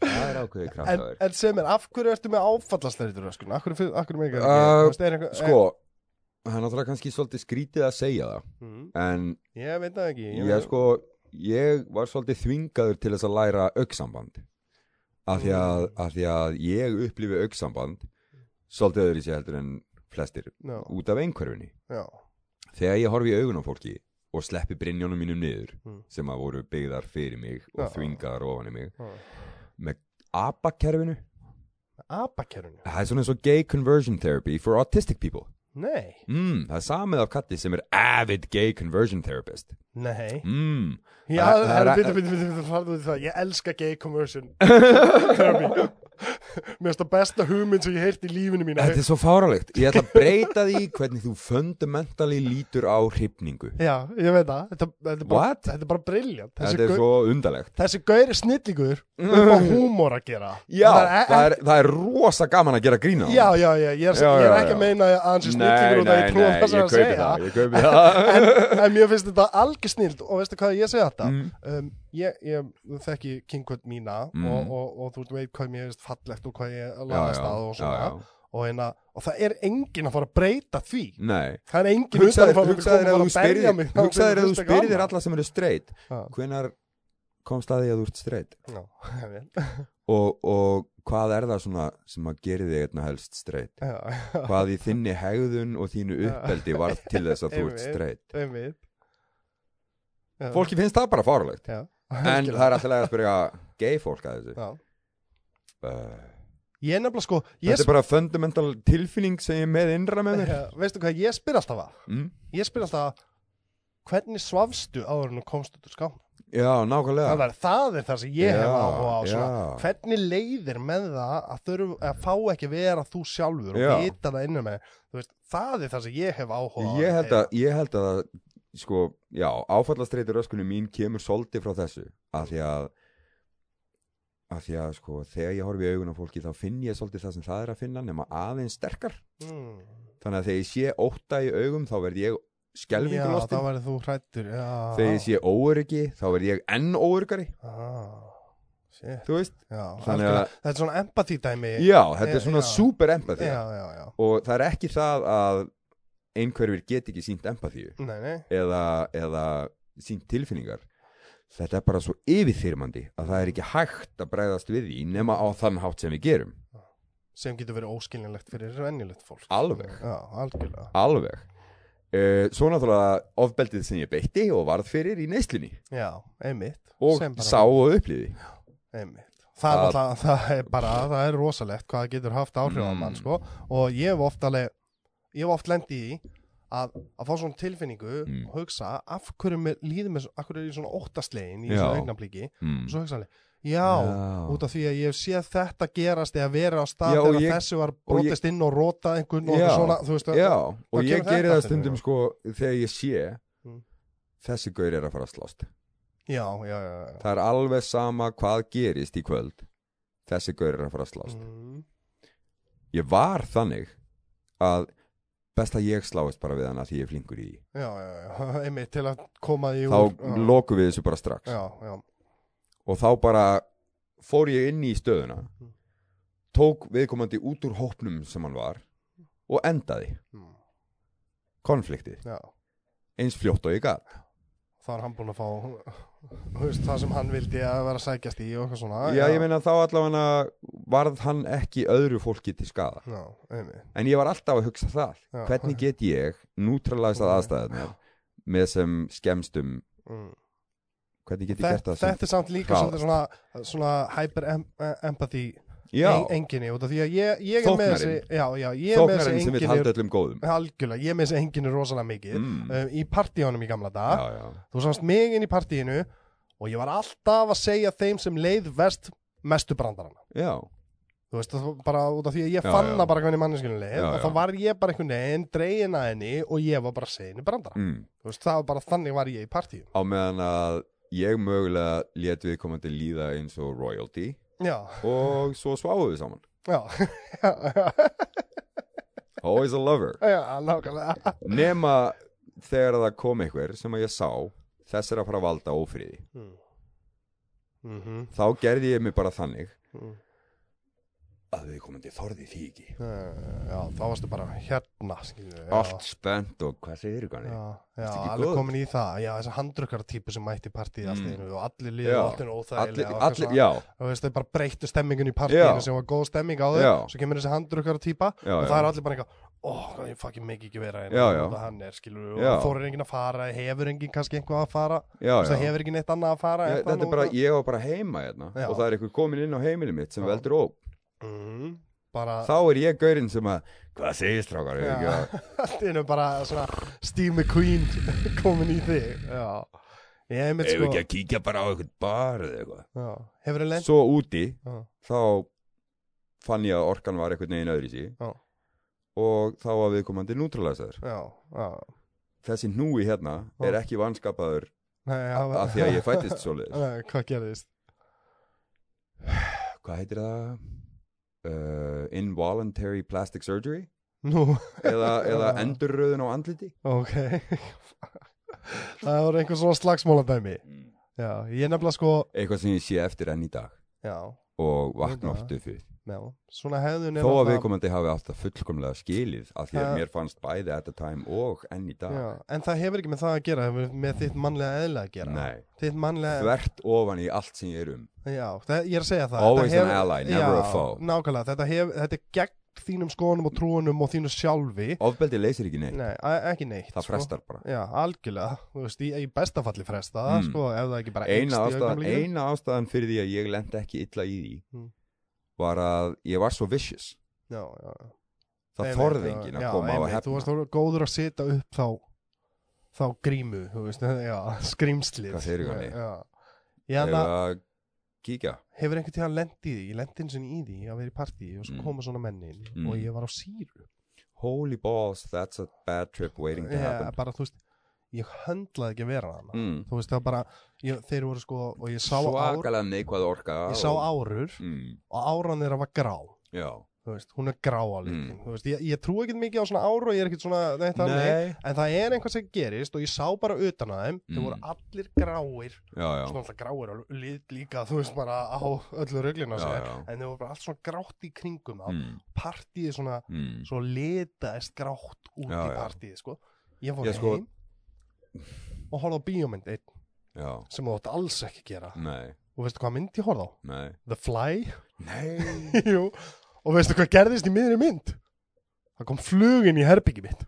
[SPEAKER 2] Það er ákveðið
[SPEAKER 1] En,
[SPEAKER 2] kraftaverk
[SPEAKER 1] en sem er, af hverju ertu með áfallastæriður öskun? Af hverju, af hverju með
[SPEAKER 2] Uh,
[SPEAKER 1] ekki?
[SPEAKER 2] Sko, það er náttúrulega kannski svolítið skrítið að segja það
[SPEAKER 1] Mm,
[SPEAKER 2] En
[SPEAKER 1] ég veit það ekki
[SPEAKER 2] ég sko, ég var svolítið þvingaður til þess að læra auksamband Af því að,
[SPEAKER 1] Mm.
[SPEAKER 2] af því að ég upplifi auksamband Svolítið öðru sér heldur en flestir
[SPEAKER 1] Já,
[SPEAKER 2] Út af einhverfunni
[SPEAKER 1] já,
[SPEAKER 2] Þegar ég horfi í augun á fólki og sleppi brynjónum mínum niður
[SPEAKER 1] Mm.
[SPEAKER 2] Sem að voru byggðar fyrir mig
[SPEAKER 1] Já.
[SPEAKER 2] og þvingaðar ofan í mig
[SPEAKER 1] já.
[SPEAKER 2] Abakerfinu,
[SPEAKER 1] Abakerunni?
[SPEAKER 2] það er svona eins og gay conversion therapy for autistic people
[SPEAKER 1] Nei,
[SPEAKER 2] Mm, það er samið af katti sem er avid gay conversion therapist
[SPEAKER 1] nei
[SPEAKER 2] mm.
[SPEAKER 1] Já,
[SPEAKER 2] Það- það
[SPEAKER 1] það er
[SPEAKER 2] er-
[SPEAKER 1] bitur, bitur, bitur, bitur, farðu út í það Ég elska gay conversion Therapy. Mér finnst það besta hugmynd sem ég heilt í lífinu mínu
[SPEAKER 2] Þetta er svo fáralegt Ég ætla að breyta því hvernig þú fundamentally lítur á hrifningu
[SPEAKER 1] Já, ég veit það Þetta, þetta, er, bara,
[SPEAKER 2] What?
[SPEAKER 1] þetta er bara briljant Þessi,
[SPEAKER 2] Þetta er
[SPEAKER 1] gau-
[SPEAKER 2] svo undarlegt
[SPEAKER 1] þessi gauri snillingur upp á húmor að gera
[SPEAKER 2] Já,
[SPEAKER 1] það er,
[SPEAKER 2] það er, það er rosa gaman að gera grína
[SPEAKER 1] Já, já, já, ég er, ég
[SPEAKER 2] Já,
[SPEAKER 1] er
[SPEAKER 2] já,
[SPEAKER 1] ekki
[SPEAKER 2] já.
[SPEAKER 1] að meina að hans er snillingur
[SPEAKER 2] Nei,
[SPEAKER 1] og það
[SPEAKER 2] nei,
[SPEAKER 1] ég trúa
[SPEAKER 2] nei,
[SPEAKER 1] það
[SPEAKER 2] ég
[SPEAKER 1] sem að
[SPEAKER 2] kaupi
[SPEAKER 1] segja
[SPEAKER 2] það Ég kaupi það
[SPEAKER 1] en, en mér finnst þetta algjör snild og veistu hvað ég segi þetta um, ég, ég þekki kingkvöld mína
[SPEAKER 2] Mm.
[SPEAKER 1] og, og, og þú veit hvað mér finnst fallegt og hvað ég
[SPEAKER 2] Já,
[SPEAKER 1] laðast
[SPEAKER 2] já,
[SPEAKER 1] að og
[SPEAKER 2] já,
[SPEAKER 1] svona
[SPEAKER 2] já.
[SPEAKER 1] Og, einna, og það er enginn að fara að breyta því
[SPEAKER 2] Nei
[SPEAKER 1] um það er enginn utan að
[SPEAKER 2] Hugsaður
[SPEAKER 1] fara
[SPEAKER 2] að
[SPEAKER 1] að koma
[SPEAKER 2] þú
[SPEAKER 1] og fara að
[SPEAKER 2] spyrir
[SPEAKER 1] berja mig þá
[SPEAKER 2] Hugsaður
[SPEAKER 1] fyrir
[SPEAKER 2] að þú
[SPEAKER 1] fyrsta
[SPEAKER 2] spyrir þér
[SPEAKER 1] gaman.
[SPEAKER 2] alla sem eru straight
[SPEAKER 1] Já.
[SPEAKER 2] Hvenar komst að því að þú ert straight
[SPEAKER 1] Já, ég veit.
[SPEAKER 2] og, og hvað er það svona sem að gera þig einna helst straight
[SPEAKER 1] Já, já,
[SPEAKER 2] hvað í þinni hegðun og þínu
[SPEAKER 1] Já.
[SPEAKER 2] uppeldi var til þess að þú ert
[SPEAKER 1] Einmitt.
[SPEAKER 2] streitt
[SPEAKER 1] einmitt. Já,
[SPEAKER 2] fólki finnst það bara farulegt
[SPEAKER 1] já,
[SPEAKER 2] en það er alltaf að spyrja gay fólk að þessu
[SPEAKER 1] já.
[SPEAKER 2] uh,
[SPEAKER 1] ég er nefnilega sko ég,
[SPEAKER 2] þetta er bara fundamental tilfinning sem ég er með innra með mér
[SPEAKER 1] sp- veistu hvað ég spyr alltaf að
[SPEAKER 2] mm?
[SPEAKER 1] ég spyr alltaf að hvernig svafstu áður en þú komst út úr skána
[SPEAKER 2] já, nákvæmlega
[SPEAKER 1] það, er, það er það sem ég hef
[SPEAKER 2] Já,
[SPEAKER 1] áhuga á svona,
[SPEAKER 2] já.
[SPEAKER 1] hvernig leiðir með það að, þurf, að fá ekki að vera þú sjálfur og
[SPEAKER 2] Já.
[SPEAKER 1] vita það innan með þér. Þú veist, það er það sem ég hef áhuga á
[SPEAKER 2] ég held að, ég held að sko, já, áfallastreitur öskunum mín kemur svolítið frá þessu af því að af því að sko, þegar ég horfi í augun á fólki þá finn ég svolítið það sem það er að finna nema aðeins sterkar
[SPEAKER 1] mm.
[SPEAKER 2] þannig að þegar ég sé ótta í augum þá verð ég
[SPEAKER 1] já,
[SPEAKER 2] skelvingur
[SPEAKER 1] þá verður þú hrættur já,
[SPEAKER 2] þegar ég sé óöryggi þá verð ég enn óöryggari
[SPEAKER 1] ah, shit,
[SPEAKER 2] þú veist,
[SPEAKER 1] já,
[SPEAKER 2] Þannig að-
[SPEAKER 1] algjörlega. þetta er svona empathy dæmi
[SPEAKER 2] já, þetta
[SPEAKER 1] Já,
[SPEAKER 2] er svona
[SPEAKER 1] já.
[SPEAKER 2] super empathy
[SPEAKER 1] já, já, já.
[SPEAKER 2] og það er ekki það að einhverjir get ekki sínt empathíu
[SPEAKER 1] Nei, nei.
[SPEAKER 2] eða, eða sínt tilfinningar þetta er bara svo yfirþyrmandi að það er ekki hægt að bregðast við því nema á þann hátt sem við gerum
[SPEAKER 1] sem getur verið óskiljanlegt fyrir venjulegt fólk
[SPEAKER 2] Alveg.
[SPEAKER 1] já, algjörlega
[SPEAKER 2] alveg uh, svo náttúrulega ofbeldið sem ég beitti og varð fyrir í neyslunni
[SPEAKER 1] já, einmitt
[SPEAKER 2] og
[SPEAKER 1] Sem bara-
[SPEAKER 2] sá og upplýði
[SPEAKER 1] Einmitt. Það, er
[SPEAKER 2] Það-
[SPEAKER 1] alltaf, það er bara, það er rosalegt hvað það getur haft áhrif á
[SPEAKER 2] Mm.
[SPEAKER 1] mann, sko. Og ég hef oft alveg, ég hef oft lendið í því að, að fá svona tilfinningu
[SPEAKER 2] Mm.
[SPEAKER 1] og hugsa af hverju mér líður mér, svo- af hverju er ég svona óttaslegin í
[SPEAKER 2] Já.
[SPEAKER 1] þessu augnablíki.
[SPEAKER 2] mm.
[SPEAKER 1] Og svo hugsa alveg, já, út af því að ég hef séð þetta gerast eða verið á stað
[SPEAKER 2] Já, og
[SPEAKER 1] þegar
[SPEAKER 2] ég-
[SPEAKER 1] þessu var
[SPEAKER 2] og ég-
[SPEAKER 1] brotist inn og rótað einhvern og
[SPEAKER 2] Já.
[SPEAKER 1] svona, þú veist,
[SPEAKER 2] Já,
[SPEAKER 1] það
[SPEAKER 2] og
[SPEAKER 1] kemur
[SPEAKER 2] ég
[SPEAKER 1] þetta
[SPEAKER 2] geri það
[SPEAKER 1] til
[SPEAKER 2] stundum
[SPEAKER 1] þeirra.
[SPEAKER 2] sko þegar ég sé
[SPEAKER 1] Mm.
[SPEAKER 2] þessi gaur er að fara að slást
[SPEAKER 1] já, já, já, já.
[SPEAKER 2] Það er alveg sama hvað gerist í kvöld þessi gaur er að fara að slást
[SPEAKER 1] Mm.
[SPEAKER 2] Ég var þannig að best að ég sláist bara við hana því ég er flinkur í því.
[SPEAKER 1] Já, já, já, einmitt til að koma því
[SPEAKER 2] Þá
[SPEAKER 1] já.
[SPEAKER 2] lokum við þessu bara strax
[SPEAKER 1] Já, já,
[SPEAKER 2] og þá bara fór ég inn í stöðuna
[SPEAKER 1] Mm.
[SPEAKER 2] tók viðkomandi út úr hópnum sem hann var og endaði
[SPEAKER 1] Mm.
[SPEAKER 2] konfliktið
[SPEAKER 1] já.
[SPEAKER 2] eins fljótt og ég gat
[SPEAKER 1] þá er hann búinn að fá þú veist, það sem hann vildi að vera að sækjast í og eitthvað svona
[SPEAKER 2] Já, ég meina þá allavega varð hann ekki öðru fólki til skada
[SPEAKER 1] já, einmitt.
[SPEAKER 2] En ég var alltaf að hugsa það
[SPEAKER 1] Já.
[SPEAKER 2] Hvernig get ég neutralizað
[SPEAKER 1] Já.
[SPEAKER 2] aðstæðunar með sem skemmstum
[SPEAKER 1] mm.
[SPEAKER 2] Hvernig get ég gert
[SPEAKER 1] þetta,
[SPEAKER 2] það sem
[SPEAKER 1] þetta er samt líka
[SPEAKER 2] hraðast.
[SPEAKER 1] svolítið svona, svona hyper em- eh, empathy
[SPEAKER 2] já,
[SPEAKER 1] enginni út af því að ég, ég er með þessi
[SPEAKER 2] Þóknarinn.
[SPEAKER 1] já, já, ég er með
[SPEAKER 2] þóknarinn
[SPEAKER 1] þessi
[SPEAKER 2] sem vil
[SPEAKER 1] enginni
[SPEAKER 2] halda öllum góðum
[SPEAKER 1] algjörlega, ég er með þessi enginni rosalega mikið
[SPEAKER 2] Mm.
[SPEAKER 1] um, í partíunum í gamla dag
[SPEAKER 2] já, já.
[SPEAKER 1] þú samst mig inn í partíinu og ég var alltaf að segja þeim sem leið vest mestu brandarana
[SPEAKER 2] já,
[SPEAKER 1] þú veist, það var bara út af því að ég
[SPEAKER 2] Já,
[SPEAKER 1] fann
[SPEAKER 2] já.
[SPEAKER 1] það bara hvernig manneskjunum leið
[SPEAKER 2] Já,
[SPEAKER 1] og
[SPEAKER 2] já.
[SPEAKER 1] þá var ég bara einhvern veginn dregin að henni og ég var bara seginu brandara
[SPEAKER 2] mm.
[SPEAKER 1] þú veist, það var bara þannig var ég í partíum
[SPEAKER 2] á meðan að ég mögulega let viðkomandi líða eins og royalty
[SPEAKER 1] já,
[SPEAKER 2] og svo sváum við saman
[SPEAKER 1] já, já, já,
[SPEAKER 2] always a lover
[SPEAKER 1] já, nákvæmlega
[SPEAKER 2] nema þegar það kom einhver sem að ég sá þess er að fara að valda ófriði
[SPEAKER 1] mm. Mm
[SPEAKER 2] þá gerði ég mig bara þannig
[SPEAKER 1] Mm.
[SPEAKER 2] að viðkomandi þorði því ekki
[SPEAKER 1] Eh, já, þá varstu bara hérna skilur, við, já,
[SPEAKER 2] allt spennt og hvað segir ykkur
[SPEAKER 1] já,
[SPEAKER 2] hann
[SPEAKER 1] já,
[SPEAKER 2] ekki
[SPEAKER 1] alveg
[SPEAKER 2] góður?
[SPEAKER 1] komin í það já, þessi handrukkara típu sem mætti í partíð allt
[SPEAKER 2] Mm.
[SPEAKER 1] einu og allir
[SPEAKER 2] Já.
[SPEAKER 1] liður og allt einu
[SPEAKER 2] allir,
[SPEAKER 1] óþægilega og eitthvað
[SPEAKER 2] allir,
[SPEAKER 1] svona.
[SPEAKER 2] já,
[SPEAKER 1] og veist, þau bara breyttu stemmingun í
[SPEAKER 2] Já.
[SPEAKER 1] partíinu sem var góð stemming á þau
[SPEAKER 2] Já.
[SPEAKER 1] svo kemur þessi handrukkara típa
[SPEAKER 2] Já,
[SPEAKER 1] og
[SPEAKER 2] já.
[SPEAKER 1] það er allir bara eitthvað oh, ég fucking mikið ekki vera
[SPEAKER 2] Já, já.
[SPEAKER 1] og hann er skilur við,
[SPEAKER 2] Já.
[SPEAKER 1] og þórir enginn að fara hefur enginn kannski eitthvað að fara Þú
[SPEAKER 2] já,
[SPEAKER 1] veist,
[SPEAKER 2] já.
[SPEAKER 1] það hefur ekki neitt annað að fara
[SPEAKER 2] Ég,
[SPEAKER 1] eitthvað
[SPEAKER 2] þetta er
[SPEAKER 1] nú
[SPEAKER 2] bara,
[SPEAKER 1] það.
[SPEAKER 2] ég var bara heima hérna
[SPEAKER 1] Já.
[SPEAKER 2] og það er einhver komin inn á heimili mitt sem
[SPEAKER 1] Já.
[SPEAKER 2] veldur óp
[SPEAKER 1] mm, bara
[SPEAKER 2] þá er ég gaurinn sem að hvað segir strákar
[SPEAKER 1] Já.
[SPEAKER 2] já.
[SPEAKER 1] allt innum bara svona Steve McQueen komin í þig já ég hef mitt
[SPEAKER 2] ef
[SPEAKER 1] sko
[SPEAKER 2] ekki að kíkja bara á eitthvað bar eða eitthvað
[SPEAKER 1] já. hefur þau lent
[SPEAKER 2] svo úti
[SPEAKER 1] já.
[SPEAKER 2] þá fann ég að orkan var eitthvað neginn öðri sí
[SPEAKER 1] Já.
[SPEAKER 2] og þá var viðkomandi nútralæsaður
[SPEAKER 1] Já, já,
[SPEAKER 2] þessi núi hérna
[SPEAKER 1] Já.
[SPEAKER 2] er ekki vanskapaður
[SPEAKER 1] Nei, já
[SPEAKER 2] af því að ég fættist svoleiðis
[SPEAKER 1] Nei, hvað gerðist
[SPEAKER 2] hvað heitir það? Uh, involuntary plastic surgery
[SPEAKER 1] nú,
[SPEAKER 2] eða, eða
[SPEAKER 1] Já.
[SPEAKER 2] endurröðun á andliti
[SPEAKER 1] ok það voru einhver svona slagsmóladæmi
[SPEAKER 2] Mm.
[SPEAKER 1] já, ég nefnilega sko
[SPEAKER 2] eitthvað sem ég sé eftir enn í dag
[SPEAKER 1] já,
[SPEAKER 2] og vakna
[SPEAKER 1] Þetta.
[SPEAKER 2] oft upp við
[SPEAKER 1] já, svona hefðun er
[SPEAKER 2] þó að
[SPEAKER 1] náttúrulega-
[SPEAKER 2] viðkomandi hafi alltaf fullkomlega skilið af því að
[SPEAKER 1] Það-
[SPEAKER 2] mér fannst bæði at the time og enn í dag
[SPEAKER 1] Já, en það hefur ekki með það að gera, hefur með þitt mannlega eðla að gera.
[SPEAKER 2] Nei.
[SPEAKER 1] Þitt mannlega,
[SPEAKER 2] þvert ofan í allt sem ég er um
[SPEAKER 1] já, það, ég er að segja það.
[SPEAKER 2] Always
[SPEAKER 1] Þetta
[SPEAKER 2] an ally, never
[SPEAKER 1] já,
[SPEAKER 2] a foe.
[SPEAKER 1] Nákvæmlega, þetta, hef, þetta er gegn þínum skoðunum og trúunum og þínu sjálfi.
[SPEAKER 2] ofbeldi leysir ekki neitt,
[SPEAKER 1] Nei, a- ekki neitt.
[SPEAKER 2] það frestar bara
[SPEAKER 1] Sko. Já, algjörlega, þú veist, í, í bestafalli fresta það,
[SPEAKER 2] Mm.
[SPEAKER 1] sko, ef það ekki bara
[SPEAKER 2] eina
[SPEAKER 1] eykst í
[SPEAKER 2] ástæðan,
[SPEAKER 1] augnablikinu.
[SPEAKER 2] eina ástæðan fyrir því að ég lendi ekki illa í því
[SPEAKER 1] Mm.
[SPEAKER 2] var að ég var svo vicious
[SPEAKER 1] Já, já.
[SPEAKER 2] það
[SPEAKER 1] Einmitt, já,
[SPEAKER 2] þorði enginn að
[SPEAKER 1] já,
[SPEAKER 2] koma á hérna. að
[SPEAKER 1] einmitt, Þú
[SPEAKER 2] hefna
[SPEAKER 1] varst þú- góður að setja upp þá, þá grímu, þú veist, já, skrýmslið.
[SPEAKER 2] Hvað segirðu, Gunni?
[SPEAKER 1] Já, já.
[SPEAKER 2] Eigum
[SPEAKER 1] Ég,
[SPEAKER 2] við að kíkja
[SPEAKER 1] hefur einhvern tíðan lendið í því, ég lendi eins og í því að vera í partí og svo
[SPEAKER 2] Mm.
[SPEAKER 1] koma svona mennin
[SPEAKER 2] Mm.
[SPEAKER 1] og ég var á síru
[SPEAKER 2] holy balls, that's a bad trip waiting to
[SPEAKER 1] ég,
[SPEAKER 2] happen
[SPEAKER 1] bara þú veist, ég höndlaði ekki að vera hana
[SPEAKER 2] mm.
[SPEAKER 1] þú veist það var bara, ég, þeir voru sko og ég sá, ár,
[SPEAKER 2] svakalega neikvað orka
[SPEAKER 1] ég sá
[SPEAKER 2] og-
[SPEAKER 1] árur
[SPEAKER 2] mm.
[SPEAKER 1] og áran þeirra var grá
[SPEAKER 2] já
[SPEAKER 1] þú veist, hún er grá á litin
[SPEAKER 2] Mm.
[SPEAKER 1] þú veist, ég, ég trú ekkert mikið á svona áru og ég er ekkert svona þetta þannig,
[SPEAKER 2] nei,
[SPEAKER 1] en það er einhvern sem gerist og ég sá bara utan að þeim
[SPEAKER 2] Mm.
[SPEAKER 1] þeir voru allir gráir
[SPEAKER 2] já, já
[SPEAKER 1] svona alltaf gráir og lit líka þú veist bara á öllu ruglina
[SPEAKER 2] Já,
[SPEAKER 1] sér
[SPEAKER 2] já.
[SPEAKER 1] en þeir voru bara allt svona grátt í kringum á
[SPEAKER 2] mm.
[SPEAKER 1] partíið svona
[SPEAKER 2] Mm.
[SPEAKER 1] svo litaðist grátt út
[SPEAKER 2] Já,
[SPEAKER 1] í
[SPEAKER 2] já.
[SPEAKER 1] partíið sko. ég fór
[SPEAKER 2] Ég sko-
[SPEAKER 1] heim og horfði á bíómynd einn
[SPEAKER 2] já,
[SPEAKER 1] sem þú átt alls ekki að gera
[SPEAKER 2] nei,
[SPEAKER 1] og veistu hvað mynd ég horfði á?
[SPEAKER 2] nei
[SPEAKER 1] The Fly
[SPEAKER 2] nei,
[SPEAKER 1] Jú. og veistu hvað gerðist í miðri mynd? það kom flugin í herbyggi mitt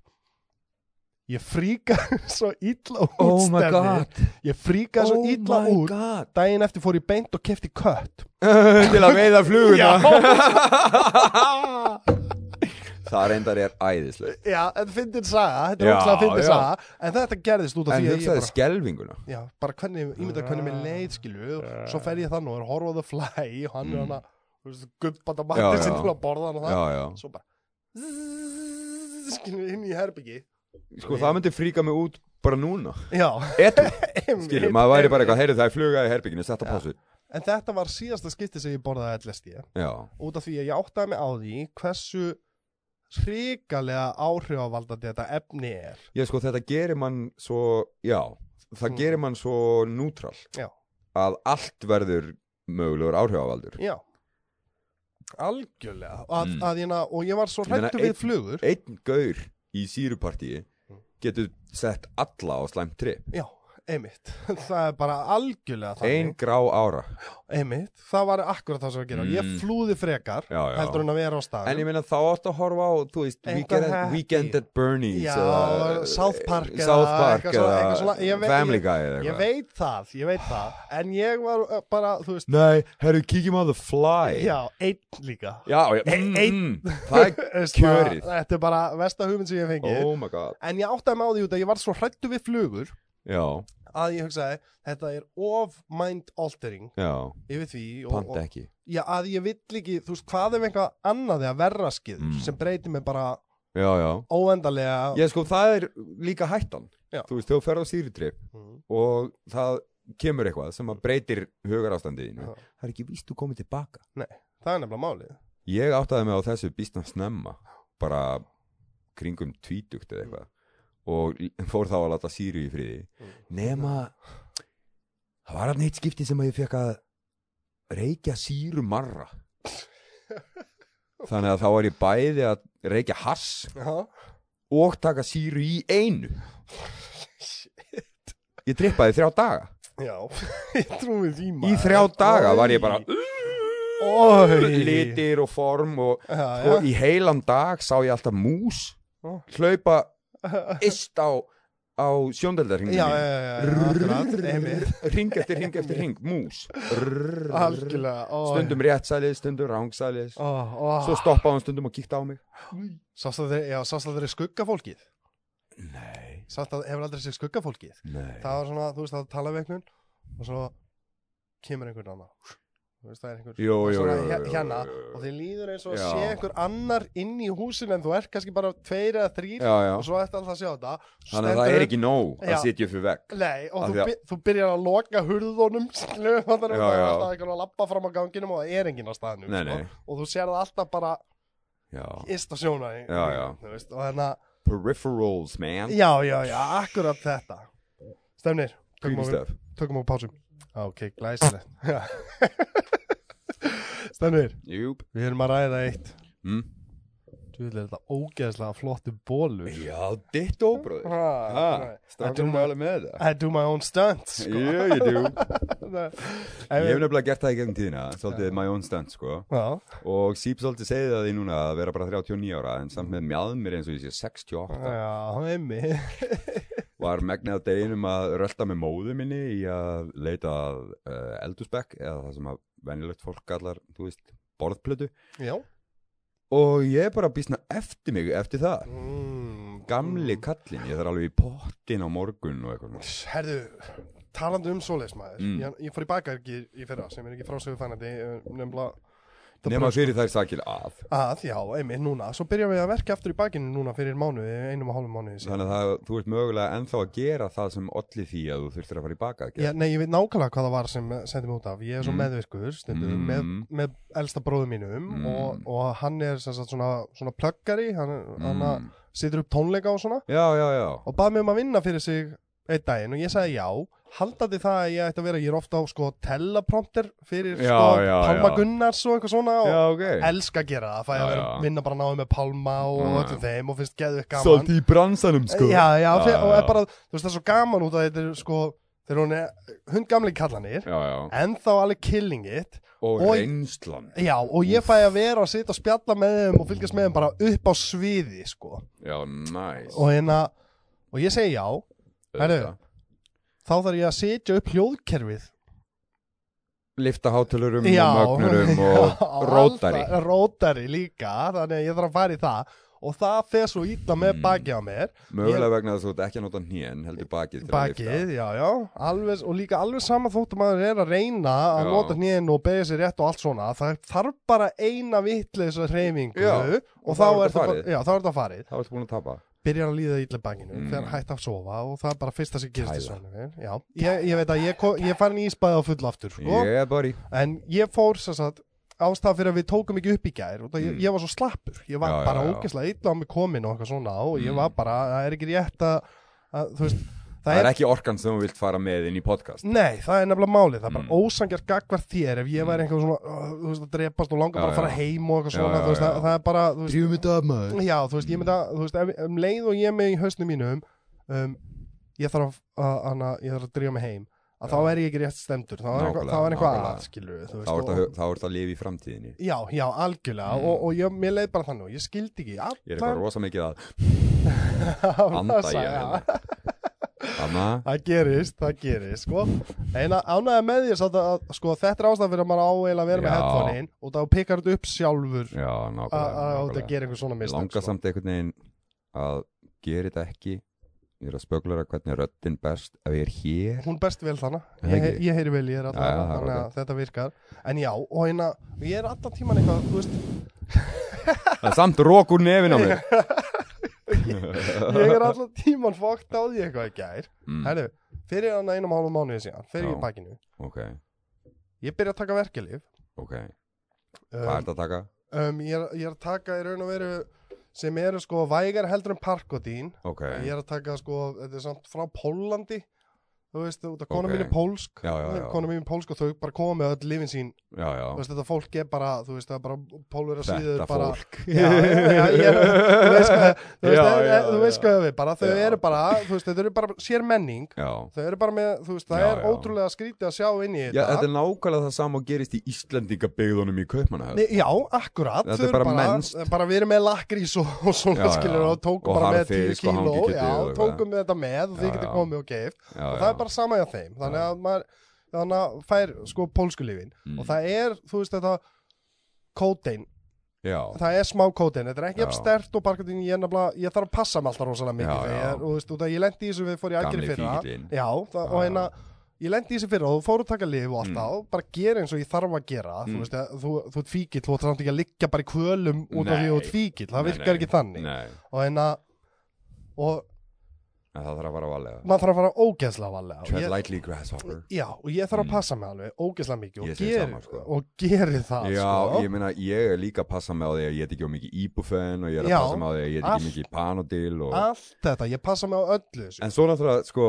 [SPEAKER 1] ég fríka svo illa út
[SPEAKER 2] oh my
[SPEAKER 1] Stebbi.
[SPEAKER 2] god Oh
[SPEAKER 1] ég fríka svo illa
[SPEAKER 2] my
[SPEAKER 1] út
[SPEAKER 2] god
[SPEAKER 1] daginn eftir fór ég beint og kefti kött
[SPEAKER 2] til að veiða
[SPEAKER 1] Já.
[SPEAKER 2] fluguna það reyndar er æðislega
[SPEAKER 1] já, þetta fyndir saga þetta er
[SPEAKER 2] Já,
[SPEAKER 1] ógslag að fyndir
[SPEAKER 2] já.
[SPEAKER 1] saga en þetta gerðist út af
[SPEAKER 2] en
[SPEAKER 1] því að ég
[SPEAKER 2] hugsaði
[SPEAKER 1] bara
[SPEAKER 2] skelvinguna
[SPEAKER 1] já, bara hvernig, ímynda hvernig mér leið skilu, og svo fer ég þannig og er horfa á the fly og hann er hann að, þú veist, gubbanda
[SPEAKER 2] Já,
[SPEAKER 1] matið
[SPEAKER 2] já.
[SPEAKER 1] sinni til að borða hann og það,
[SPEAKER 2] já, já.
[SPEAKER 1] svo bara zzzz, skilu, inn í herbyggi
[SPEAKER 2] sko það myndi fríka mig út bara núna
[SPEAKER 1] já,
[SPEAKER 2] Etu,
[SPEAKER 1] einmitt,
[SPEAKER 2] skilur, maður væri bara
[SPEAKER 1] einmitt.
[SPEAKER 2] eitthvað heyrðu það er fluga í herbygginu, þetta pásu
[SPEAKER 1] en þetta var síðasta skipti sem ég borðaði LSD
[SPEAKER 2] já,
[SPEAKER 1] út af því að ég áttaði mig á því hversu hrikalega áhrifavaldandi þetta efni er
[SPEAKER 2] ég sko þetta gerir mann svo já, það
[SPEAKER 1] Mm.
[SPEAKER 2] gerir mann svo nútral
[SPEAKER 1] Já.
[SPEAKER 2] að allt verður mögulegur áhrifavaldur
[SPEAKER 1] já algjörlega að,
[SPEAKER 2] Mm.
[SPEAKER 1] að, að, og ég var svo
[SPEAKER 2] Ég meina,
[SPEAKER 1] hrættu við
[SPEAKER 2] einn-
[SPEAKER 1] flugur Mm.
[SPEAKER 2] einn gaur í sírupartíi getur sett alla á slæmt trip
[SPEAKER 1] já, einmitt, það er bara algjörlega
[SPEAKER 2] Ein
[SPEAKER 1] þannig,
[SPEAKER 2] grá ára
[SPEAKER 1] einmitt, það var akkurat það sem var að gera, ég
[SPEAKER 2] Mm.
[SPEAKER 1] flúði frekar
[SPEAKER 2] Já, já.
[SPEAKER 1] heldur en að vera á staðum
[SPEAKER 2] En ég meina þá áttu að horfa á, þú veist,
[SPEAKER 1] Eitthvað
[SPEAKER 2] Weekend,
[SPEAKER 1] happy.
[SPEAKER 2] weekend at Bernie's
[SPEAKER 1] Já,
[SPEAKER 2] eða, eh,
[SPEAKER 1] South Park eða
[SPEAKER 2] South Park
[SPEAKER 1] eitthvað svona- eitthvað svona, ég veit-
[SPEAKER 2] eða Family Guy eða
[SPEAKER 1] Ég
[SPEAKER 2] eitthvað
[SPEAKER 1] veit það, ég veit það En ég var uh, bara, þú veist
[SPEAKER 2] Nei, herru, kíkjum á The Fly
[SPEAKER 1] Já, einn líka
[SPEAKER 2] já, já
[SPEAKER 1] Ein-
[SPEAKER 2] mm, Það er
[SPEAKER 1] Veist það,
[SPEAKER 2] kjörið
[SPEAKER 1] Þetta er bara versta hugmynd sem ég hef fengið
[SPEAKER 2] Oh my god
[SPEAKER 1] En ég áttaði mig á því út að ég var svo hrættu við flugur
[SPEAKER 2] Já,
[SPEAKER 1] Að ég hugsaði, þetta er of mind altering
[SPEAKER 2] já,
[SPEAKER 1] Yfir því og,
[SPEAKER 2] panta
[SPEAKER 1] og,
[SPEAKER 2] ekki
[SPEAKER 1] já, Að ég vill ekki, þú veist, hvað ef eitthvað annað Þegar verra skiður
[SPEAKER 2] Mm.
[SPEAKER 1] sem breytir mig bara
[SPEAKER 2] Já, já
[SPEAKER 1] óendalega
[SPEAKER 2] Ég sko, það er líka hættan
[SPEAKER 1] Já.
[SPEAKER 2] Þú veist, þegar þú ferð á sýritrip
[SPEAKER 1] Mm.
[SPEAKER 2] og það kemur eitthvað sem að breytir hugarástandiðinu
[SPEAKER 1] Já.
[SPEAKER 2] Það er ekki víst þú komið tilbaka
[SPEAKER 1] Það er nefnilega málið
[SPEAKER 2] Ég áttaði mig á þessu býstna snemma bara kringum tvítugt eða eitthvað og l- fór þá að láta síru í friði
[SPEAKER 1] Mm.
[SPEAKER 2] nema það var hann eitt skipti sem að ég fekk að reykja síru marra þannig að þá var ég bæði að reykja hass
[SPEAKER 1] Já,
[SPEAKER 2] og taka síru í einu ég drippaði þrjá daga
[SPEAKER 1] já. ég trúi því
[SPEAKER 2] í
[SPEAKER 1] maður
[SPEAKER 2] þrjá daga var ég bara
[SPEAKER 1] Oj.
[SPEAKER 2] litir og form og
[SPEAKER 1] Já, já.
[SPEAKER 2] og í heilan dag sá ég alltaf mús
[SPEAKER 1] Ó.
[SPEAKER 2] hlaupa ist á, á sjóndeldarhinginu
[SPEAKER 1] já, já, já, já, akkurat, einmitt
[SPEAKER 2] ring eftir ring eftir ring, mús Rrrr.
[SPEAKER 1] algjörlega ó,
[SPEAKER 2] stundum réttsælið, stundum rángsælið
[SPEAKER 1] ó, ó.
[SPEAKER 2] svo stoppaði hann stundum og kíkti á mig
[SPEAKER 1] sást að þeir, já, sást að þeir eru skuggafólkið
[SPEAKER 2] nei,
[SPEAKER 1] sást að hefur aldrei sér skuggafólkið
[SPEAKER 2] nei
[SPEAKER 1] það var svona, þú veist, það tala við einhvern og svo kemur einhvern annar þú veist, það er einhver
[SPEAKER 2] Jú, jú,
[SPEAKER 1] svona
[SPEAKER 2] jú,
[SPEAKER 1] hér-
[SPEAKER 2] jú,
[SPEAKER 1] hérna
[SPEAKER 2] jú, jú.
[SPEAKER 1] og þið líður eins og
[SPEAKER 2] Já.
[SPEAKER 1] sé einhver annar inn í húsin en þú ert kannski bara tveir eða þrýr
[SPEAKER 2] já, já.
[SPEAKER 1] og svo eftir alltaf að sjá þetta svo
[SPEAKER 2] þannig að það
[SPEAKER 1] stendur
[SPEAKER 2] er ekki nóg
[SPEAKER 1] Já.
[SPEAKER 2] að sitja upp í vegg
[SPEAKER 1] Nei, og
[SPEAKER 2] Af
[SPEAKER 1] þú,
[SPEAKER 2] því að-
[SPEAKER 1] by- þú byrjar að loka hurðunum skilur, þannig að
[SPEAKER 2] Já,
[SPEAKER 1] það er
[SPEAKER 2] já.
[SPEAKER 1] alltaf einhvern að lappa fram á ganginum og það er enginn á staðnum
[SPEAKER 2] Nei,
[SPEAKER 1] sko.
[SPEAKER 2] nei.
[SPEAKER 1] og þú sér það alltaf bara
[SPEAKER 2] já.
[SPEAKER 1] yst á sjóna
[SPEAKER 2] Já, já.
[SPEAKER 1] Veist, og þannig að,
[SPEAKER 2] peripherals man
[SPEAKER 1] já, já, já, akkurat þetta Stefnir, tökum á,
[SPEAKER 2] Kvíðistöf.
[SPEAKER 1] tökum á pásum Já, Ok, glæsilegt Já. Stefnir,
[SPEAKER 2] Júp.
[SPEAKER 1] við erum að ræða eitt
[SPEAKER 2] Mm.
[SPEAKER 1] Þú vil þetta ógeðslega flottu bólu
[SPEAKER 2] já, ditt óbröður
[SPEAKER 1] I do
[SPEAKER 2] strákum
[SPEAKER 1] my-
[SPEAKER 2] er alveg með það
[SPEAKER 1] I do my own stunts sko.
[SPEAKER 2] já, ég djú Ég hef
[SPEAKER 1] Ég
[SPEAKER 2] nefnilega gert það í gegnum tíðina, svolítið my own stunt sko
[SPEAKER 1] Já,
[SPEAKER 2] og Sýp svolítið segið það því núna að vera bara 39 ára en samt með mjadmir eins og ég sé 68
[SPEAKER 1] já, einmitt
[SPEAKER 2] var megnið af deginum að rölda með móðu minni í að leita að uh, eldusbekk eða það sem að venjulegt fólk kallar, þú veist, borðplötu
[SPEAKER 1] Já
[SPEAKER 2] og ég er bara býsna eftir mig eftir það
[SPEAKER 1] mm,
[SPEAKER 2] gamli kallinn, ég þarf alveg í pottin á morgun og eitthvað
[SPEAKER 1] Herðu, talandi um svoleiðis maður
[SPEAKER 2] Mm.
[SPEAKER 1] ég, ég fór í bakargi í fyrra sem er ekki frásögu fænandi nefnilega Það
[SPEAKER 2] nema
[SPEAKER 1] brjóst-
[SPEAKER 2] fyrir þær sakir að
[SPEAKER 1] að, já, einmitt núna, svo byrjum við að verka aftur í bakinu núna fyrir mánuði, einum og hálfum mánuði síðan.
[SPEAKER 2] þannig að það, þú ert mögulega ennþá að gera það sem olli því að þú þurftir að fara í baka að
[SPEAKER 1] Já, nei, ég veit nákvæmlega hvað það var sem eh, sendi mig út af ég er svo
[SPEAKER 2] Mm.
[SPEAKER 1] meðvirkur, stundum,
[SPEAKER 2] Mm.
[SPEAKER 1] með, með elsta bróðum mínum
[SPEAKER 2] Mm.
[SPEAKER 1] og, og hann er sem sagt svona, svona plöggari hann,
[SPEAKER 2] Mm.
[SPEAKER 1] hann situr upp tónleika og svona
[SPEAKER 2] já, já, já,
[SPEAKER 1] og bað mér um að vinna fyrir sig einn daginn og ég sagði já haldandi það að ég ætti að vera, ég er ofta á sko teleprompter fyrir
[SPEAKER 2] Já,
[SPEAKER 1] sko
[SPEAKER 2] já,
[SPEAKER 1] Palma
[SPEAKER 2] já.
[SPEAKER 1] Gunnars og eitthvað svona og
[SPEAKER 2] já, ok
[SPEAKER 1] elska að gera það, fæ
[SPEAKER 2] Já,
[SPEAKER 1] að vera
[SPEAKER 2] já.
[SPEAKER 1] vinna bara náðu með Palma og
[SPEAKER 2] Já, já.
[SPEAKER 1] öllum þeim og finnst geðu gaman
[SPEAKER 2] Svolítið í bransanum sko
[SPEAKER 1] já, já,
[SPEAKER 2] Já,
[SPEAKER 1] já, og
[SPEAKER 2] já.
[SPEAKER 1] er bara, þú veist það er svo gaman út að þetta er sko þegar hún er hundgamli kallanir
[SPEAKER 2] já, já.
[SPEAKER 1] en þá alveg killing it
[SPEAKER 2] Og,
[SPEAKER 1] Og-
[SPEAKER 2] reynslan
[SPEAKER 1] já, og ég fæ að vera að sitja og spjalla með þeim og fylgjast með þeim bara upp á sviði sko,
[SPEAKER 2] Já, næs
[SPEAKER 1] og hérna og ég segi já, herru,
[SPEAKER 2] Auðvitað.
[SPEAKER 1] þá þarf ég að setja upp hljóðkerfið
[SPEAKER 2] Lyfta hátalurum og mögnurum og rótari
[SPEAKER 1] alltaf- Rótari líka, þannig að ég þarf að fara í það og það fer svo ítla með
[SPEAKER 2] Mm.
[SPEAKER 1] bakið á mér
[SPEAKER 2] Mögulega vegna þess að þú ert ekki að nota hnén heldur bakið til að lyfta.
[SPEAKER 1] bakið, já, já, alveg, og líka alveg sama þótt að maður er að reyna að
[SPEAKER 2] Já.
[SPEAKER 1] nota hnén og beigja sér rétt og allt svona það þarf bara eina vitleis hreyfingu
[SPEAKER 2] Já,
[SPEAKER 1] og,
[SPEAKER 2] og
[SPEAKER 1] þá,
[SPEAKER 2] þá er
[SPEAKER 1] er
[SPEAKER 2] þetta
[SPEAKER 1] það,
[SPEAKER 2] farið.
[SPEAKER 1] já, þá er þetta farið
[SPEAKER 2] Það varst búin að tapa
[SPEAKER 1] byrjar að líða ítla bakinu,
[SPEAKER 2] Mm.
[SPEAKER 1] mm. fer hægt að sofa og það er bara fyrsta sem gerist í
[SPEAKER 2] Kæfa.
[SPEAKER 1] svona já, ég, ég veit að ég, kom, ég fann ísbæði á full aftur sko.
[SPEAKER 2] Ég er bara í
[SPEAKER 1] En ég fór sem sagt ástæða fyrir að við tókum ekki upp í gær og það, ég,
[SPEAKER 2] Mm.
[SPEAKER 1] ég var svo slappur, ég var
[SPEAKER 2] Já, já,
[SPEAKER 1] bara
[SPEAKER 2] já.
[SPEAKER 1] ógeðslega illa á mig komin og eitthvað svona og ég
[SPEAKER 2] Mm.
[SPEAKER 1] var bara, það er ekki rétt að, að þú veist, það,
[SPEAKER 2] Það er ekki orkan sem þú vilt fara með inn í podcast
[SPEAKER 1] nei, það er nefnilega málið, það er bara
[SPEAKER 2] Mm.
[SPEAKER 1] mm. ósangjart gagvar þér ef ég væri eitthvað svona, uh, þú veist, að drepast og langa
[SPEAKER 2] Já,
[SPEAKER 1] bara að fara
[SPEAKER 2] já.
[SPEAKER 1] heim og eitthvað
[SPEAKER 2] Já,
[SPEAKER 1] svona,
[SPEAKER 2] já,
[SPEAKER 1] þú veist,
[SPEAKER 2] já.
[SPEAKER 1] það, það er bara, þú veist,
[SPEAKER 2] Drífum þetta af maður
[SPEAKER 1] já, þú veist, ég myndi að, þú veist, ef, um leið og ég er með í hausnum mínum, um, ég þarf að, að, hana- ég þarf að drífa mig heim að þá er ég ekki rétt stemdur þá er eitthvað,
[SPEAKER 2] Nákvæmlega,
[SPEAKER 1] þá er eitthvað
[SPEAKER 2] nákvæmlega.
[SPEAKER 1] að skilur við, þú
[SPEAKER 2] þá ert
[SPEAKER 1] veist
[SPEAKER 2] að,
[SPEAKER 1] og,
[SPEAKER 2] þá ert að lifa í framtíðinni
[SPEAKER 1] já, já, algjörlega og, og ég, mér leið bara þannig og ég skildi ekki
[SPEAKER 2] Mm. ég er eitthvað
[SPEAKER 1] allan
[SPEAKER 2] rosa mikið að anda
[SPEAKER 1] það
[SPEAKER 2] í að Anna,
[SPEAKER 1] það gerist, það gerist sko. en ánægða með því samt að sko, þetta er ástæðan fyrir að maður á eiginlega að vera með
[SPEAKER 2] Já.
[SPEAKER 1] headphone-in og þá pikkar þetta upp sjálfur
[SPEAKER 2] já,
[SPEAKER 1] að- að þú ert að
[SPEAKER 2] nákvæmlega
[SPEAKER 1] gera einhver svona
[SPEAKER 2] Mér
[SPEAKER 1] mistök
[SPEAKER 2] langar
[SPEAKER 1] sko.
[SPEAKER 2] samt einhvern veginn að gera þetta ekki ég er að spöglera hvernig röddin best ef ég er hér
[SPEAKER 1] hún best vel þannig
[SPEAKER 2] Er það
[SPEAKER 1] ég,
[SPEAKER 2] ekki?
[SPEAKER 1] ég heyri vel, ég er alltaf
[SPEAKER 2] Já, já, það er
[SPEAKER 1] þannig að
[SPEAKER 2] ágætt.
[SPEAKER 1] þetta virkar en já, og hérna, ég er alltaf tíman eitthvað þú veist,
[SPEAKER 2] Það er samt rók úr nefin á mér
[SPEAKER 1] ég er alltaf tíman fókt á því eitthvað í gær
[SPEAKER 2] mm,
[SPEAKER 1] herru, fyrir hann einum og hálfum mánuði síðan fyrir
[SPEAKER 2] Já.
[SPEAKER 1] ég í bakinu,
[SPEAKER 2] Ok,
[SPEAKER 1] ég byrja að taka verkelif
[SPEAKER 2] ok Hvað er
[SPEAKER 1] um,
[SPEAKER 2] þetta að taka?
[SPEAKER 1] um, ég, er, ég er að taka í raun og veru sem eru sko vægar heldur en parkodín
[SPEAKER 2] Ok,
[SPEAKER 1] ég er að taka sko, þetta er samt frá Pólandi þú veist, út af kona
[SPEAKER 2] Ok.
[SPEAKER 1] mín er pólsk
[SPEAKER 2] Já, já, já.
[SPEAKER 1] kona mín er pólsk og þau bara koma með öll lifin sín
[SPEAKER 2] já, já
[SPEAKER 1] þú veist þetta fólk er bara þú veist það er bara pólverið að síður
[SPEAKER 2] Þetta
[SPEAKER 1] bara
[SPEAKER 2] fólk
[SPEAKER 1] Já, já, já, ég- þú veist hvað þú veist,
[SPEAKER 2] Já,
[SPEAKER 1] það-
[SPEAKER 2] já,
[SPEAKER 1] þú veist
[SPEAKER 2] já.
[SPEAKER 1] hvað við bara þau
[SPEAKER 2] Já.
[SPEAKER 1] eru bara þú veist þau eru bara sér menning
[SPEAKER 2] Já,
[SPEAKER 1] þau eru bara með þú veist það
[SPEAKER 2] Já,
[SPEAKER 1] er
[SPEAKER 2] já.
[SPEAKER 1] ótrúlega skrítið að sjá inn í
[SPEAKER 2] já
[SPEAKER 1] þetta
[SPEAKER 2] þetta er nákvæmlega það sama og gerist í Íslendingabyggðunum í Kaupmannahöfn
[SPEAKER 1] Nei, já, akkurat
[SPEAKER 2] Þetta
[SPEAKER 1] þau
[SPEAKER 2] er
[SPEAKER 1] eru
[SPEAKER 2] bara mennskt.
[SPEAKER 1] bara við erum með lakrís og, og svona
[SPEAKER 2] Já, já.
[SPEAKER 1] skilur og tókum
[SPEAKER 2] Og
[SPEAKER 1] bara með
[SPEAKER 2] harðfisk
[SPEAKER 1] 10
[SPEAKER 2] og
[SPEAKER 1] kíló
[SPEAKER 2] hangikjötið
[SPEAKER 1] já,
[SPEAKER 2] og eitthvað.
[SPEAKER 1] tókum við þetta með og þið
[SPEAKER 2] Já,
[SPEAKER 1] getur
[SPEAKER 2] já.
[SPEAKER 1] komið og geift
[SPEAKER 2] Já,
[SPEAKER 1] og
[SPEAKER 2] já.
[SPEAKER 1] það er bara sama hjá þeim þannig að maður þannig að fær sko pólskulífin
[SPEAKER 2] Mm.
[SPEAKER 1] og það er, þú veist þetta kótein
[SPEAKER 2] Já,
[SPEAKER 1] það er smá kótein, þetta er ekki
[SPEAKER 2] Já.
[SPEAKER 1] jafn stert og barkatinn ég, er nefnilega- ég þarf að passa mig alltaf rosalega mikið
[SPEAKER 2] Já,
[SPEAKER 1] þegar ég,
[SPEAKER 2] já.
[SPEAKER 1] er- og, þú veist, út að ég lendi í þessu við fór í aðgerið
[SPEAKER 2] gamli
[SPEAKER 1] fyrra
[SPEAKER 2] fíkillinn
[SPEAKER 1] já, það,
[SPEAKER 2] Já,
[SPEAKER 1] og
[SPEAKER 2] já.
[SPEAKER 1] hérna ég lendi í þessu fyrra og þú fór að taka lif og alltaf og bara gera eins og ég þarf að gera þú
[SPEAKER 2] Mm.
[SPEAKER 1] veist, að, þú, þú ert fíkill, þú ert samt ekki að liggja bara í kvölum út af því
[SPEAKER 2] Nei.
[SPEAKER 1] þú ert fíkill, það
[SPEAKER 2] Nei,
[SPEAKER 1] virkar
[SPEAKER 2] nei,
[SPEAKER 1] ekki þannig
[SPEAKER 2] Nei,
[SPEAKER 1] og hérna og
[SPEAKER 2] en það þarf að vara valega
[SPEAKER 1] maður þarf að fara ógeðslega valega og
[SPEAKER 2] Tread
[SPEAKER 1] ég,
[SPEAKER 2] lightly grasshopper
[SPEAKER 1] já, og ég þarf
[SPEAKER 2] Mm.
[SPEAKER 1] að passa mig alveg ógeðslega mikið
[SPEAKER 2] Ég
[SPEAKER 1] og,
[SPEAKER 2] segi
[SPEAKER 1] ger,
[SPEAKER 2] sama, sko.
[SPEAKER 1] og geri það
[SPEAKER 2] Já,
[SPEAKER 1] sko.
[SPEAKER 2] ég meina, ég er líka að passa mig á því að ég get ekki á mikið íbúfen og ég er að
[SPEAKER 1] Já,
[SPEAKER 2] passa mig á því að ég get
[SPEAKER 1] allt.
[SPEAKER 2] ekki mikið panodil og...
[SPEAKER 1] allt þetta, ég passa mig á öllu þessu
[SPEAKER 2] En svo náttúrulega, sko,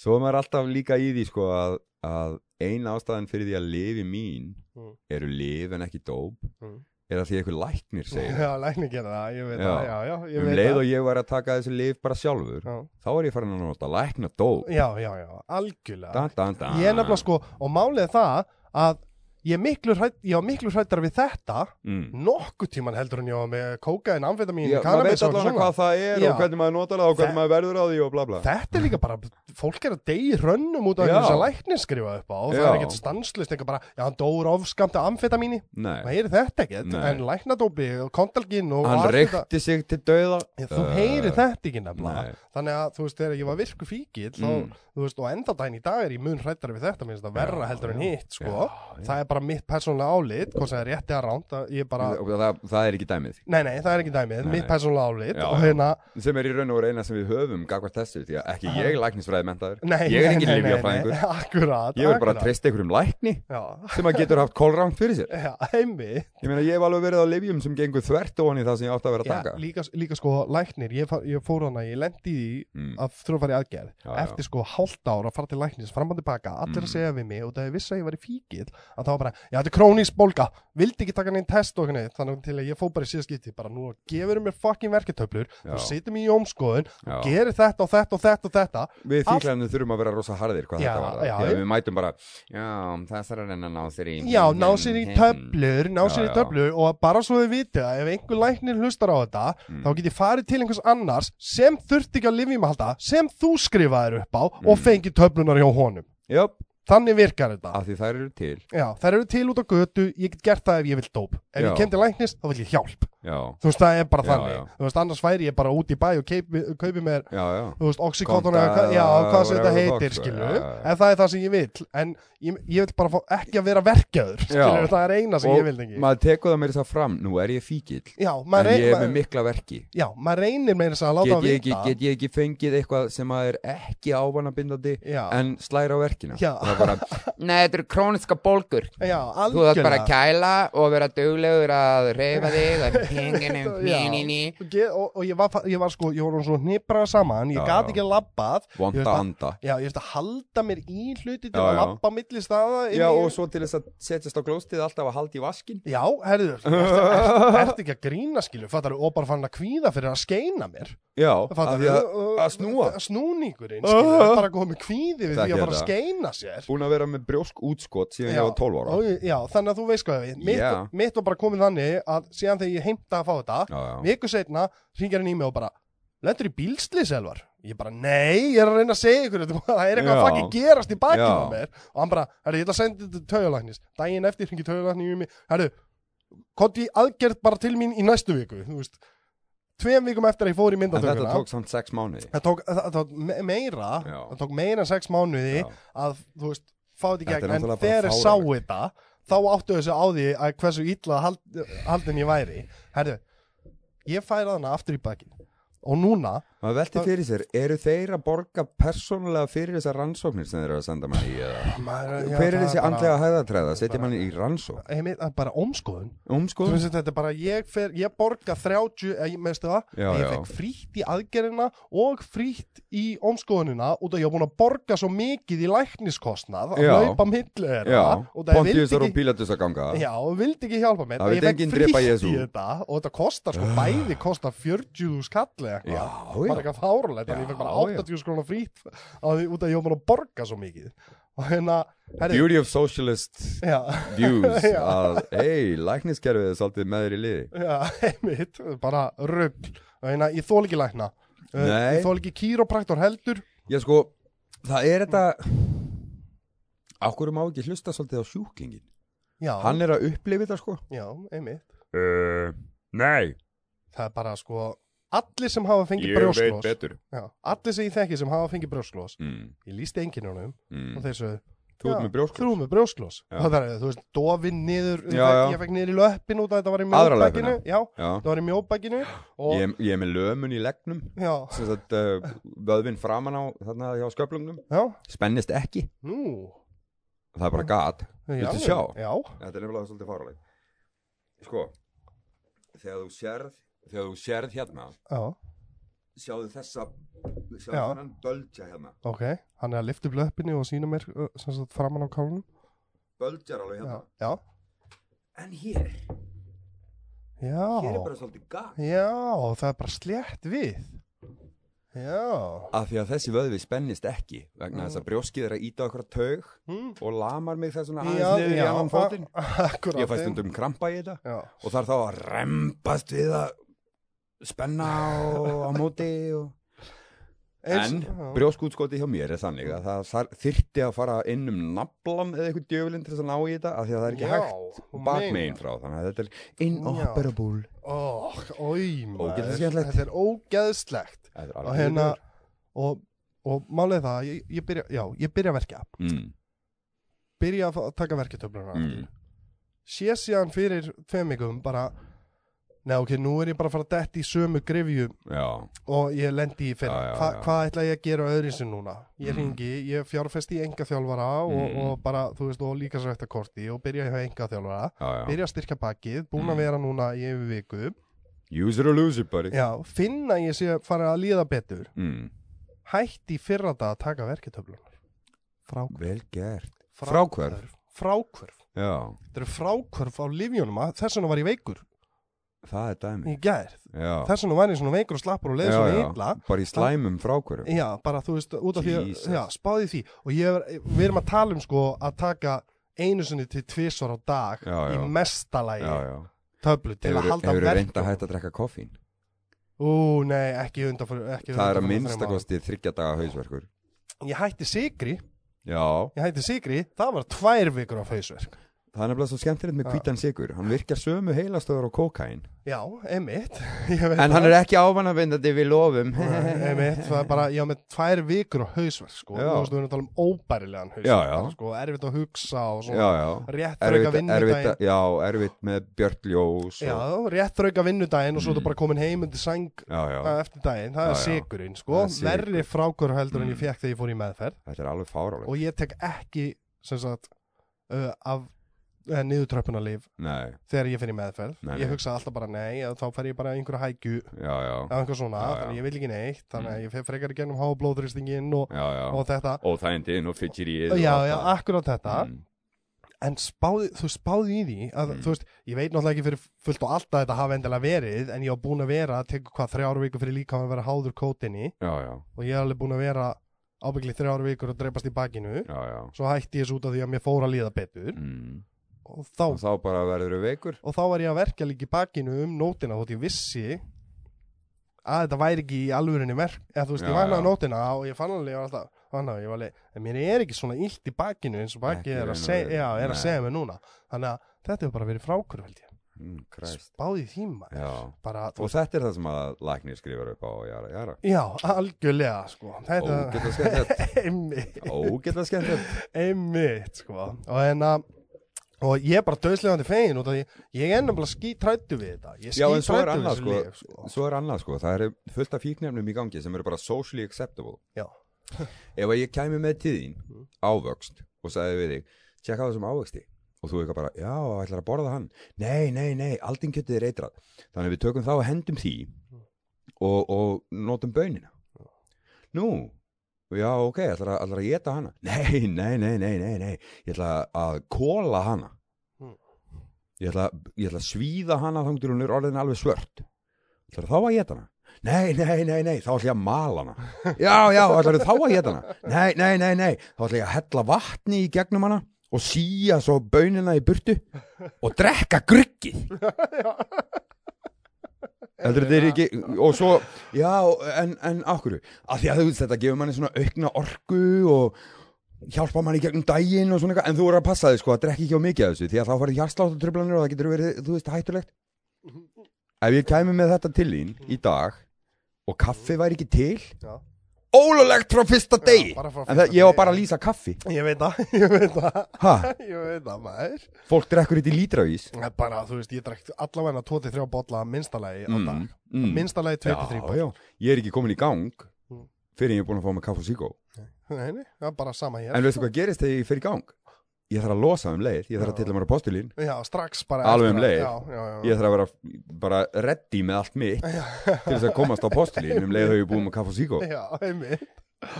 [SPEAKER 2] svo er maður alltaf líka í því, sko, að, að eina ástæðan fyrir því að lifi mín
[SPEAKER 1] Mm.
[SPEAKER 2] eru lif en ekki dóp,
[SPEAKER 1] Mm.
[SPEAKER 2] er að því eitthvað læknir segir.
[SPEAKER 1] Já, læknir gera það, ég veit
[SPEAKER 2] Já.
[SPEAKER 1] það, já, já, ég
[SPEAKER 2] Um
[SPEAKER 1] veit það.
[SPEAKER 2] leið og ég var að taka þessi lif bara sjálfur,
[SPEAKER 1] Já.
[SPEAKER 2] þá er ég farin að nota lækna dóp.
[SPEAKER 1] Já, já, já, algjörlega.
[SPEAKER 2] Dan, dan, dan.
[SPEAKER 1] Ég er nefnilega sko, og málið er það að ég, er miklu hrætt, ég var miklu hrættar við þetta
[SPEAKER 2] Mm.
[SPEAKER 1] nokkuð tíman heldur en ég var með kókaðin, amfetamín,
[SPEAKER 2] Já, maður
[SPEAKER 1] kannabis
[SPEAKER 2] veit
[SPEAKER 1] og eitthvað
[SPEAKER 2] allavega hvað það er
[SPEAKER 1] Já.
[SPEAKER 2] og hvernig maður notar það og
[SPEAKER 1] Þe-
[SPEAKER 2] hvernig maður verður á því og bla bla.
[SPEAKER 1] Þetta er líka bara, fólk er að deyja í hrönnum út af
[SPEAKER 2] Já.
[SPEAKER 1] þess að læknir skrifa upp á og það
[SPEAKER 2] Já.
[SPEAKER 1] er ekkert stanslist, eitthvað bara, já, hann dóur ofskamt af amfetamíni,
[SPEAKER 2] Nei,
[SPEAKER 1] það er þetta ekkert,
[SPEAKER 2] Nei.
[SPEAKER 1] en læknadópi og kontalgin og
[SPEAKER 2] hann
[SPEAKER 1] allt þetta-
[SPEAKER 2] reykti sig til dauða.
[SPEAKER 1] Já, Þú heyrir þetta ekki nefnilega
[SPEAKER 2] Eh, Nei.
[SPEAKER 1] Þannig að þú veist, þegar ég var virku fíkil þá,
[SPEAKER 2] Mm.
[SPEAKER 1] þú veist, og enda daginn í dag er ég mun hrættari við þetta, minnst það verra
[SPEAKER 2] Já,
[SPEAKER 1] heldur en
[SPEAKER 2] já.
[SPEAKER 1] hitt, sko
[SPEAKER 2] Já, já.
[SPEAKER 1] Það er bara mitt persónulega álit, hvort sem það er rétti að ránt að ég bara,
[SPEAKER 2] Og það, það er ekki dæmið.
[SPEAKER 1] nei, nei, það er ekki dæmið
[SPEAKER 2] Nei,
[SPEAKER 1] mitt
[SPEAKER 2] nei.
[SPEAKER 1] persónulega álit
[SPEAKER 2] Já,
[SPEAKER 1] og
[SPEAKER 2] já.
[SPEAKER 1] hérna
[SPEAKER 2] sem er í raun og reyna sem við höfum gagvart þessu, því að ekki ég er læknisfræði mentaður,
[SPEAKER 1] Nei,
[SPEAKER 2] ég er
[SPEAKER 1] nei,
[SPEAKER 2] ekki
[SPEAKER 1] nei, nei,
[SPEAKER 2] lifjafræðingur,
[SPEAKER 1] nei, Akkurat,
[SPEAKER 2] ég vil bara
[SPEAKER 1] akkurat.
[SPEAKER 2] treysta einhverjum lækni
[SPEAKER 1] Já,
[SPEAKER 2] sem að getur haft kolrangt fyrir sér
[SPEAKER 1] já, heimi
[SPEAKER 2] ég meina ég hef alveg verið á lifjum sem gengur þvert ofan í það sem ég átti að vera að
[SPEAKER 1] já,
[SPEAKER 2] taka
[SPEAKER 1] líka, líka sko læknir, ég, fa- ég fór hana, ég lendi í því
[SPEAKER 2] Mm.
[SPEAKER 1] að þurfa að fara í aðgerð
[SPEAKER 2] Já, Mm. já.
[SPEAKER 1] eftir sko hálft ár að fara til læknis fram og tilbaka, allir að segja við mig og það ég vissi að ég var í fíkil að það var bara, já þetta er krónís bólga vildi ekki taka neinn test og neitt þannig til að ég fór bara í síðaskipti, bara nú gefur mér fucking verketöflur,
[SPEAKER 2] Já.
[SPEAKER 1] þú situr mér í ómskoðun
[SPEAKER 2] Já.
[SPEAKER 1] þú gerir þetta og þetta og þetta og þetta
[SPEAKER 2] við fíklarnir þurfum að vera rosa harðir hvað
[SPEAKER 1] Já,
[SPEAKER 2] þetta var
[SPEAKER 1] já,
[SPEAKER 2] því
[SPEAKER 1] já.
[SPEAKER 2] að við mætum bara já, þessar er enn að ná sér í
[SPEAKER 1] já, ná sér í töflur ná
[SPEAKER 2] Já,
[SPEAKER 1] sér í
[SPEAKER 2] já.
[SPEAKER 1] töflur og bara svo þið vitið að ef einhver læknir hlustar á þetta
[SPEAKER 2] Mm.
[SPEAKER 1] þá get ég farið til einhvers annars sem þurfti ekki að lifjum að halda sem þú skrifaðir upp á
[SPEAKER 2] Mm.
[SPEAKER 1] og fengi töflunar hjá honum
[SPEAKER 2] jöp,
[SPEAKER 1] þannig virkar þetta
[SPEAKER 2] af því þær eru til
[SPEAKER 1] Já, þær eru til út á götu, ég get gert það ef ég vil dóp. Ef
[SPEAKER 2] Já.
[SPEAKER 1] ég kem til læknis, þá vil ég hjálp.
[SPEAKER 2] já,
[SPEAKER 1] Þú veist, það er bara
[SPEAKER 2] Já,
[SPEAKER 1] þannig.
[SPEAKER 2] já.
[SPEAKER 1] Þú veist, annars væri ég bara út í bæ og kaupi, kaupi mér,
[SPEAKER 2] já, já
[SPEAKER 1] þú veist, oxykontona,
[SPEAKER 2] Konta-
[SPEAKER 1] eða hvað- já, hvað sem
[SPEAKER 2] whatever
[SPEAKER 1] þetta
[SPEAKER 2] the fuck,
[SPEAKER 1] heitir,
[SPEAKER 2] sko,
[SPEAKER 1] skilu.
[SPEAKER 2] já, já, já.
[SPEAKER 1] En það er það sem ég vil. En ég, ég vil bara fá ekki að vera verkjaður, skilu.
[SPEAKER 2] Já.
[SPEAKER 1] Það er eina sem ég vil ekki.
[SPEAKER 2] maður tekur það meira þess að fram, nú er ég fíkill
[SPEAKER 1] já,
[SPEAKER 2] en
[SPEAKER 1] maður
[SPEAKER 2] ég er með
[SPEAKER 1] maður-
[SPEAKER 2] mikla verki
[SPEAKER 1] já, maður reynir meira þess að láta
[SPEAKER 2] get
[SPEAKER 1] að
[SPEAKER 2] ég,
[SPEAKER 1] vita.
[SPEAKER 2] ekki, get ég ekki fengið eitthvað sem að er ekki ávanabindandi
[SPEAKER 1] Já.
[SPEAKER 2] en slæra á verkina
[SPEAKER 1] Já.
[SPEAKER 2] það er bara, nei þetta eru króniska bólgur
[SPEAKER 1] Já,
[SPEAKER 2] þú þarf bara að
[SPEAKER 1] algjörlega.
[SPEAKER 2] kæla og vera duglegur að reyfa þig en
[SPEAKER 3] pengunum,
[SPEAKER 1] Já.
[SPEAKER 3] nýnýnýn.
[SPEAKER 1] og, ge- og, og ég, var, fa- ég var sko, ég var svona hniprað saman,
[SPEAKER 2] Já,
[SPEAKER 1] ég gat
[SPEAKER 2] já.
[SPEAKER 1] ekki labbað Ég
[SPEAKER 2] Vonda
[SPEAKER 1] veist að-
[SPEAKER 2] anda
[SPEAKER 1] Já, ég veist að halda mér í hluti til
[SPEAKER 2] Já,
[SPEAKER 1] að
[SPEAKER 2] já.
[SPEAKER 1] labba á milli staða inn
[SPEAKER 2] Já
[SPEAKER 1] í-
[SPEAKER 2] og svo til þess að setjast á glóstið alltaf að halda í vaskin
[SPEAKER 1] Já, herðu, ertu ert, ert ekki að grína skilu, fattar og bara fann að kvíða fyrir að skeina mér
[SPEAKER 2] Já, af
[SPEAKER 1] fattar
[SPEAKER 2] því að, að snúa
[SPEAKER 1] Snúningurinn, skilu,
[SPEAKER 2] Ah.
[SPEAKER 1] er bara komið kvíði við
[SPEAKER 2] Það
[SPEAKER 1] því að fara að
[SPEAKER 2] gera.
[SPEAKER 1] skeina sér
[SPEAKER 2] Búin að vera með brjósk útskot síðan ég var 12 ára
[SPEAKER 1] og ég- já, þannig að þú veist hvað við mitt,
[SPEAKER 2] Já.
[SPEAKER 1] mitt var bara komið þannig að síðan þegar ég heimta að fá þetta
[SPEAKER 2] Já, já,
[SPEAKER 1] viku setna ringir hann í mig og bara Lendur í bílslis, Elvar? Ég bara, nei, ég er að reyna að segja ykkur þetta, það er eitthvað
[SPEAKER 2] Já.
[SPEAKER 1] að fucking gerast í bakinu
[SPEAKER 2] Já.
[SPEAKER 1] á mér og hann bara, herru, ég ætla að senda þetta til taugalæknis daginn eftir hringi taugalæknis í mig herru, konti aðgerð bara til mín í næstu viku, þú veist tveim vikum eftir að ég fór í
[SPEAKER 2] en þetta
[SPEAKER 1] myndatökuna
[SPEAKER 2] tók samt 6 mánuði
[SPEAKER 1] það tók, það, það tók me- meira
[SPEAKER 2] Já.
[SPEAKER 1] það tók meira en sex mánuði
[SPEAKER 2] Já.
[SPEAKER 1] að, þú veist, fá þetta í
[SPEAKER 2] Þetta er
[SPEAKER 1] gegn en
[SPEAKER 2] náttúrulega bara
[SPEAKER 1] þegar ég sá
[SPEAKER 2] fáránlegt.
[SPEAKER 1] þetta þá áttu þessu á því að hversu illa hald, haldin ég væri herru, ég færa þarna aftur í bakinn og núna
[SPEAKER 2] Maður velti fyrir sér, eru þeir að borga persónulega fyrir þessar rannsóknir sem þeir eru að senda manni í eða?
[SPEAKER 1] maður, já,
[SPEAKER 2] Hver er
[SPEAKER 1] það
[SPEAKER 2] þessi
[SPEAKER 1] bara-
[SPEAKER 2] andlega hæðatræða? Setja
[SPEAKER 1] bara-
[SPEAKER 2] manni í rannsókn?
[SPEAKER 1] Heimi, það er bara ómskoðun Þú
[SPEAKER 2] Umskoðun?
[SPEAKER 1] veist þetta er bara, ég, fer, ég borga 30, eh, ég- veistu það,
[SPEAKER 2] Já,
[SPEAKER 1] ég
[SPEAKER 2] já.
[SPEAKER 1] fekk frítt í aðgerðina og frítt í omskoðunina út af ég var búin að borga svo mikið í lækniskostnað að
[SPEAKER 2] Já.
[SPEAKER 1] laupa millu
[SPEAKER 2] Já,
[SPEAKER 1] þeirra og það vildi
[SPEAKER 2] Pontiusar og
[SPEAKER 1] ekki,
[SPEAKER 2] Pilatus að ganga
[SPEAKER 1] já, og vildi ekki hjálpa mér
[SPEAKER 2] Það
[SPEAKER 1] og ég
[SPEAKER 2] vill
[SPEAKER 1] fekk
[SPEAKER 2] enginn
[SPEAKER 1] frítt
[SPEAKER 2] drepa
[SPEAKER 1] í
[SPEAKER 2] Jesú. Ah.
[SPEAKER 1] þetta og þetta kostar sko, bæði kostar 40 skall eða
[SPEAKER 2] Já,
[SPEAKER 1] eitthvað
[SPEAKER 2] já.
[SPEAKER 1] bara eitthvað fárulegt, en ég
[SPEAKER 2] Já,
[SPEAKER 1] fekk bara
[SPEAKER 2] já.
[SPEAKER 1] 80 skrona frítt á því út af ég var búin að borga svo mikið og hérna, herri,
[SPEAKER 2] Beauty of socialist
[SPEAKER 1] já
[SPEAKER 2] views
[SPEAKER 1] Já.
[SPEAKER 2] að, hei, lækniskerfið er svolítið með þér í liði
[SPEAKER 1] Já, einmitt, bara rugg Þannig að ég þól ekki lækna Eh,
[SPEAKER 2] Nei.
[SPEAKER 1] Ég þól ekki kýropraktor heldur
[SPEAKER 2] Já, sko, það er þetta Akkur má ekki hlusta svolítið á sjúklingin
[SPEAKER 1] Já,
[SPEAKER 2] Hann er að upplifa þetta, sko
[SPEAKER 1] já, einmitt
[SPEAKER 2] uh, Nei,
[SPEAKER 1] Það er bara sko Allir sem hafa fengið brjósklós
[SPEAKER 2] betur
[SPEAKER 1] já, Allir sem ég þekki sem hafa fengið brjósklós
[SPEAKER 2] mm,
[SPEAKER 1] Ég lísti enginn honum og
[SPEAKER 2] mm.
[SPEAKER 1] þeir sögðu
[SPEAKER 2] Þú ert
[SPEAKER 1] já,
[SPEAKER 2] með brjóskur
[SPEAKER 1] Þú ert með brjósklós
[SPEAKER 2] Já.
[SPEAKER 1] Það er, þú veist, dofin niður
[SPEAKER 2] Já,
[SPEAKER 1] það,
[SPEAKER 2] já.
[SPEAKER 1] Ég fekk niður í löppin út að þetta var í
[SPEAKER 2] Aðra
[SPEAKER 1] mjóbækinu Já,
[SPEAKER 2] Já,
[SPEAKER 1] þetta var í mjóbækinu og,
[SPEAKER 2] ég, ég er með lömun í leggnum
[SPEAKER 1] Já,
[SPEAKER 2] sem sagt uh, vöðvinn framan á þarna hjá sköflungnum
[SPEAKER 1] já,
[SPEAKER 2] spennist ekki,
[SPEAKER 1] nú
[SPEAKER 2] það er bara gat
[SPEAKER 1] í
[SPEAKER 2] Viltu
[SPEAKER 1] alvöru?
[SPEAKER 2] sjá?
[SPEAKER 1] Já,
[SPEAKER 2] þetta er nefnilega svolítið faraleg sko þegar þú sérð þegar þú sérð hérna
[SPEAKER 1] já,
[SPEAKER 2] sjáðu þessa sjáðu
[SPEAKER 1] Já.
[SPEAKER 2] þennan bölgja hérna
[SPEAKER 1] ok Hann er að lifta upp löppinu og sína mér eh, sem sagt, framan á kálunum
[SPEAKER 2] bölgjar alveg hérna
[SPEAKER 1] Já, já
[SPEAKER 2] en hér,
[SPEAKER 1] Já,
[SPEAKER 2] hér er bara svolítið gat
[SPEAKER 1] já, það er bara slétt við. Já.
[SPEAKER 2] af því að þessi vöðvi spennist ekki vegna þess að brjóskið er að íta okkur taug
[SPEAKER 1] Mm.
[SPEAKER 2] og lamar mig þess vegna Hmm. aðeins niður í annan fótinn
[SPEAKER 1] Akkurát.
[SPEAKER 2] ég fæ stundum krampa í þetta
[SPEAKER 1] Já,
[SPEAKER 2] og þarf þá að rempast við að spenna og á móti og... en
[SPEAKER 1] Eins- já.
[SPEAKER 2] brjóskútskoti hjá mér er þannig að það þar- þyrfti að fara inn um naflan eða eitthvað djöfulinn til þess að ná í þetta af því að það er ekki
[SPEAKER 1] Já,
[SPEAKER 2] hægt bakmegin frá þannig að þetta er inoperable
[SPEAKER 1] Ó, oi, Oh, maður.
[SPEAKER 2] Ógeðslega skemmtilegt.
[SPEAKER 1] Þetta er ógeðslegt.
[SPEAKER 2] Þetta er
[SPEAKER 1] Og
[SPEAKER 2] alveg
[SPEAKER 1] hérna,
[SPEAKER 2] viður.
[SPEAKER 1] og, og málið er það, ég, ég byrja, já, ég byrja að verkja.
[SPEAKER 2] mm,
[SPEAKER 1] Byrja að fá- taka verkjatöfluna.
[SPEAKER 2] mm.
[SPEAKER 1] Sé síðan fyrir tveim mikum bara, neða ok, nú er ég bara að fara að detti í sömu grifju
[SPEAKER 2] já,
[SPEAKER 1] og ég lendi í fyrir
[SPEAKER 2] Já, já,
[SPEAKER 1] Hva,
[SPEAKER 2] já.
[SPEAKER 1] hvað ætla ég að gera öðru sem núna ég
[SPEAKER 2] Mm.
[SPEAKER 1] ringi, ég fjárfesti í enga þjálfara og,
[SPEAKER 2] Mm.
[SPEAKER 1] og bara, þú veist, og líka svo eftir korti og byrja hjá enga þjálfara
[SPEAKER 2] já, já.
[SPEAKER 1] byrja að styrka bakið, búin að
[SPEAKER 2] Mm.
[SPEAKER 1] vera núna í yfir viku,
[SPEAKER 2] user or loser buddy
[SPEAKER 1] já, finna ég sé fara að líða betur,
[SPEAKER 2] mm.
[SPEAKER 1] hætti fyrra dag að taka verketöflunar frákvörf
[SPEAKER 2] vel gert Fráhvörf.
[SPEAKER 1] frákvörf,
[SPEAKER 2] já,
[SPEAKER 1] þetta eru frákvörf á livjónum þess vegna var ég veikur
[SPEAKER 2] það er dæmi
[SPEAKER 1] í gær,
[SPEAKER 2] já,
[SPEAKER 1] þess vegna var ég svona veikur og slappur og leið
[SPEAKER 2] já,
[SPEAKER 1] svona
[SPEAKER 2] já.
[SPEAKER 1] illa
[SPEAKER 2] bara í slæmum frákvörum
[SPEAKER 1] Já, bara þú veist, út af því að,
[SPEAKER 2] Jesus.
[SPEAKER 1] já, spáði því og ég, er- við erum að tala um sko að taka einu sinni til tvisvar á dag
[SPEAKER 2] Já, já.
[SPEAKER 1] í mesta lagi
[SPEAKER 2] já, já
[SPEAKER 1] töflu til að halda
[SPEAKER 2] hefur reynd að
[SPEAKER 1] verkjum.
[SPEAKER 2] hætta að drekka koffín
[SPEAKER 1] Ú, nei, ekki undanfyrir ekki
[SPEAKER 2] það er að
[SPEAKER 1] undanfarin þrem árum.
[SPEAKER 2] minnstakosti þryggja daga hausverkur
[SPEAKER 1] Ég hætti sigri,
[SPEAKER 2] já,
[SPEAKER 1] ég hætti sigri, það var tvær vikur af hausverk
[SPEAKER 2] Það er nefnilega svo skemmtilegt með
[SPEAKER 1] Já.
[SPEAKER 2] hvítan sigur Hann virkar sömu heilastöður á kókain
[SPEAKER 1] Já, emitt En
[SPEAKER 2] En hann er ekki ávanabindandi við lofum
[SPEAKER 1] Einmitt, það er bara, já, með tvær vikur á hausverk sko,
[SPEAKER 2] Já.
[SPEAKER 1] þú veist, við erum að tala um óbærilegan hausverk
[SPEAKER 2] Já, já.
[SPEAKER 1] sko, erfitt að hugsa og
[SPEAKER 2] Já,
[SPEAKER 1] svona,
[SPEAKER 2] já
[SPEAKER 1] rétt fyrir
[SPEAKER 2] Erfitt,
[SPEAKER 1] eitthvað
[SPEAKER 2] erfitt, já, erfitt með Björn Ljós
[SPEAKER 1] Já,
[SPEAKER 2] og,
[SPEAKER 1] rétt þrauka vinnudaginn og svo
[SPEAKER 2] Mm.
[SPEAKER 1] ertu bara komin heim undir sæng
[SPEAKER 2] já, já,
[SPEAKER 1] að eftir daginn, það er
[SPEAKER 2] Já, já.
[SPEAKER 1] sigurinn sko,
[SPEAKER 2] Það er sigur.
[SPEAKER 1] verri frákur heldur en ég
[SPEAKER 2] Mm.
[SPEAKER 1] fekk þegar ég fór í meðferð
[SPEAKER 2] Þetta er alveg fárálega
[SPEAKER 1] og ég tek ekki sem sagt uh, af eh, niðurtröppunarlif
[SPEAKER 2] Nei,
[SPEAKER 1] þegar ég fer í meðferð
[SPEAKER 2] Nei,
[SPEAKER 1] ég
[SPEAKER 2] nei.
[SPEAKER 1] hugsa alltaf bara nei, að þá fer ég bara í einhverja hækju
[SPEAKER 2] já, já,
[SPEAKER 1] eða einhver svona,
[SPEAKER 2] Já, já.
[SPEAKER 1] þannig að ég vil ekki neitt þannig að ég fer frekar í gennum háa blóðrýstingin og,
[SPEAKER 2] já, já
[SPEAKER 1] og þetta
[SPEAKER 2] Og það endin og fyrir í
[SPEAKER 1] já, já, akkurát þetta
[SPEAKER 2] mm.
[SPEAKER 1] en spáði, þú veist, spáði í því að, þú veist, ég veit náttúrulega ekki fyrir fullt og alltaf þetta hafa endilega verið, en ég var búin að vera tegur hvað þrjára vikur fyrir líka að vera háður kótinni
[SPEAKER 2] Já, já,
[SPEAKER 1] og ég er alveg búin að vera ábyggli þrjára vikur og dreipast í bakinu
[SPEAKER 2] já, já
[SPEAKER 1] svo hætti ég þessu út af því að mér fór að líða betur
[SPEAKER 2] mm.
[SPEAKER 1] og þá,
[SPEAKER 2] Og þá bara verður við veikur
[SPEAKER 1] og þá var ég að verka líka í bakinu um nótina þótt ég vissi að þetta væri ekki í alvörinni verk eða þú veist,
[SPEAKER 2] Já,
[SPEAKER 1] ég vannaði
[SPEAKER 2] já.
[SPEAKER 1] nótina og ég fann alveg, ég var alltaf vannaði, ég var alveg, en mér er ekki svona illt í bakinu eins og
[SPEAKER 2] Ekki
[SPEAKER 1] bakið er, að,
[SPEAKER 2] raun og
[SPEAKER 1] seg,
[SPEAKER 2] veru.
[SPEAKER 1] já, er að
[SPEAKER 2] Nei.
[SPEAKER 1] segja mér núna þannig að þetta hefur bara verið frákur held ég,
[SPEAKER 2] mm, Christ.
[SPEAKER 1] spáði í tíma
[SPEAKER 2] Já
[SPEAKER 1] bara, þú
[SPEAKER 2] Og
[SPEAKER 1] veist,
[SPEAKER 2] þetta er það sem að læknir skrifar upp á Jara, jara
[SPEAKER 1] já, algjörlega sko, þetta,
[SPEAKER 2] Ógeta skemmtilegt
[SPEAKER 1] einmitt
[SPEAKER 2] Ógeta skemmtilegt
[SPEAKER 1] einmitt sko, og en að og ég er bara döðslegandi fegin út af því ég er nefnilega skítrættu við þetta ég
[SPEAKER 2] Já, en svo er
[SPEAKER 1] skítrættu við
[SPEAKER 2] annað,
[SPEAKER 1] þessu
[SPEAKER 2] sko.
[SPEAKER 1] líf sko.
[SPEAKER 2] Svo er annað sko, það eru fullt af fíknefnum í gangi sem eru bara socially acceptable
[SPEAKER 1] já, Mm.
[SPEAKER 2] Ef að ég kæmi með tíðin ávöxt og sagði við þig tjekka á þessum ávöxti og þú eitthvað bara, já, ætlar að borða hann Nei, nei, nei, aldinn kjötið er eitrað Þannig að við tökum þá og hendum því
[SPEAKER 1] Mm.
[SPEAKER 2] og, og notum bönina Nú, já, ok, ætlar að, ætlar að geta hana Nei, nei, nei, nei, nei, nei Ég ætla að kóla hana
[SPEAKER 1] Mm.
[SPEAKER 2] Ég ætla, ég ætla að svíða hana þá hún er orðin alveg svört Ætlar þá að geta hana Nei, nei, nei, nei, þá ætla ég að mala hana Já, já, ætlar þá að geta hana Nei, nei, nei, nei, þá ætla ég að hella vatni í gegnum hana og síja svo bönina í burtu og drekka gruggið Heldur þeir ekki og svo, já, en, en ákvöru að því að þú veist þetta gefur manni svona aukna orku og hjálpa manni í gegnum daginn og svona eitthvað, en þú voru að passa þig sko að drekka ekki á mikið af þessu því að þá farið hjarsláttartröflanir og það getur verið, þú veist, hættulegt Ef ég kæmi með þetta til þín í dag og kaffi væri ekki til
[SPEAKER 1] já.
[SPEAKER 2] ólulegt frá fyrsta degi
[SPEAKER 1] bara frá
[SPEAKER 2] en
[SPEAKER 1] fyrsta
[SPEAKER 2] það, ég var
[SPEAKER 1] degi.
[SPEAKER 2] bara að lýsa kaffi
[SPEAKER 1] ég veit það, ég veit það
[SPEAKER 2] ha,
[SPEAKER 1] ég veit það maður
[SPEAKER 2] fólk drekkur þetta í lítravís
[SPEAKER 1] Það er bara, þú veist, ég drekkt allavega 23 bolla minnstallegi á dag
[SPEAKER 2] mm.
[SPEAKER 1] minnstallegi 23
[SPEAKER 2] já, já. ég er ekki komin í gang
[SPEAKER 1] Mm.
[SPEAKER 2] fyrir en ég er búin að fá mig kaff og síkó
[SPEAKER 1] bolla Nei, nei, það er bara sama hér
[SPEAKER 2] en veistu hvað gerist þegar ég fer í gang ég þarf að losa um leið, ég þarf að
[SPEAKER 1] Já.
[SPEAKER 2] tilla mér á postulín
[SPEAKER 1] Já, strax bara
[SPEAKER 2] Alveg
[SPEAKER 1] eftir
[SPEAKER 2] um
[SPEAKER 1] að-
[SPEAKER 2] leið.
[SPEAKER 1] Já, já, já,
[SPEAKER 2] ég þarf að vera bara ready með allt mitt til þess að komast á postulín um leið þegar ég er búin með kaff og síkó
[SPEAKER 1] já einmitt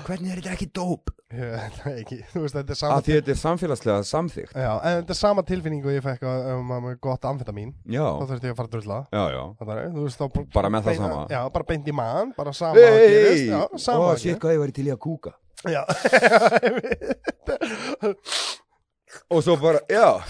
[SPEAKER 2] hvernig er þetta ekki dóp?
[SPEAKER 1] Ég veit það ekki, þú veist, þetta er sama
[SPEAKER 2] að því þetta er samfélagslega samþygt
[SPEAKER 1] Já, en þetta er sama tilfinning og ég fekk að um, um, gott amfetamín
[SPEAKER 2] já,
[SPEAKER 1] Þá þurfti ég að fara að drullla
[SPEAKER 2] já, já
[SPEAKER 1] Þannig, að, þú veist, þá bara,
[SPEAKER 2] Bara með það sama.
[SPEAKER 1] Já, bara beint í mann, bara sama að gerist,
[SPEAKER 2] Hey!
[SPEAKER 1] já, sama
[SPEAKER 2] Ó,
[SPEAKER 1] að
[SPEAKER 2] shit, hvað ég væri til í að kúka
[SPEAKER 1] gerist. Já,
[SPEAKER 2] og svo bara, já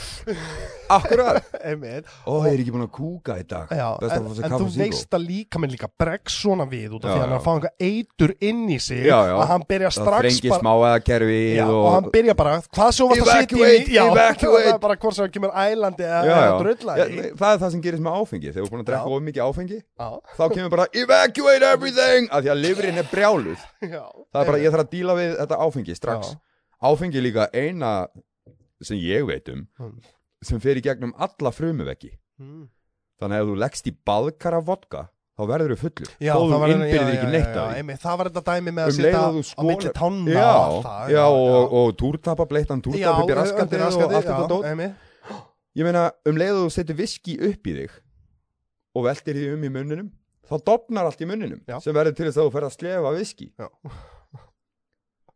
[SPEAKER 2] akkurat,
[SPEAKER 1] einmitt
[SPEAKER 2] ó, ég er ekki búin að kúka í dag
[SPEAKER 1] Já,
[SPEAKER 2] Best að
[SPEAKER 1] en,
[SPEAKER 2] fá sér
[SPEAKER 1] en
[SPEAKER 2] kaffi
[SPEAKER 1] þú
[SPEAKER 2] og síkó.
[SPEAKER 1] veist að líka minn líka bregg svona við út af því
[SPEAKER 2] Já,
[SPEAKER 1] að hann
[SPEAKER 2] já.
[SPEAKER 1] er að fá einhver eitur inn í sig
[SPEAKER 2] Já, já.
[SPEAKER 1] að hann byrja
[SPEAKER 2] það
[SPEAKER 1] strax
[SPEAKER 2] frengir
[SPEAKER 1] bara
[SPEAKER 2] smáaðakerfi
[SPEAKER 1] já, og,
[SPEAKER 2] og,
[SPEAKER 1] hann byrja bara, hvað svo varst að sitja í
[SPEAKER 2] Evacuate,
[SPEAKER 1] já,
[SPEAKER 2] evacuate.
[SPEAKER 1] það er bara hvort sem hann kemur ælandi eða
[SPEAKER 2] já,
[SPEAKER 1] eða
[SPEAKER 2] já.
[SPEAKER 1] drulla
[SPEAKER 2] Já,
[SPEAKER 1] í.
[SPEAKER 2] nei, það er það sem gerist með áfengi þegar þú er búin að drekka
[SPEAKER 1] Já.
[SPEAKER 2] of mikið áfengi
[SPEAKER 1] já,
[SPEAKER 2] þá kemur bara evacuate everything af því að lifrin er brjáluð
[SPEAKER 1] já,
[SPEAKER 2] það er bara, ég þarf að díla við þetta áfengi strax
[SPEAKER 1] Já.
[SPEAKER 2] áfengi er líka eina sem ég veit um
[SPEAKER 1] Mm.
[SPEAKER 2] sem fer í gegnum alla frumuveggi
[SPEAKER 1] Mm.
[SPEAKER 2] þannig að ef þú leggst í baðkar af vodka þá verður þú fullur
[SPEAKER 1] já,
[SPEAKER 2] þó þú
[SPEAKER 1] það var-
[SPEAKER 2] innbyrðir
[SPEAKER 1] já,
[SPEAKER 2] ekki
[SPEAKER 1] já,
[SPEAKER 2] neitt
[SPEAKER 1] já,
[SPEAKER 2] af því
[SPEAKER 1] einmitt, það var þetta dæmi með
[SPEAKER 2] Um
[SPEAKER 1] að
[SPEAKER 2] leið
[SPEAKER 1] sitja
[SPEAKER 2] og þú
[SPEAKER 1] á
[SPEAKER 2] skolar-
[SPEAKER 1] milli tanna
[SPEAKER 2] já,
[SPEAKER 1] og allt það,
[SPEAKER 2] já, og, og túrtapa bleittan túrtapa upp í raskandi og allt þetta dót
[SPEAKER 1] einmitt.
[SPEAKER 2] ég meina um leið og þú setur viski upp í þig og veltir því um í munninum þá dopnar allt í munninum
[SPEAKER 1] Já.
[SPEAKER 2] sem verður til þess að þú fer að slefa viski
[SPEAKER 1] Já.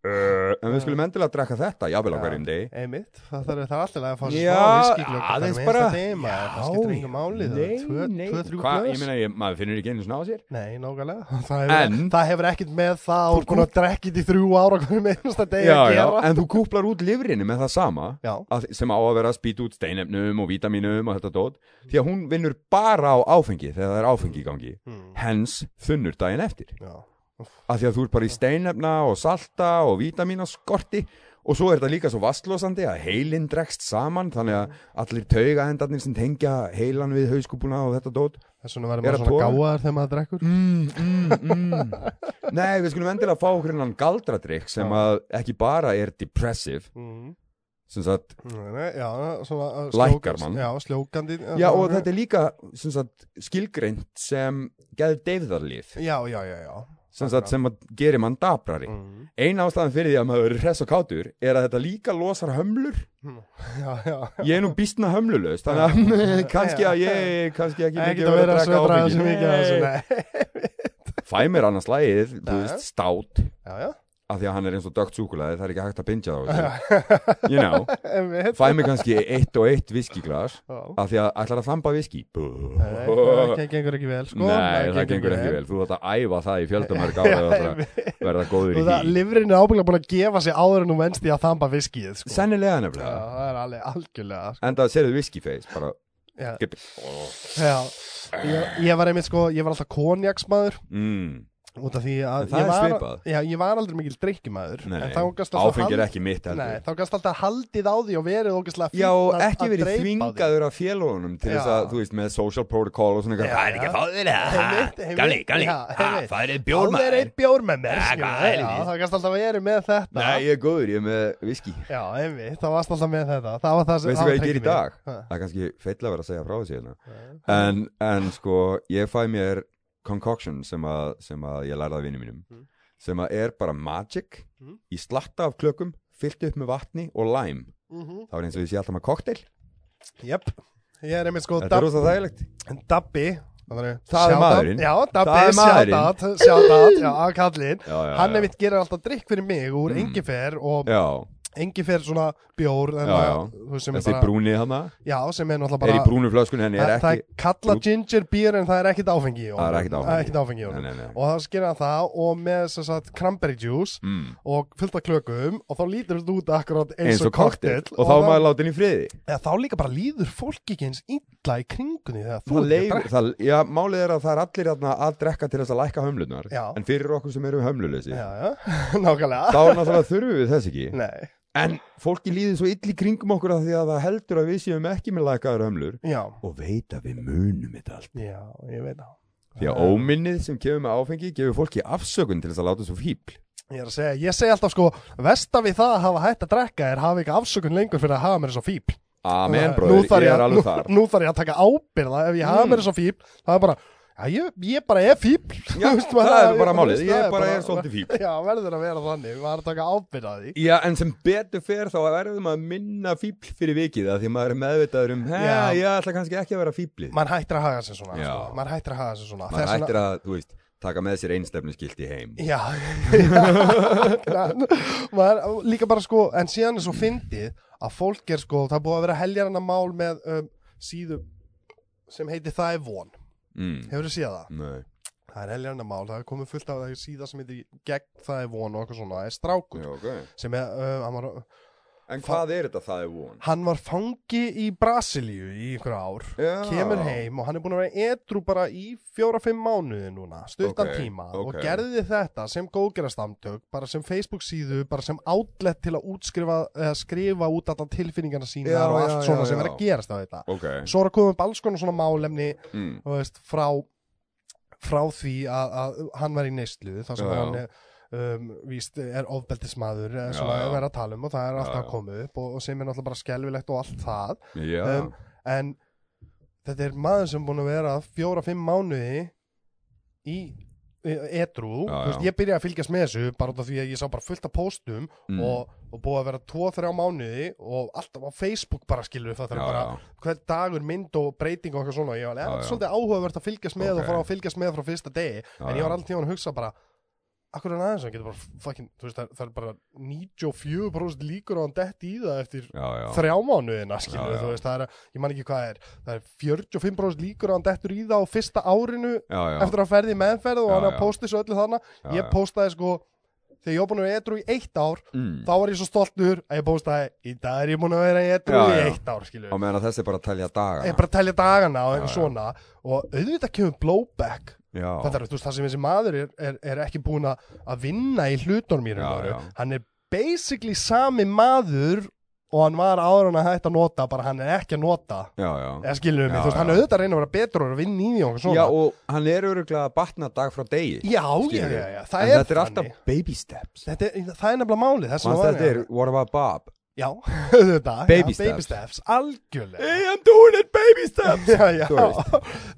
[SPEAKER 2] Eh, en við skulum endilega að drekka þetta jáfnvel á
[SPEAKER 1] Já.
[SPEAKER 2] hverjum degi
[SPEAKER 1] Einmitt, það þarf það er alltaf að fá sér
[SPEAKER 2] Já,
[SPEAKER 1] smá viskiglögg
[SPEAKER 2] aðeins
[SPEAKER 1] hvernig
[SPEAKER 2] bara-
[SPEAKER 1] einsta dema, það
[SPEAKER 2] Já,
[SPEAKER 1] skiptir engum máli það
[SPEAKER 2] nei,
[SPEAKER 1] er tvö,
[SPEAKER 2] nei.
[SPEAKER 1] tvö, þrjú
[SPEAKER 2] Hvað, ég
[SPEAKER 1] glöðs
[SPEAKER 2] meina, ég, maður finnur ekki einu svona á sér
[SPEAKER 1] Nei, nákvæmlega það hefur,
[SPEAKER 2] En-
[SPEAKER 1] það hefur ekkert með það og búin að drekkið í þrjú ára hvernig einsta degi
[SPEAKER 2] já,
[SPEAKER 1] að
[SPEAKER 2] já,
[SPEAKER 1] gera
[SPEAKER 2] en þú kúplar út lifrinu með það sama
[SPEAKER 1] Já,
[SPEAKER 2] að, sem á að vera að spýta út steinefnum og vítaminum og þetta dót því að hún vinnur bara á áfengi þegar það er áfengi í gangi
[SPEAKER 1] Mm.
[SPEAKER 2] hens þunnur daginn eftir
[SPEAKER 1] já,
[SPEAKER 2] að því að þú ert bara í steinefna og salta og vítaminaskorti og svo er þetta líka svo vastlósandi að heilin dregst saman þannig að allir taugaendarnir sem tengja heilan við hauskúpuna og þetta dót
[SPEAKER 1] þess vegna verður
[SPEAKER 2] Er
[SPEAKER 1] maður
[SPEAKER 2] að
[SPEAKER 1] svona
[SPEAKER 2] toga?
[SPEAKER 1] gáðar þegar maður drekkur
[SPEAKER 2] mm, mm, mm. Nei, við skulum endilega fá okkur innan galdradrykk sem að ekki bara er depressive
[SPEAKER 1] mm.
[SPEAKER 2] sem sagt,
[SPEAKER 1] Nei, Já, svona uh,
[SPEAKER 2] Lækkar
[SPEAKER 1] sljók-
[SPEAKER 2] mann.
[SPEAKER 1] Já, sljókandi uh,
[SPEAKER 2] já og
[SPEAKER 1] svona-
[SPEAKER 2] þetta er líka sem sagt, skilgreint sem geð deyfðarlif
[SPEAKER 1] Já, já, já, já
[SPEAKER 2] sem, sagt, sem að gerir mann daprari
[SPEAKER 1] Mm.
[SPEAKER 2] eina ástæðan fyrir því að maður er hress og kátur er að þetta líka losar hömlur
[SPEAKER 1] Já, já.
[SPEAKER 2] ég er nú býstna hömlulaust þannig að kannski að ég kannski ekki
[SPEAKER 1] Ekki
[SPEAKER 2] mikið
[SPEAKER 1] að
[SPEAKER 2] að
[SPEAKER 1] vera
[SPEAKER 2] vera
[SPEAKER 1] að sveitra
[SPEAKER 2] drekka
[SPEAKER 1] þessu mikið að þessu,
[SPEAKER 2] áfengi.
[SPEAKER 1] nei.
[SPEAKER 2] Nei, fæ mér annars lagið, þú
[SPEAKER 1] Já, já.
[SPEAKER 2] veist, stát
[SPEAKER 1] Já, já.
[SPEAKER 2] af því að hann er eins og dögt súkulaði, það er ekki hægt að bingja þá þessu. you know,
[SPEAKER 1] Einmitt.
[SPEAKER 2] fæ mér kannski eitt og eitt viskiglas
[SPEAKER 1] Já.
[SPEAKER 2] af því að ætlar að þamba viski
[SPEAKER 1] Nei, það gengur ekki vel, sko.
[SPEAKER 2] Nei, það gengur ekki vel, þú ætlar að æfa það í fjöldumörg ára og það verða góður í
[SPEAKER 1] Og það,
[SPEAKER 2] því
[SPEAKER 1] livrin er ábygglega búin að gefa sig áður en hún venst í að þamba viskið, sko.
[SPEAKER 2] Sennilega
[SPEAKER 1] Já,
[SPEAKER 2] nefnilega
[SPEAKER 1] það er alveg algjörlega, sko.
[SPEAKER 2] Enda að serðu viskiface bara
[SPEAKER 1] Já.
[SPEAKER 2] Gippi.
[SPEAKER 1] Já, ég, ég var einmitt, sko, ég var alltaf konjaksmaður
[SPEAKER 2] mm,
[SPEAKER 1] út af því að...
[SPEAKER 2] En það
[SPEAKER 1] ég
[SPEAKER 2] er
[SPEAKER 1] var-
[SPEAKER 2] svipað.
[SPEAKER 1] Já, ég var aldrei mikil drikkjumaður.
[SPEAKER 2] Nei,
[SPEAKER 1] en þá gast alltaf
[SPEAKER 2] áfengi er
[SPEAKER 1] hald-
[SPEAKER 2] ekki mitt
[SPEAKER 1] Nei,
[SPEAKER 2] heldur
[SPEAKER 1] þá gast alltaf haldið á því og verið ógeðslega fínt
[SPEAKER 2] Já, og
[SPEAKER 1] að-
[SPEAKER 2] ekki
[SPEAKER 1] að
[SPEAKER 2] verið
[SPEAKER 1] dreypa á því.
[SPEAKER 2] þvingaður af félagunum til þess
[SPEAKER 1] Já.
[SPEAKER 2] að, þú veist, með social protocol og svona eitthvað,
[SPEAKER 1] Já,
[SPEAKER 2] það er
[SPEAKER 1] já.
[SPEAKER 2] ekki að fá þér
[SPEAKER 1] Einmitt,
[SPEAKER 2] eða,
[SPEAKER 1] einmitt,
[SPEAKER 2] gamli, gamli,
[SPEAKER 1] já, einmitt.
[SPEAKER 2] það er
[SPEAKER 1] Bjór
[SPEAKER 2] bjór
[SPEAKER 1] með
[SPEAKER 2] maður
[SPEAKER 1] einn bjór með mér
[SPEAKER 2] Ja,
[SPEAKER 1] skilur
[SPEAKER 2] hvað
[SPEAKER 1] við.
[SPEAKER 2] er
[SPEAKER 1] Já,
[SPEAKER 2] í?
[SPEAKER 1] það kannst alltaf verið með þetta
[SPEAKER 2] Nei, ég er góður, ég er með viski
[SPEAKER 1] Já, einmitt, það varst alltaf með þetta Það var það sem
[SPEAKER 2] Veistu
[SPEAKER 1] það
[SPEAKER 2] hvað ég
[SPEAKER 1] tryggir
[SPEAKER 2] ger í
[SPEAKER 1] mig.
[SPEAKER 2] dag?
[SPEAKER 1] Ha.
[SPEAKER 2] Það er kannski feilla að vera að segja frá þessu hérna en, en sko, ég fæ mér concoction sem að, sem að ég lærði af vinni mínum
[SPEAKER 1] Mm.
[SPEAKER 2] sem að er bara magic
[SPEAKER 1] Mm.
[SPEAKER 2] í slatta af klökum, fyllt upp með vatni og lime.
[SPEAKER 1] Mhm.
[SPEAKER 2] Það var eins og ég sé alltaf með koktel.
[SPEAKER 1] Jöp, ég er einmitt sko
[SPEAKER 2] Þetta er
[SPEAKER 1] Dab-
[SPEAKER 2] rosa þægilegt.
[SPEAKER 1] Dabbi Það er
[SPEAKER 2] Það er
[SPEAKER 1] shout out.
[SPEAKER 2] maðurinn.
[SPEAKER 1] Já,
[SPEAKER 2] Það
[SPEAKER 1] Dabbi,
[SPEAKER 2] er maðurinn.
[SPEAKER 1] sjátat Sjátat, já, að kallinn
[SPEAKER 2] Já, já,
[SPEAKER 1] Hann
[SPEAKER 2] já.
[SPEAKER 1] einmitt gerir alltaf drikk fyrir mig úr
[SPEAKER 2] Mm.
[SPEAKER 1] engifer og
[SPEAKER 2] Já,
[SPEAKER 1] engifer svona bjór en
[SPEAKER 2] Já,
[SPEAKER 1] að-
[SPEAKER 2] já.
[SPEAKER 1] þú veist, sem er
[SPEAKER 2] þessi
[SPEAKER 1] bara-
[SPEAKER 2] brúni hana
[SPEAKER 1] Já, sem er náttúrulega
[SPEAKER 2] er í
[SPEAKER 1] bara
[SPEAKER 2] brúnu flöskunni en er
[SPEAKER 1] Það það
[SPEAKER 2] ekki
[SPEAKER 1] er kalla
[SPEAKER 2] brú-
[SPEAKER 1] ginger beer en það er ekkit áfengi í honum.
[SPEAKER 2] Það er ekkit áfengi.
[SPEAKER 1] Það er ekkit áfengi í honum.
[SPEAKER 2] Nei, nei, nei.
[SPEAKER 1] og það skilja það og með sem sagt cranberry juice
[SPEAKER 2] Mm.
[SPEAKER 1] og fullt af klökum og þá lítur þetta út akkurat eins,
[SPEAKER 2] eins og koktel og þá
[SPEAKER 1] þá,
[SPEAKER 2] er maður látið í friði
[SPEAKER 1] eða, þá líka bara líður fólk ekki eins illa í kringunni þegar þú ert
[SPEAKER 2] það
[SPEAKER 1] ekki að
[SPEAKER 2] leifir,
[SPEAKER 1] drekka.
[SPEAKER 2] það, já, málið er að það er allir þarna að drekka til þess að lækka hömlunar
[SPEAKER 1] Já.
[SPEAKER 2] en fyrir okkur sem eru
[SPEAKER 1] Já,
[SPEAKER 2] hömluleysi
[SPEAKER 1] Mm. já, nákvæmlega
[SPEAKER 2] þá náttúrulega þurfum við þess ekki
[SPEAKER 1] Nei,
[SPEAKER 2] en fólki líður svo illi kringum okkur að því að það heldur að við séum ekki með lækkaðar hömlur
[SPEAKER 1] já,
[SPEAKER 2] og veit að við munum þetta allt
[SPEAKER 1] já, ég veit það
[SPEAKER 2] því að óminnið sem kemur með áfengi gefur fólki afsökun til þess að láta svo fíbl
[SPEAKER 1] Ég er að segja, ég segi alltaf sko Vesta við það að hafa hætt að drekka er hafa ekki afsökun lengur fyrir að hafa mér svo fíbl
[SPEAKER 2] Amen,
[SPEAKER 1] Það- nú
[SPEAKER 2] bróður,
[SPEAKER 1] þarf
[SPEAKER 2] ég er
[SPEAKER 1] að-
[SPEAKER 2] alveg þar
[SPEAKER 1] Nú, nú þarf ég að taka ábyrða ef ég hafa
[SPEAKER 2] Mm.
[SPEAKER 1] mér svo fíbl Það er bara, já, ég, ég bara er fíbl
[SPEAKER 2] Já,
[SPEAKER 1] Þú veist,
[SPEAKER 2] það
[SPEAKER 1] maður-
[SPEAKER 2] er bara
[SPEAKER 1] þú
[SPEAKER 2] málið,
[SPEAKER 1] veist, það
[SPEAKER 2] ég bara er svolítið fíbl
[SPEAKER 1] Já, verður að vera þannig, maður er að taka ábyrða því
[SPEAKER 2] Já, en sem betur fer þá verðum að minna fíbl fyrir vikið að því að maður er meðvitaður um, hei,
[SPEAKER 1] Já.
[SPEAKER 2] ég ætla kannski ekki að vera fíblið.
[SPEAKER 1] Maður hættir að haga sér svona,
[SPEAKER 2] Já.
[SPEAKER 1] sko. maður hættir að haga sér svona
[SPEAKER 2] maður ættir að, þú veist, taka með sér einstefnuskilti heim.
[SPEAKER 1] Já, já maður, líka bara sko, en síðan er svo fyndið að fólk er sko, það er búið að vera heljarna mál með um, síðu sem heitir Það er von,
[SPEAKER 2] Mm.
[SPEAKER 1] hefur þið séð það?
[SPEAKER 2] Nei.
[SPEAKER 1] Það er heljarna mál, það er komið fullt af það er síða sem heitir gegn Það er von og eitthvað svona, það er strákur
[SPEAKER 2] Já, ok.
[SPEAKER 1] sem er, uh, hann, var,
[SPEAKER 2] En hvað er þetta það er von?
[SPEAKER 1] hann var fangi í Brasilíu í einhverja ár
[SPEAKER 2] Já.
[SPEAKER 1] kemur heim og hann er búin að vera edru bara í fjóra-fimm mánuði núna, stuttan
[SPEAKER 2] Ok,
[SPEAKER 1] tíma
[SPEAKER 2] ok.
[SPEAKER 1] og gerði þetta sem góðgerastamtök bara sem Facebook síðu, bara sem outlet til að útskrifa, eða skrifa út allan tilfinningarna sínar
[SPEAKER 2] Já,
[SPEAKER 1] og
[SPEAKER 2] já,
[SPEAKER 1] allt
[SPEAKER 2] já,
[SPEAKER 1] svona
[SPEAKER 2] já.
[SPEAKER 1] sem er að gerast á þetta
[SPEAKER 2] Ok.
[SPEAKER 1] svo er að koma upp alls konar svona málefni
[SPEAKER 2] Mm.
[SPEAKER 1] þú veist, frá frá því að, að hann var í neyslu þar sem
[SPEAKER 2] Já, já.
[SPEAKER 1] hann er Um, víst, er ofbeldismadur eða
[SPEAKER 2] Já,
[SPEAKER 1] svona
[SPEAKER 2] já.
[SPEAKER 1] er að tala um og það er alltaf
[SPEAKER 2] já.
[SPEAKER 1] að koma upp og, og sem er náttúrulega bara skelfilegt og allt það
[SPEAKER 2] Já.
[SPEAKER 1] Um, en þetta er maður sem er búin að vera fjóra-fimm mánuði í edru,
[SPEAKER 2] Já,
[SPEAKER 1] Þú veist,
[SPEAKER 2] já.
[SPEAKER 1] ég byrjaði að fylgjast með þessu bara út af því að ég sá bara fullt af póstum
[SPEAKER 2] Mm.
[SPEAKER 1] og, og búið að vera 2-3 mánuði og alltaf á Facebook bara skilur það
[SPEAKER 2] já,
[SPEAKER 1] þegar bara
[SPEAKER 2] já.
[SPEAKER 1] hver dagur mynd og breyting og eitthvað svona, ég var alveg,
[SPEAKER 2] Já,
[SPEAKER 1] "Eh,
[SPEAKER 2] já.
[SPEAKER 1] svolítið áhugavert að fylgjast með og
[SPEAKER 2] Ok.
[SPEAKER 1] fara að fylgjast með frá fyrsta degi,
[SPEAKER 2] Já,
[SPEAKER 1] en ég var
[SPEAKER 2] já.
[SPEAKER 1] alltaf tíðan að hugsa bara akkur er hann aðeins, hann getur bara fucking, þú veist, það, það er bara 94% líkur á hann dett í það eftir
[SPEAKER 2] Já, já.
[SPEAKER 1] þrjá mánuðina skilur
[SPEAKER 2] Já, já.
[SPEAKER 1] þú veist, það er, ég man ekki hvað er það er 45% líkur að hann dettur í það á fyrsta árinu
[SPEAKER 2] Já, já.
[SPEAKER 1] eftir að ferði meðferð og
[SPEAKER 2] Já,
[SPEAKER 1] hann
[SPEAKER 2] já.
[SPEAKER 1] að posti svo öllu þarna
[SPEAKER 2] Já,
[SPEAKER 1] ég
[SPEAKER 2] já.
[SPEAKER 1] postaði sko, þegar ég var búin að vera edru í eitt ár
[SPEAKER 2] Mm.
[SPEAKER 1] þá var ég svo stoltur að ég postaði í dag er ég búin að vera edru
[SPEAKER 2] Já,
[SPEAKER 1] í
[SPEAKER 2] já.
[SPEAKER 1] eitt ár skilur
[SPEAKER 2] Á meðan að þessi bara að telja daga.
[SPEAKER 1] ég er bara að telja dagana og
[SPEAKER 2] Já,
[SPEAKER 1] eitthvað
[SPEAKER 2] já.
[SPEAKER 1] svona og auðvitað kemur blowback
[SPEAKER 2] Já.
[SPEAKER 1] þetta er þú veist það sem þessi maður er, er, er ekki búin að að vinna í hlutunum í raun og
[SPEAKER 2] Já,
[SPEAKER 1] veru.
[SPEAKER 2] já.
[SPEAKER 1] hann er basically sami maður og hann var áður en að hætta að nota bara hann er ekki að nota
[SPEAKER 2] Já, já.
[SPEAKER 1] eða skilur við mig,
[SPEAKER 2] Já,
[SPEAKER 1] þú veist,
[SPEAKER 2] já.
[SPEAKER 1] hann er auðvitað að reyna að vera betur og er að vinna í því og eitthvað
[SPEAKER 2] Já,
[SPEAKER 1] svona
[SPEAKER 2] og hann er öruglega að batna dag frá degi.
[SPEAKER 1] já, já,
[SPEAKER 2] skilur.
[SPEAKER 1] já, já,
[SPEAKER 2] en
[SPEAKER 1] það er
[SPEAKER 2] þetta er
[SPEAKER 1] þannig
[SPEAKER 2] alltaf baby steps
[SPEAKER 1] þetta er, það er nefnilega málið það sem
[SPEAKER 2] Manst
[SPEAKER 1] var- hérna.
[SPEAKER 2] þetta er What About Bob
[SPEAKER 1] Já, þetta,
[SPEAKER 2] Baby
[SPEAKER 1] já, baby
[SPEAKER 2] steps.
[SPEAKER 1] steps, algjörlega
[SPEAKER 2] I'm doing it baby steps
[SPEAKER 1] Já, já,
[SPEAKER 2] Þú veist.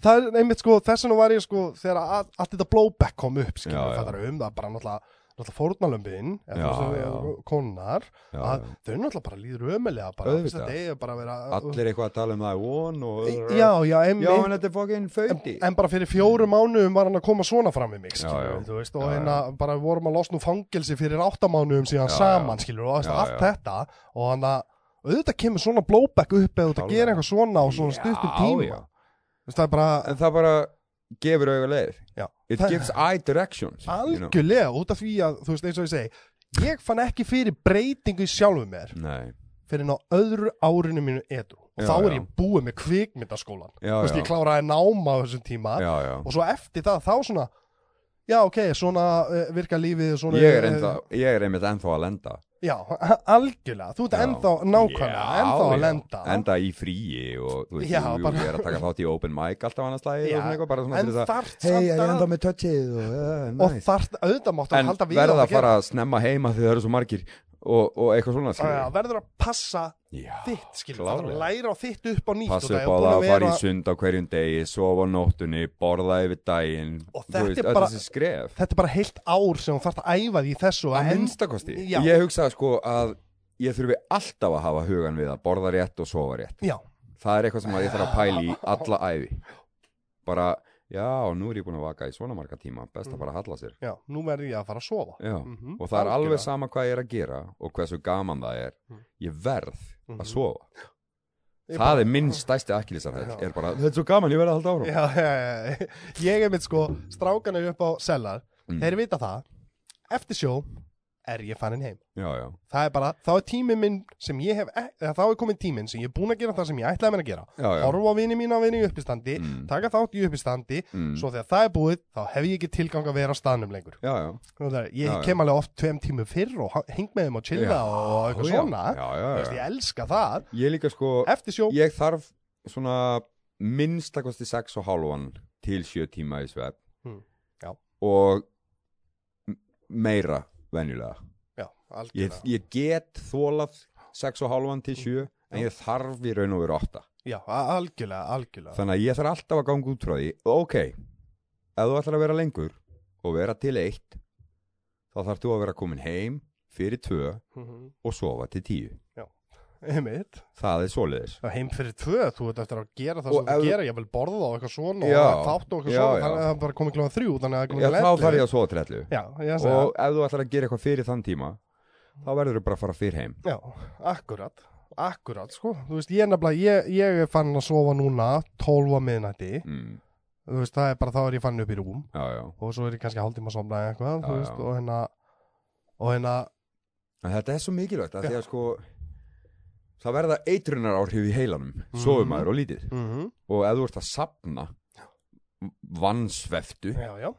[SPEAKER 1] það er einmitt sko, þess vegna var ég sko, þegar að- allt þetta blowback kom upp,
[SPEAKER 2] Já,
[SPEAKER 1] skiljum
[SPEAKER 2] já.
[SPEAKER 1] við um, það er bara náttúrulega, náttúrulega fórnalömbin,
[SPEAKER 2] Já, já.
[SPEAKER 1] konar,
[SPEAKER 2] Já,
[SPEAKER 1] eh, að
[SPEAKER 2] já.
[SPEAKER 1] þau náttúrulega bara líður ömulega bara,
[SPEAKER 2] Auðvitað.
[SPEAKER 1] þess að deyja bara að vera...
[SPEAKER 2] Allir eitthvað að tala um það von og
[SPEAKER 1] Já, já, einmitt.
[SPEAKER 2] Já, en þetta er fokkin föti
[SPEAKER 1] En bara fyrir fjórum mánuðum var hann að koma svona fram við mig,
[SPEAKER 2] Já,
[SPEAKER 1] skilur
[SPEAKER 2] já.
[SPEAKER 1] þú veist, og
[SPEAKER 2] Já, já.
[SPEAKER 1] hérna bara við vorum að losna úr fangelsi fyrir áttamánuðum síðan
[SPEAKER 2] Já,
[SPEAKER 1] saman,
[SPEAKER 2] já.
[SPEAKER 1] skilur og veist,
[SPEAKER 2] Já,
[SPEAKER 1] allt
[SPEAKER 2] já.
[SPEAKER 1] þetta, og hann að auðvitað kemur svona blowback upp eða þú ert að
[SPEAKER 2] Klálega.
[SPEAKER 1] gera eitthvað svona á svona stuttum tíma,
[SPEAKER 2] já.
[SPEAKER 1] Þú veist, það er bara
[SPEAKER 2] En það bara gefur auga leið
[SPEAKER 1] Já.
[SPEAKER 2] It
[SPEAKER 1] Það-
[SPEAKER 2] gives eye directions you know.
[SPEAKER 1] algjörlega út af því að, þú veist, eins og ég segi ég fann ekki fyrir breytingu í sjálfu mér
[SPEAKER 2] Nei,
[SPEAKER 1] fyrir ná öðru árinu mínu edru og
[SPEAKER 2] Já,
[SPEAKER 1] þá er
[SPEAKER 2] já.
[SPEAKER 1] ég búið með kvikmyndaskólan
[SPEAKER 2] já,
[SPEAKER 1] þú veist,
[SPEAKER 2] já
[SPEAKER 1] ég kláraði náma á þessum tíma
[SPEAKER 2] Já, já
[SPEAKER 1] og svo eftir það, þá svona já, ok, svona uh, virka lífið svona,
[SPEAKER 2] Ég er,
[SPEAKER 1] eh,
[SPEAKER 2] ennþá, ég er einmitt ennþá að lenda
[SPEAKER 1] já, algjörlega, þú ert
[SPEAKER 2] Já.
[SPEAKER 1] ennþá nákvæmlega,
[SPEAKER 2] Já,
[SPEAKER 1] ennþá
[SPEAKER 2] já.
[SPEAKER 1] að lenda
[SPEAKER 2] Enda í fríi og þú veist,
[SPEAKER 1] Já,
[SPEAKER 2] jú, jú,
[SPEAKER 1] bara-
[SPEAKER 2] ég er að taka þátt í open mic alltaf annars lagi
[SPEAKER 1] Já,
[SPEAKER 2] og svona eitthvað bara svona
[SPEAKER 1] en
[SPEAKER 2] til þess að
[SPEAKER 1] þarft
[SPEAKER 2] Hei,
[SPEAKER 1] samt
[SPEAKER 2] ég er
[SPEAKER 1] að
[SPEAKER 2] ennþá með touchið og, uh,
[SPEAKER 1] og þarft, auðvitað máttu
[SPEAKER 2] En
[SPEAKER 1] að halda við
[SPEAKER 2] verða
[SPEAKER 1] átt
[SPEAKER 2] að fara að snemma heima því það eru svo margir og, og eitthvað svona
[SPEAKER 1] gera- Já,
[SPEAKER 2] skilur.
[SPEAKER 1] verður að passa
[SPEAKER 2] Já,
[SPEAKER 1] þitt, skilur, það er að
[SPEAKER 2] klárlega.
[SPEAKER 1] læra á þitt upp á nýtt og
[SPEAKER 2] Passa
[SPEAKER 1] það er
[SPEAKER 2] upp á
[SPEAKER 1] búin
[SPEAKER 2] það
[SPEAKER 1] að
[SPEAKER 2] að fara
[SPEAKER 1] vera-
[SPEAKER 2] í sund á hverjum degi, sofa á nóttunni, borða yfir daginn
[SPEAKER 1] Og
[SPEAKER 2] þú
[SPEAKER 1] þetta er
[SPEAKER 2] öll
[SPEAKER 1] bara-
[SPEAKER 2] þessi skref
[SPEAKER 1] þetta er bara heilt ár sem þú þarf að æfa því í þessu og
[SPEAKER 2] Að
[SPEAKER 1] en-
[SPEAKER 2] minnstakosti
[SPEAKER 1] Já.
[SPEAKER 2] Ég hugsaði sko að ég þurfi alltaf að hafa hugan við að borða rétt og sofa rétt
[SPEAKER 1] já,
[SPEAKER 2] Það er eitthvað sem að ég þarf að pæla í alla æfi Bara, já, nú er ég búin að vaka í svona marga tíma Best
[SPEAKER 1] Mm.
[SPEAKER 2] að bara halla sér
[SPEAKER 1] já, nú verður ég að fara að sofa
[SPEAKER 2] Já,
[SPEAKER 1] Mhm,
[SPEAKER 2] og það er
[SPEAKER 1] algjörlega.
[SPEAKER 2] alveg sama hvað ég er að gera og hversu gaman það er
[SPEAKER 1] Mm.
[SPEAKER 2] ég verð
[SPEAKER 1] Mhm.
[SPEAKER 2] að sofa
[SPEAKER 1] Ég
[SPEAKER 2] það er minn stæsti akkilísarhæll
[SPEAKER 1] Já.
[SPEAKER 2] er bara, þetta er svo gaman, ég verð að halda áfram
[SPEAKER 1] já, já, já, já. ég er mitt sko strákan er upp á sellar
[SPEAKER 2] Mm.
[SPEAKER 1] þeir vita það, eftir sjó er ég fannin heim
[SPEAKER 2] já, já,
[SPEAKER 1] það er bara, þá er tíminn minn sem ég hef ek- eða þá er komin tíminn sem ég er búin að gera það sem ég ætlaði mér að gera
[SPEAKER 2] já, já.
[SPEAKER 1] horfa á vini mína og vini í uppistandi
[SPEAKER 2] Mm.
[SPEAKER 1] taka þátt í uppistandi
[SPEAKER 2] Mm.
[SPEAKER 1] svo þegar það er búið, þá hef ég ekki tilgang að vera á staðnum lengur
[SPEAKER 2] já, já,
[SPEAKER 1] Nú, Sko, það er- Ég
[SPEAKER 2] Já, já.
[SPEAKER 1] kem alveg oft tveim tímum fyrr og ha- heng með þeim og chilla
[SPEAKER 2] Já,
[SPEAKER 1] og eitthvað
[SPEAKER 2] já,
[SPEAKER 1] svona
[SPEAKER 2] já, já,
[SPEAKER 1] Þú
[SPEAKER 2] já.
[SPEAKER 1] veist, Ég elska það
[SPEAKER 2] ég líka sko,
[SPEAKER 1] Eftir sjó
[SPEAKER 2] ég þarf svona minnstakosti 6 og hálfan til 7 tíma í svefn
[SPEAKER 1] Mm, já.
[SPEAKER 2] og m- meira venjulega
[SPEAKER 1] Já,
[SPEAKER 2] ég,
[SPEAKER 1] algjörlega
[SPEAKER 2] ég get þólað 6 og hálfan til 7 en ég þarf í raun og veru 8
[SPEAKER 1] Já, a- algjörlega, algjörlega
[SPEAKER 2] Þannig að ég þarf alltaf að ganga út frá því Ok, ef þú ætlar að vera lengur og vera til eitt þá þarf þú að vera komin heim fyrir tvö
[SPEAKER 1] Mhm.
[SPEAKER 2] og sofa til tíu
[SPEAKER 1] Einmitt
[SPEAKER 2] Það er svoleiðis
[SPEAKER 1] Og Heim fyrir tvö, þú veit eftir að gera það
[SPEAKER 2] Og
[SPEAKER 1] sem þú
[SPEAKER 2] ef-
[SPEAKER 1] gera Ég vil borða það og eitthvað svona
[SPEAKER 2] Já,
[SPEAKER 1] og þátt og eitthvað
[SPEAKER 2] já,
[SPEAKER 1] svona
[SPEAKER 2] já.
[SPEAKER 1] Þannig að það bara komið kljóðan þrjú Þannig að það
[SPEAKER 2] Já,
[SPEAKER 1] komið
[SPEAKER 2] þá þarf ég að sofa til ellu
[SPEAKER 1] Já, ég segi
[SPEAKER 2] Og ef þú ætlar að gera eitthvað fyrir þann tíma þá verður þú bara að fara fyrir heim
[SPEAKER 1] Já, akkurat Akkurat, sko Þú veist, ég er nefnilega Ég, ég er fann að sofa núna 12 á miðnætti
[SPEAKER 2] mm,
[SPEAKER 1] Þú veist, það er bara þá er ég fann upp í rúm
[SPEAKER 2] Já, já
[SPEAKER 1] og svo er ég kannski hálftíma að somna eða eitthvað, þú
[SPEAKER 2] Já,
[SPEAKER 1] veist,
[SPEAKER 2] já.
[SPEAKER 1] og hérna og hérna,
[SPEAKER 2] En Þetta er svo mikilvægt að því að sko það verða eitrunar áhrif í heilanum sofum maður og lítið
[SPEAKER 1] mhm,
[SPEAKER 2] og ef þú ert að sapna vansveftu
[SPEAKER 1] já, já,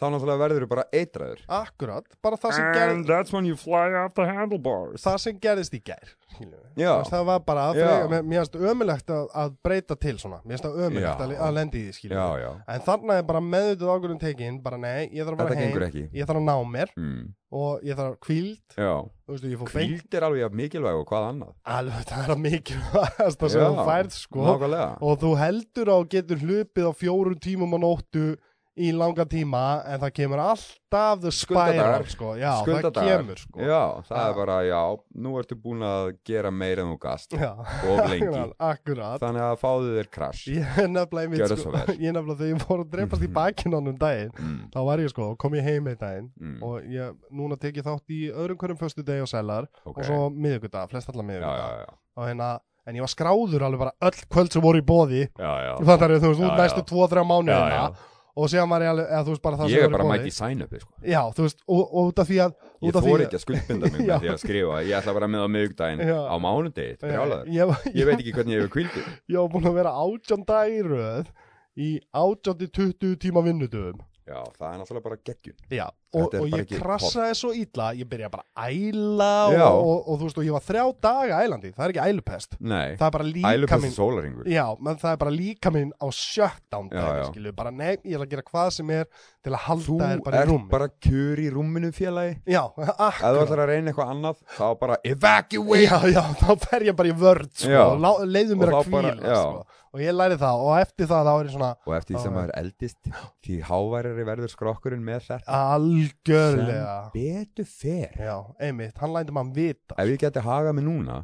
[SPEAKER 2] þá náttúrulega verður þú bara eitraður
[SPEAKER 1] akkurat bara það sem, gerð,
[SPEAKER 2] that's when you fly off the handlebars
[SPEAKER 1] það sem gerðist í gær skilur við.
[SPEAKER 2] Já.
[SPEAKER 1] Þú veist, það var bara að
[SPEAKER 2] Já.
[SPEAKER 1] frega, mér, mér finnst ömulegt að, að breyta til svona, mér finnst það ömulegt
[SPEAKER 2] Já.
[SPEAKER 1] að, að lendi í því, skilur
[SPEAKER 2] Já,
[SPEAKER 1] við.
[SPEAKER 2] já
[SPEAKER 1] en þarna er bara meðvituð ákvörðum tekin bara nei, ég þarf að
[SPEAKER 2] Þetta
[SPEAKER 1] fara heim
[SPEAKER 2] gengur ekki
[SPEAKER 1] ég þarf að ná mér
[SPEAKER 2] mm.
[SPEAKER 1] og ég þarf að kvíld
[SPEAKER 2] Já
[SPEAKER 1] þú veist, ég fór beint
[SPEAKER 2] Kvíld er alveg jafn mikilvæg og hvað annað
[SPEAKER 1] alveg, það er að mikilvægast það sem
[SPEAKER 2] Já,
[SPEAKER 1] þú færð, sko
[SPEAKER 2] Nákvæmlega
[SPEAKER 1] og þú heldur að þú getur hlupið á fjórum tímum á nóttu í langa tíma en það kemur alltaf the spiral
[SPEAKER 2] Skuldadagar.
[SPEAKER 1] sko. já, það
[SPEAKER 2] Skuldadagar.
[SPEAKER 1] kemur sko.
[SPEAKER 2] Já, það
[SPEAKER 1] Já.
[SPEAKER 2] er bara, já, nú ertu búin að gera meira en þú gast
[SPEAKER 1] já.
[SPEAKER 2] og lengi
[SPEAKER 1] akkurat
[SPEAKER 2] Þannig að fáðu þér krash
[SPEAKER 1] ég er nefnilega einmitt,
[SPEAKER 2] Gjörðu
[SPEAKER 1] sko,
[SPEAKER 2] svo vel. Mhm.
[SPEAKER 1] ég er nefnilega þegar ég fór að drefast í bakinanum um daginn
[SPEAKER 2] mm,
[SPEAKER 1] þá var ég sko, kom ég heim einn daginn
[SPEAKER 2] mm,
[SPEAKER 1] og ég, núna tek ég þátt í öðrum hverjum föstu degi og selar og
[SPEAKER 2] Ok,
[SPEAKER 1] svo miðugudag, flest allar
[SPEAKER 2] já, já,
[SPEAKER 1] miðugudag
[SPEAKER 2] já,
[SPEAKER 1] og hérna, en ég var skráður alveg bara öll kvöld sem voru í bóði
[SPEAKER 2] já, já.
[SPEAKER 1] þannig að þú veist, út
[SPEAKER 2] Já, já.
[SPEAKER 1] næstu 2-3 mánuðina
[SPEAKER 2] já, já.
[SPEAKER 1] og séðan var ég alveg, eða þú veist bara það sem
[SPEAKER 2] Ég er
[SPEAKER 1] var í
[SPEAKER 2] bara
[SPEAKER 1] boði.
[SPEAKER 2] mætt í sign-upi sko.
[SPEAKER 1] Já, þú veist, og, og út af því að
[SPEAKER 2] Ég
[SPEAKER 1] út af
[SPEAKER 2] þóri ekki að skuldbinda mig
[SPEAKER 1] Já.
[SPEAKER 2] með því að skrifa Ég ætla að vera með á miðugdæin
[SPEAKER 1] Já.
[SPEAKER 2] á mánudegi Þetta er brjálaður
[SPEAKER 1] Ég, ég,
[SPEAKER 2] Ég veit ekki hvernig ég hefur kvíldur
[SPEAKER 1] ég var búin að vera átján dag í röð í átján til 20 tíma vinnudöfum
[SPEAKER 2] Já, það er náttúrulega bara geggjum
[SPEAKER 1] Já, og,
[SPEAKER 2] Þetta er
[SPEAKER 1] og
[SPEAKER 2] bara
[SPEAKER 1] ég
[SPEAKER 2] ekki
[SPEAKER 1] krassaði svo illa ég byrja bara að æla og,
[SPEAKER 2] Já.
[SPEAKER 1] og, og, þú veist og ég var þrjá daga ælandi það er ekki ælupest
[SPEAKER 2] Nei,
[SPEAKER 1] það er bara líka
[SPEAKER 2] ælupest
[SPEAKER 1] minn
[SPEAKER 2] sólaringur
[SPEAKER 1] já, menn það er bara líka minn á shutdown
[SPEAKER 2] Já,
[SPEAKER 1] dæmi,
[SPEAKER 2] já.
[SPEAKER 1] skilju, bara nei, ég er að gera hvað sem er til að halda
[SPEAKER 2] Þú
[SPEAKER 1] þér bara í
[SPEAKER 2] ert
[SPEAKER 1] rúmi
[SPEAKER 2] bara kjur í rúminu félagi
[SPEAKER 1] já,
[SPEAKER 2] Ef þú
[SPEAKER 1] akkurat
[SPEAKER 2] ætlar að reyna eitthvað annað, þá bara evacuate
[SPEAKER 1] já, já, þá fer ég bara í vörð sko,
[SPEAKER 2] Já.
[SPEAKER 1] og lá- leiðu mér
[SPEAKER 2] Og
[SPEAKER 1] að
[SPEAKER 2] þá bara-
[SPEAKER 1] kvíla
[SPEAKER 2] já.
[SPEAKER 1] sko. og ég læri það og eftir það þá er ég svona
[SPEAKER 2] Og eftir því sem
[SPEAKER 1] Já.
[SPEAKER 2] maður eldist, því háværari verður skrokkurinn með þetta
[SPEAKER 1] algjörlega
[SPEAKER 2] sem betur fer
[SPEAKER 1] já, einmitt, hann lændi maður vita
[SPEAKER 2] Ef ég geti hagað mig núna,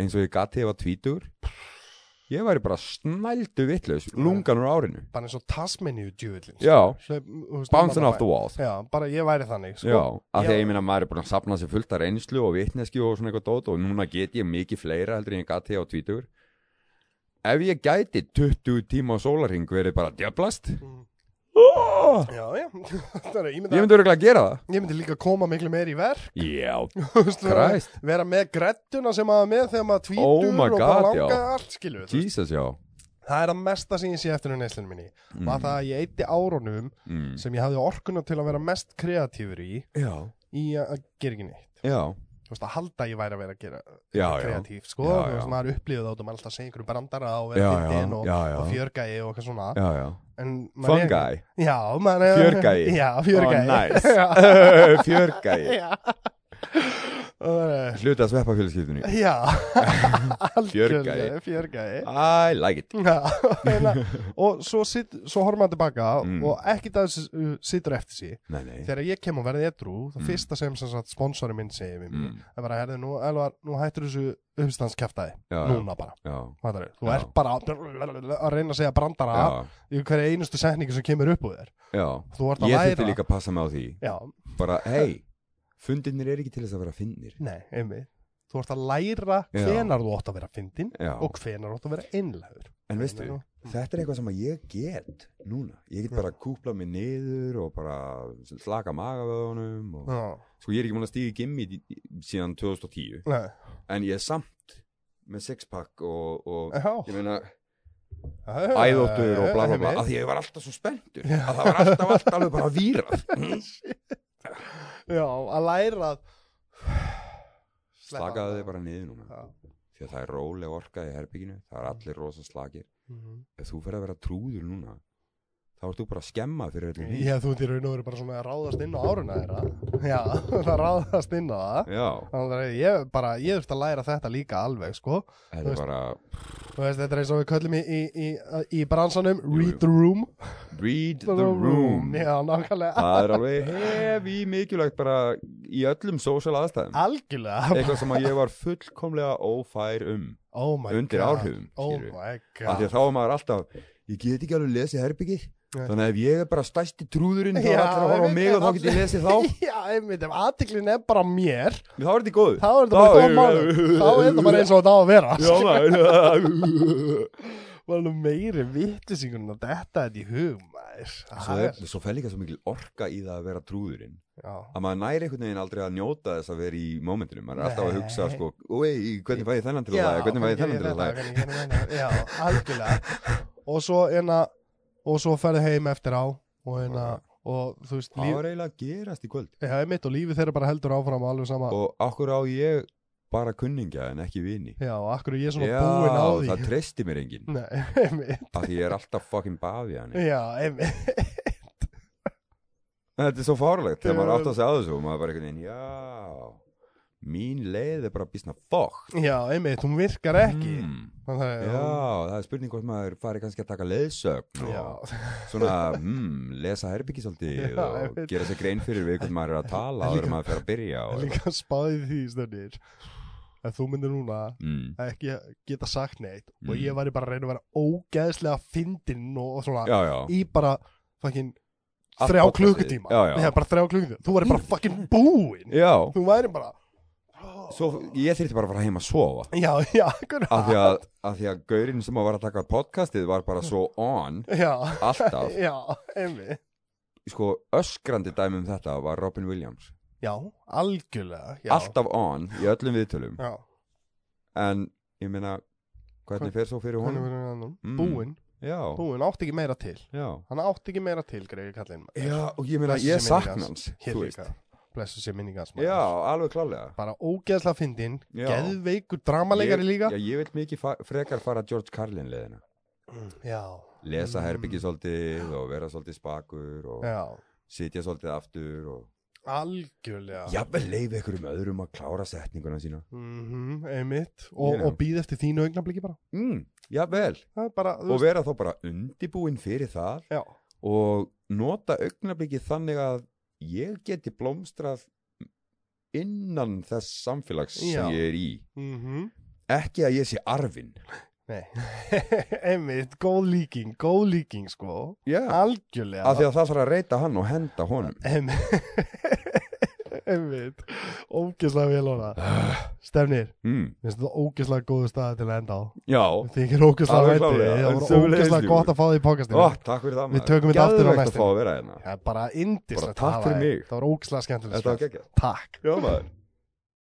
[SPEAKER 2] eins og ég gati ef að tvítur Ég væri bara snældu vitlaus, lungan úr árinu
[SPEAKER 1] bara eins og sko. Tasmaníu djúvillin
[SPEAKER 2] Já, bouncing off the
[SPEAKER 1] wall
[SPEAKER 2] walls
[SPEAKER 1] já, bara ég væri þannig sko.
[SPEAKER 2] Já, af því að
[SPEAKER 1] Já.
[SPEAKER 2] ég minna maður er búin að sapna sér fullt af reynslu og vitneski og svona eitthvað dót og núna get ég mikið fleira heldur en ég gat því á tvítugur Ef ég gæti 20 tíma á sólarhing verið bara djöblast
[SPEAKER 1] Mm.
[SPEAKER 2] oh,
[SPEAKER 1] já, já. Það er, ég,
[SPEAKER 2] Ég
[SPEAKER 1] myndi,
[SPEAKER 2] myndi örgulega að gera það
[SPEAKER 1] ég myndi líka koma miklu meir í verk
[SPEAKER 2] Já,
[SPEAKER 1] þú veist, vera,
[SPEAKER 2] Christ.
[SPEAKER 1] vera með grettuna sem maður er með þegar maður tvítur
[SPEAKER 2] Oh my
[SPEAKER 1] og bara
[SPEAKER 2] God,
[SPEAKER 1] langar
[SPEAKER 2] já.
[SPEAKER 1] allt skilu
[SPEAKER 2] Jesus já
[SPEAKER 1] það er að mesta sem ég sé eftir um neyslinu minni var það að ég eitti árunum
[SPEAKER 2] mm.
[SPEAKER 1] sem ég hafði orkuna til að vera mest kreatífur í
[SPEAKER 2] Já,
[SPEAKER 1] í að að gera ekki neitt
[SPEAKER 2] já,
[SPEAKER 1] þú veist að halda að ég væri að vera að gera
[SPEAKER 2] já, já
[SPEAKER 1] kreatív sko,
[SPEAKER 2] Já,
[SPEAKER 1] þú
[SPEAKER 2] já.
[SPEAKER 1] veist maður upplýðu þá og maður alltaf um segir einhverju brandara og
[SPEAKER 2] Já,
[SPEAKER 1] vera fyndin
[SPEAKER 2] já,
[SPEAKER 1] og,
[SPEAKER 2] já, já.
[SPEAKER 1] og fjörgæi og eitthvað svona
[SPEAKER 2] Já, já,
[SPEAKER 1] En maður er-
[SPEAKER 2] fungi,
[SPEAKER 1] Já, maður er
[SPEAKER 2] Fjörgæi.
[SPEAKER 1] Já, fjörgæi
[SPEAKER 2] Oh, nice.
[SPEAKER 1] Já,
[SPEAKER 2] fjörgæi
[SPEAKER 1] já. Það er-
[SPEAKER 2] Hluti að sveppa fjölskyldunni
[SPEAKER 1] Já
[SPEAKER 2] Fjörgæi.
[SPEAKER 1] Algjörlega, Fjörgæi
[SPEAKER 2] I like it
[SPEAKER 1] Já, eiginlega. og svo, sitt, svo horfum maður tilbaka
[SPEAKER 2] Mm.
[SPEAKER 1] og ekkert að þessu uh, situr eftir sí
[SPEAKER 2] Nei, nei
[SPEAKER 1] þegar ég kem og verði edru það
[SPEAKER 2] Mm.
[SPEAKER 1] fyrsta sem, sem sagt, sponsorinn minn segir við mig
[SPEAKER 2] Mm.
[SPEAKER 1] það er bara, herðu, nú, elvar, nú hættur þessu uppstandskjaftaði,
[SPEAKER 2] Já, já,
[SPEAKER 1] núna bara
[SPEAKER 2] já,
[SPEAKER 1] Fattarðu? þú
[SPEAKER 2] Já.
[SPEAKER 1] ert bara að reyna að segja brandara
[SPEAKER 2] já,
[SPEAKER 1] í hverju einustu setningu sem kemur upp úr þér
[SPEAKER 2] já.
[SPEAKER 1] þú ert að
[SPEAKER 2] Ég
[SPEAKER 1] læra
[SPEAKER 2] þurfti líka að passa mig á því
[SPEAKER 1] Já,
[SPEAKER 2] bara, hei, fundinir er ekki til þess að vera finnir
[SPEAKER 1] Nei, einmitt. Þú ert að læra
[SPEAKER 2] Já.
[SPEAKER 1] hvenar þú átt að vera fyndin
[SPEAKER 2] Já,
[SPEAKER 1] og hvenar þú átt að vera einlægur.
[SPEAKER 2] en veistu, þetta er eitthvað sem að ég get núna, ég get bara að kúpla mig niður og bara slaka magavöðunum og...
[SPEAKER 1] Já,
[SPEAKER 2] sko ég er ekki múin að stíga í gimmi í- í- síðan 2010,
[SPEAKER 1] nei,
[SPEAKER 2] en ég er samt með sixpack og, og
[SPEAKER 1] já.
[SPEAKER 2] ég meina æðóttur og bla bla bla, af því að ég var alltaf svo spenntur,
[SPEAKER 1] eh, Já.
[SPEAKER 2] að það var alltaf allt alveg bara vírað,
[SPEAKER 1] Já, að læra að
[SPEAKER 2] slakaðu þig bara niður núna
[SPEAKER 1] Já.
[SPEAKER 2] því að það er róleg orka í herbygginu það er allir rosa slakir
[SPEAKER 1] Mhm.
[SPEAKER 2] ef þú ferð að vera trúður núna þá ert þú bara að skemma fyrir öllum
[SPEAKER 1] Já, þú ert í raun og verið bara svona að ráðast inn á áruna þeirra. Já, það ráðast inn á það.
[SPEAKER 2] Já,
[SPEAKER 1] Þannig að ég bara, ég þurft að læra þetta líka alveg, sko.
[SPEAKER 2] þetta er bara
[SPEAKER 1] Þú veist, þetta er eins og við köllum í, í, í, í bransanum,
[SPEAKER 2] jú.
[SPEAKER 1] read the room.
[SPEAKER 2] read the room Ah.
[SPEAKER 1] Já, nákvæmlega.
[SPEAKER 2] það er alveg hefi mikilvægt bara í öllum social aðstæðum
[SPEAKER 1] Algjörlega.
[SPEAKER 2] eitthvað sem að ég var fullkomlega ófær um
[SPEAKER 1] Oh my
[SPEAKER 2] undir
[SPEAKER 1] god.
[SPEAKER 2] áhrifum
[SPEAKER 1] Oh
[SPEAKER 2] skilurðu.
[SPEAKER 1] my
[SPEAKER 2] af því
[SPEAKER 1] god
[SPEAKER 2] að þá er maður alltaf ég get ekki alveg lesið herbyggið
[SPEAKER 1] Nei.
[SPEAKER 2] þannig að ef ég er bara stæsti trúðurinn þá er
[SPEAKER 1] Já,
[SPEAKER 2] allir að horfa á
[SPEAKER 1] einmitt,
[SPEAKER 2] mig og þá
[SPEAKER 1] allir-
[SPEAKER 2] get ég lesið þá
[SPEAKER 1] Já, einmitt, ef aðtiklin er bara mér
[SPEAKER 2] þá er þetta í góðu
[SPEAKER 1] þá er þetta bara
[SPEAKER 2] Þá-
[SPEAKER 1] góð málum þá er þetta bara eins og þetta á að vera
[SPEAKER 2] Já, maður.
[SPEAKER 1] var nú meiri vittlisingun að þetta er í hug maður
[SPEAKER 2] svo,
[SPEAKER 1] Það
[SPEAKER 2] er,
[SPEAKER 1] er-
[SPEAKER 2] svo fer líka svo mikil orka í það að vera trúðurinn
[SPEAKER 1] já.
[SPEAKER 2] að maður næri einhvern veginn aldrei að njóta þess að vera í mómentinu, maður er alltaf að
[SPEAKER 1] Nei.
[SPEAKER 2] hugsa sko, oi, hvernig fæ ég þennan til að
[SPEAKER 1] Já,
[SPEAKER 2] laga hvernig fæ ég
[SPEAKER 1] hvernig
[SPEAKER 2] þennan til
[SPEAKER 1] gerir
[SPEAKER 2] að laga
[SPEAKER 1] þetta, hvernig gerir þetta? já, algjörlega og svo enna og svo ferði heim eftir á og enna og þú veist
[SPEAKER 2] það
[SPEAKER 1] líf,
[SPEAKER 2] var eiginlega að gerast í kvöld
[SPEAKER 1] já, einmitt, og lífið þeirra bara heldur áfram alveg sama
[SPEAKER 2] og okkur á ég bara kunningja en ekki vini
[SPEAKER 1] já, og akkur er ég svona
[SPEAKER 2] já,
[SPEAKER 1] búinn á því
[SPEAKER 2] það treysti mér enginn
[SPEAKER 1] Nei, einmitt,
[SPEAKER 2] af því ég er alltaf fucking bafi hann
[SPEAKER 1] já, einmitt
[SPEAKER 2] þetta er svo fárlegt, þegar maður
[SPEAKER 1] Já.
[SPEAKER 2] átt að segja á þessu og maður bara einhvern veginn, já mín leið er bara bísna fokk
[SPEAKER 1] Já, einmitt, hún virkar ekki Þannig að
[SPEAKER 2] Hmm, já, það er spurning hvort maður fari kannski að taka leiðsögn og
[SPEAKER 1] já,
[SPEAKER 2] svona, mm, lesa herbyggi svolítið
[SPEAKER 1] Já, ég
[SPEAKER 2] og
[SPEAKER 1] veit.
[SPEAKER 2] gera sér grein fyrir við hvernig maður er að tala
[SPEAKER 1] En
[SPEAKER 2] áður
[SPEAKER 1] líka-
[SPEAKER 2] en maður fer að byrja
[SPEAKER 1] já
[SPEAKER 2] og,
[SPEAKER 1] Líka spáði því stöndir Ef þú myndir núna
[SPEAKER 2] mm,
[SPEAKER 1] ekki geta sagt neitt
[SPEAKER 2] Mm.
[SPEAKER 1] Og ég væri bara að reyna að vera ógeðslega fyndinn og, og svona
[SPEAKER 2] já, já,
[SPEAKER 1] Í bara, fucking,
[SPEAKER 2] Allt
[SPEAKER 1] þrjá
[SPEAKER 2] podcastið.
[SPEAKER 1] klukkutíma
[SPEAKER 2] Já, já.
[SPEAKER 1] bara þrjá klukkutíma Þú væri bara fucking búinn
[SPEAKER 2] já
[SPEAKER 1] Þú væri bara
[SPEAKER 2] svo ég þyrfti bara að fara heim að sofa
[SPEAKER 1] Já, já, hvernig
[SPEAKER 2] af því að, af því að gaurinn sem var að taka podcastið var bara svo on
[SPEAKER 1] Já,
[SPEAKER 2] alltaf,
[SPEAKER 1] já, einmitt
[SPEAKER 2] sko öskrandi dæmi um þetta var Robin Williams
[SPEAKER 1] Já, algjörlega já.
[SPEAKER 2] alltaf on í öllum viðtölum
[SPEAKER 1] Já,
[SPEAKER 2] en ég meina, hvernig fer svo fyrir
[SPEAKER 1] hvernig
[SPEAKER 2] honum
[SPEAKER 1] verður hann
[SPEAKER 2] Mm.
[SPEAKER 1] búinn
[SPEAKER 2] já,
[SPEAKER 1] búin, átti ekki meira til
[SPEAKER 2] já
[SPEAKER 1] hann átti ekki meira til, greiði kallinn
[SPEAKER 2] Já, og ég meina,
[SPEAKER 1] Blessuð sé
[SPEAKER 2] ég
[SPEAKER 1] minning hans.
[SPEAKER 2] sakna hans
[SPEAKER 1] hér
[SPEAKER 2] þú veist.
[SPEAKER 1] líka, blessu sér minningans
[SPEAKER 2] Já, alveg klálega
[SPEAKER 1] bara ógeðslega fyndinn,
[SPEAKER 2] Já.
[SPEAKER 1] geðveikur dramaleikari
[SPEAKER 2] Ég-
[SPEAKER 1] líka
[SPEAKER 2] Já, ég vil mikið fa- frekar fara George Carlin leðina
[SPEAKER 1] já,
[SPEAKER 2] Lesa
[SPEAKER 1] Mm.
[SPEAKER 2] herbyggi svolítið og vera svolítið spakur og
[SPEAKER 1] já,
[SPEAKER 2] sitja svolítið aftur og
[SPEAKER 1] algjörlega
[SPEAKER 2] jafnvel leiði einhverjum öðrum að klára setninguna sína
[SPEAKER 1] Mhm, einmitt og,
[SPEAKER 2] Já.
[SPEAKER 1] og býð eftir þínu augnabliki bara
[SPEAKER 2] mm, Jafnvel,
[SPEAKER 1] það er bara, þú
[SPEAKER 2] og
[SPEAKER 1] veist,
[SPEAKER 2] vera þá bara undibúinn fyrir það
[SPEAKER 1] já,
[SPEAKER 2] og nota augnablikið þannig að ég geti blómstrað innan þess samfélags
[SPEAKER 1] Já.
[SPEAKER 2] sem ég er í
[SPEAKER 1] mhm
[SPEAKER 2] ekki að ég sé arfin
[SPEAKER 1] Nei, einmitt, góð líking, góð líking sko,
[SPEAKER 2] Já,
[SPEAKER 1] algjörlega
[SPEAKER 2] af því að það þarf að reyta hann og henda honum
[SPEAKER 1] Em- Einmitt Ógislega vel orða Stefnir,
[SPEAKER 2] mm,
[SPEAKER 1] mér finnst þetta ógislega góðu staði til að enda á
[SPEAKER 2] Já,
[SPEAKER 1] Mér Þykir ógislega
[SPEAKER 2] Alveg
[SPEAKER 1] vænt
[SPEAKER 2] klárlega,
[SPEAKER 1] Það
[SPEAKER 2] en
[SPEAKER 1] voru
[SPEAKER 2] sömuleiðis
[SPEAKER 1] ógislega
[SPEAKER 2] líka.
[SPEAKER 1] gott að fá því í
[SPEAKER 2] Ó,
[SPEAKER 1] pokastinu
[SPEAKER 2] takk fyrir það
[SPEAKER 1] Við tökum þetta aftur á
[SPEAKER 2] Geðveikt
[SPEAKER 1] næstunni.
[SPEAKER 2] að fá að vera hérna
[SPEAKER 1] Það er bara indislegt
[SPEAKER 2] Bara takk
[SPEAKER 1] að hafa
[SPEAKER 2] fyrir
[SPEAKER 1] þig.
[SPEAKER 2] mig.
[SPEAKER 1] Það var ógislega skemmtilegt
[SPEAKER 2] Þetta var
[SPEAKER 1] spjall.
[SPEAKER 2] geggjað
[SPEAKER 1] Takk
[SPEAKER 2] Já maður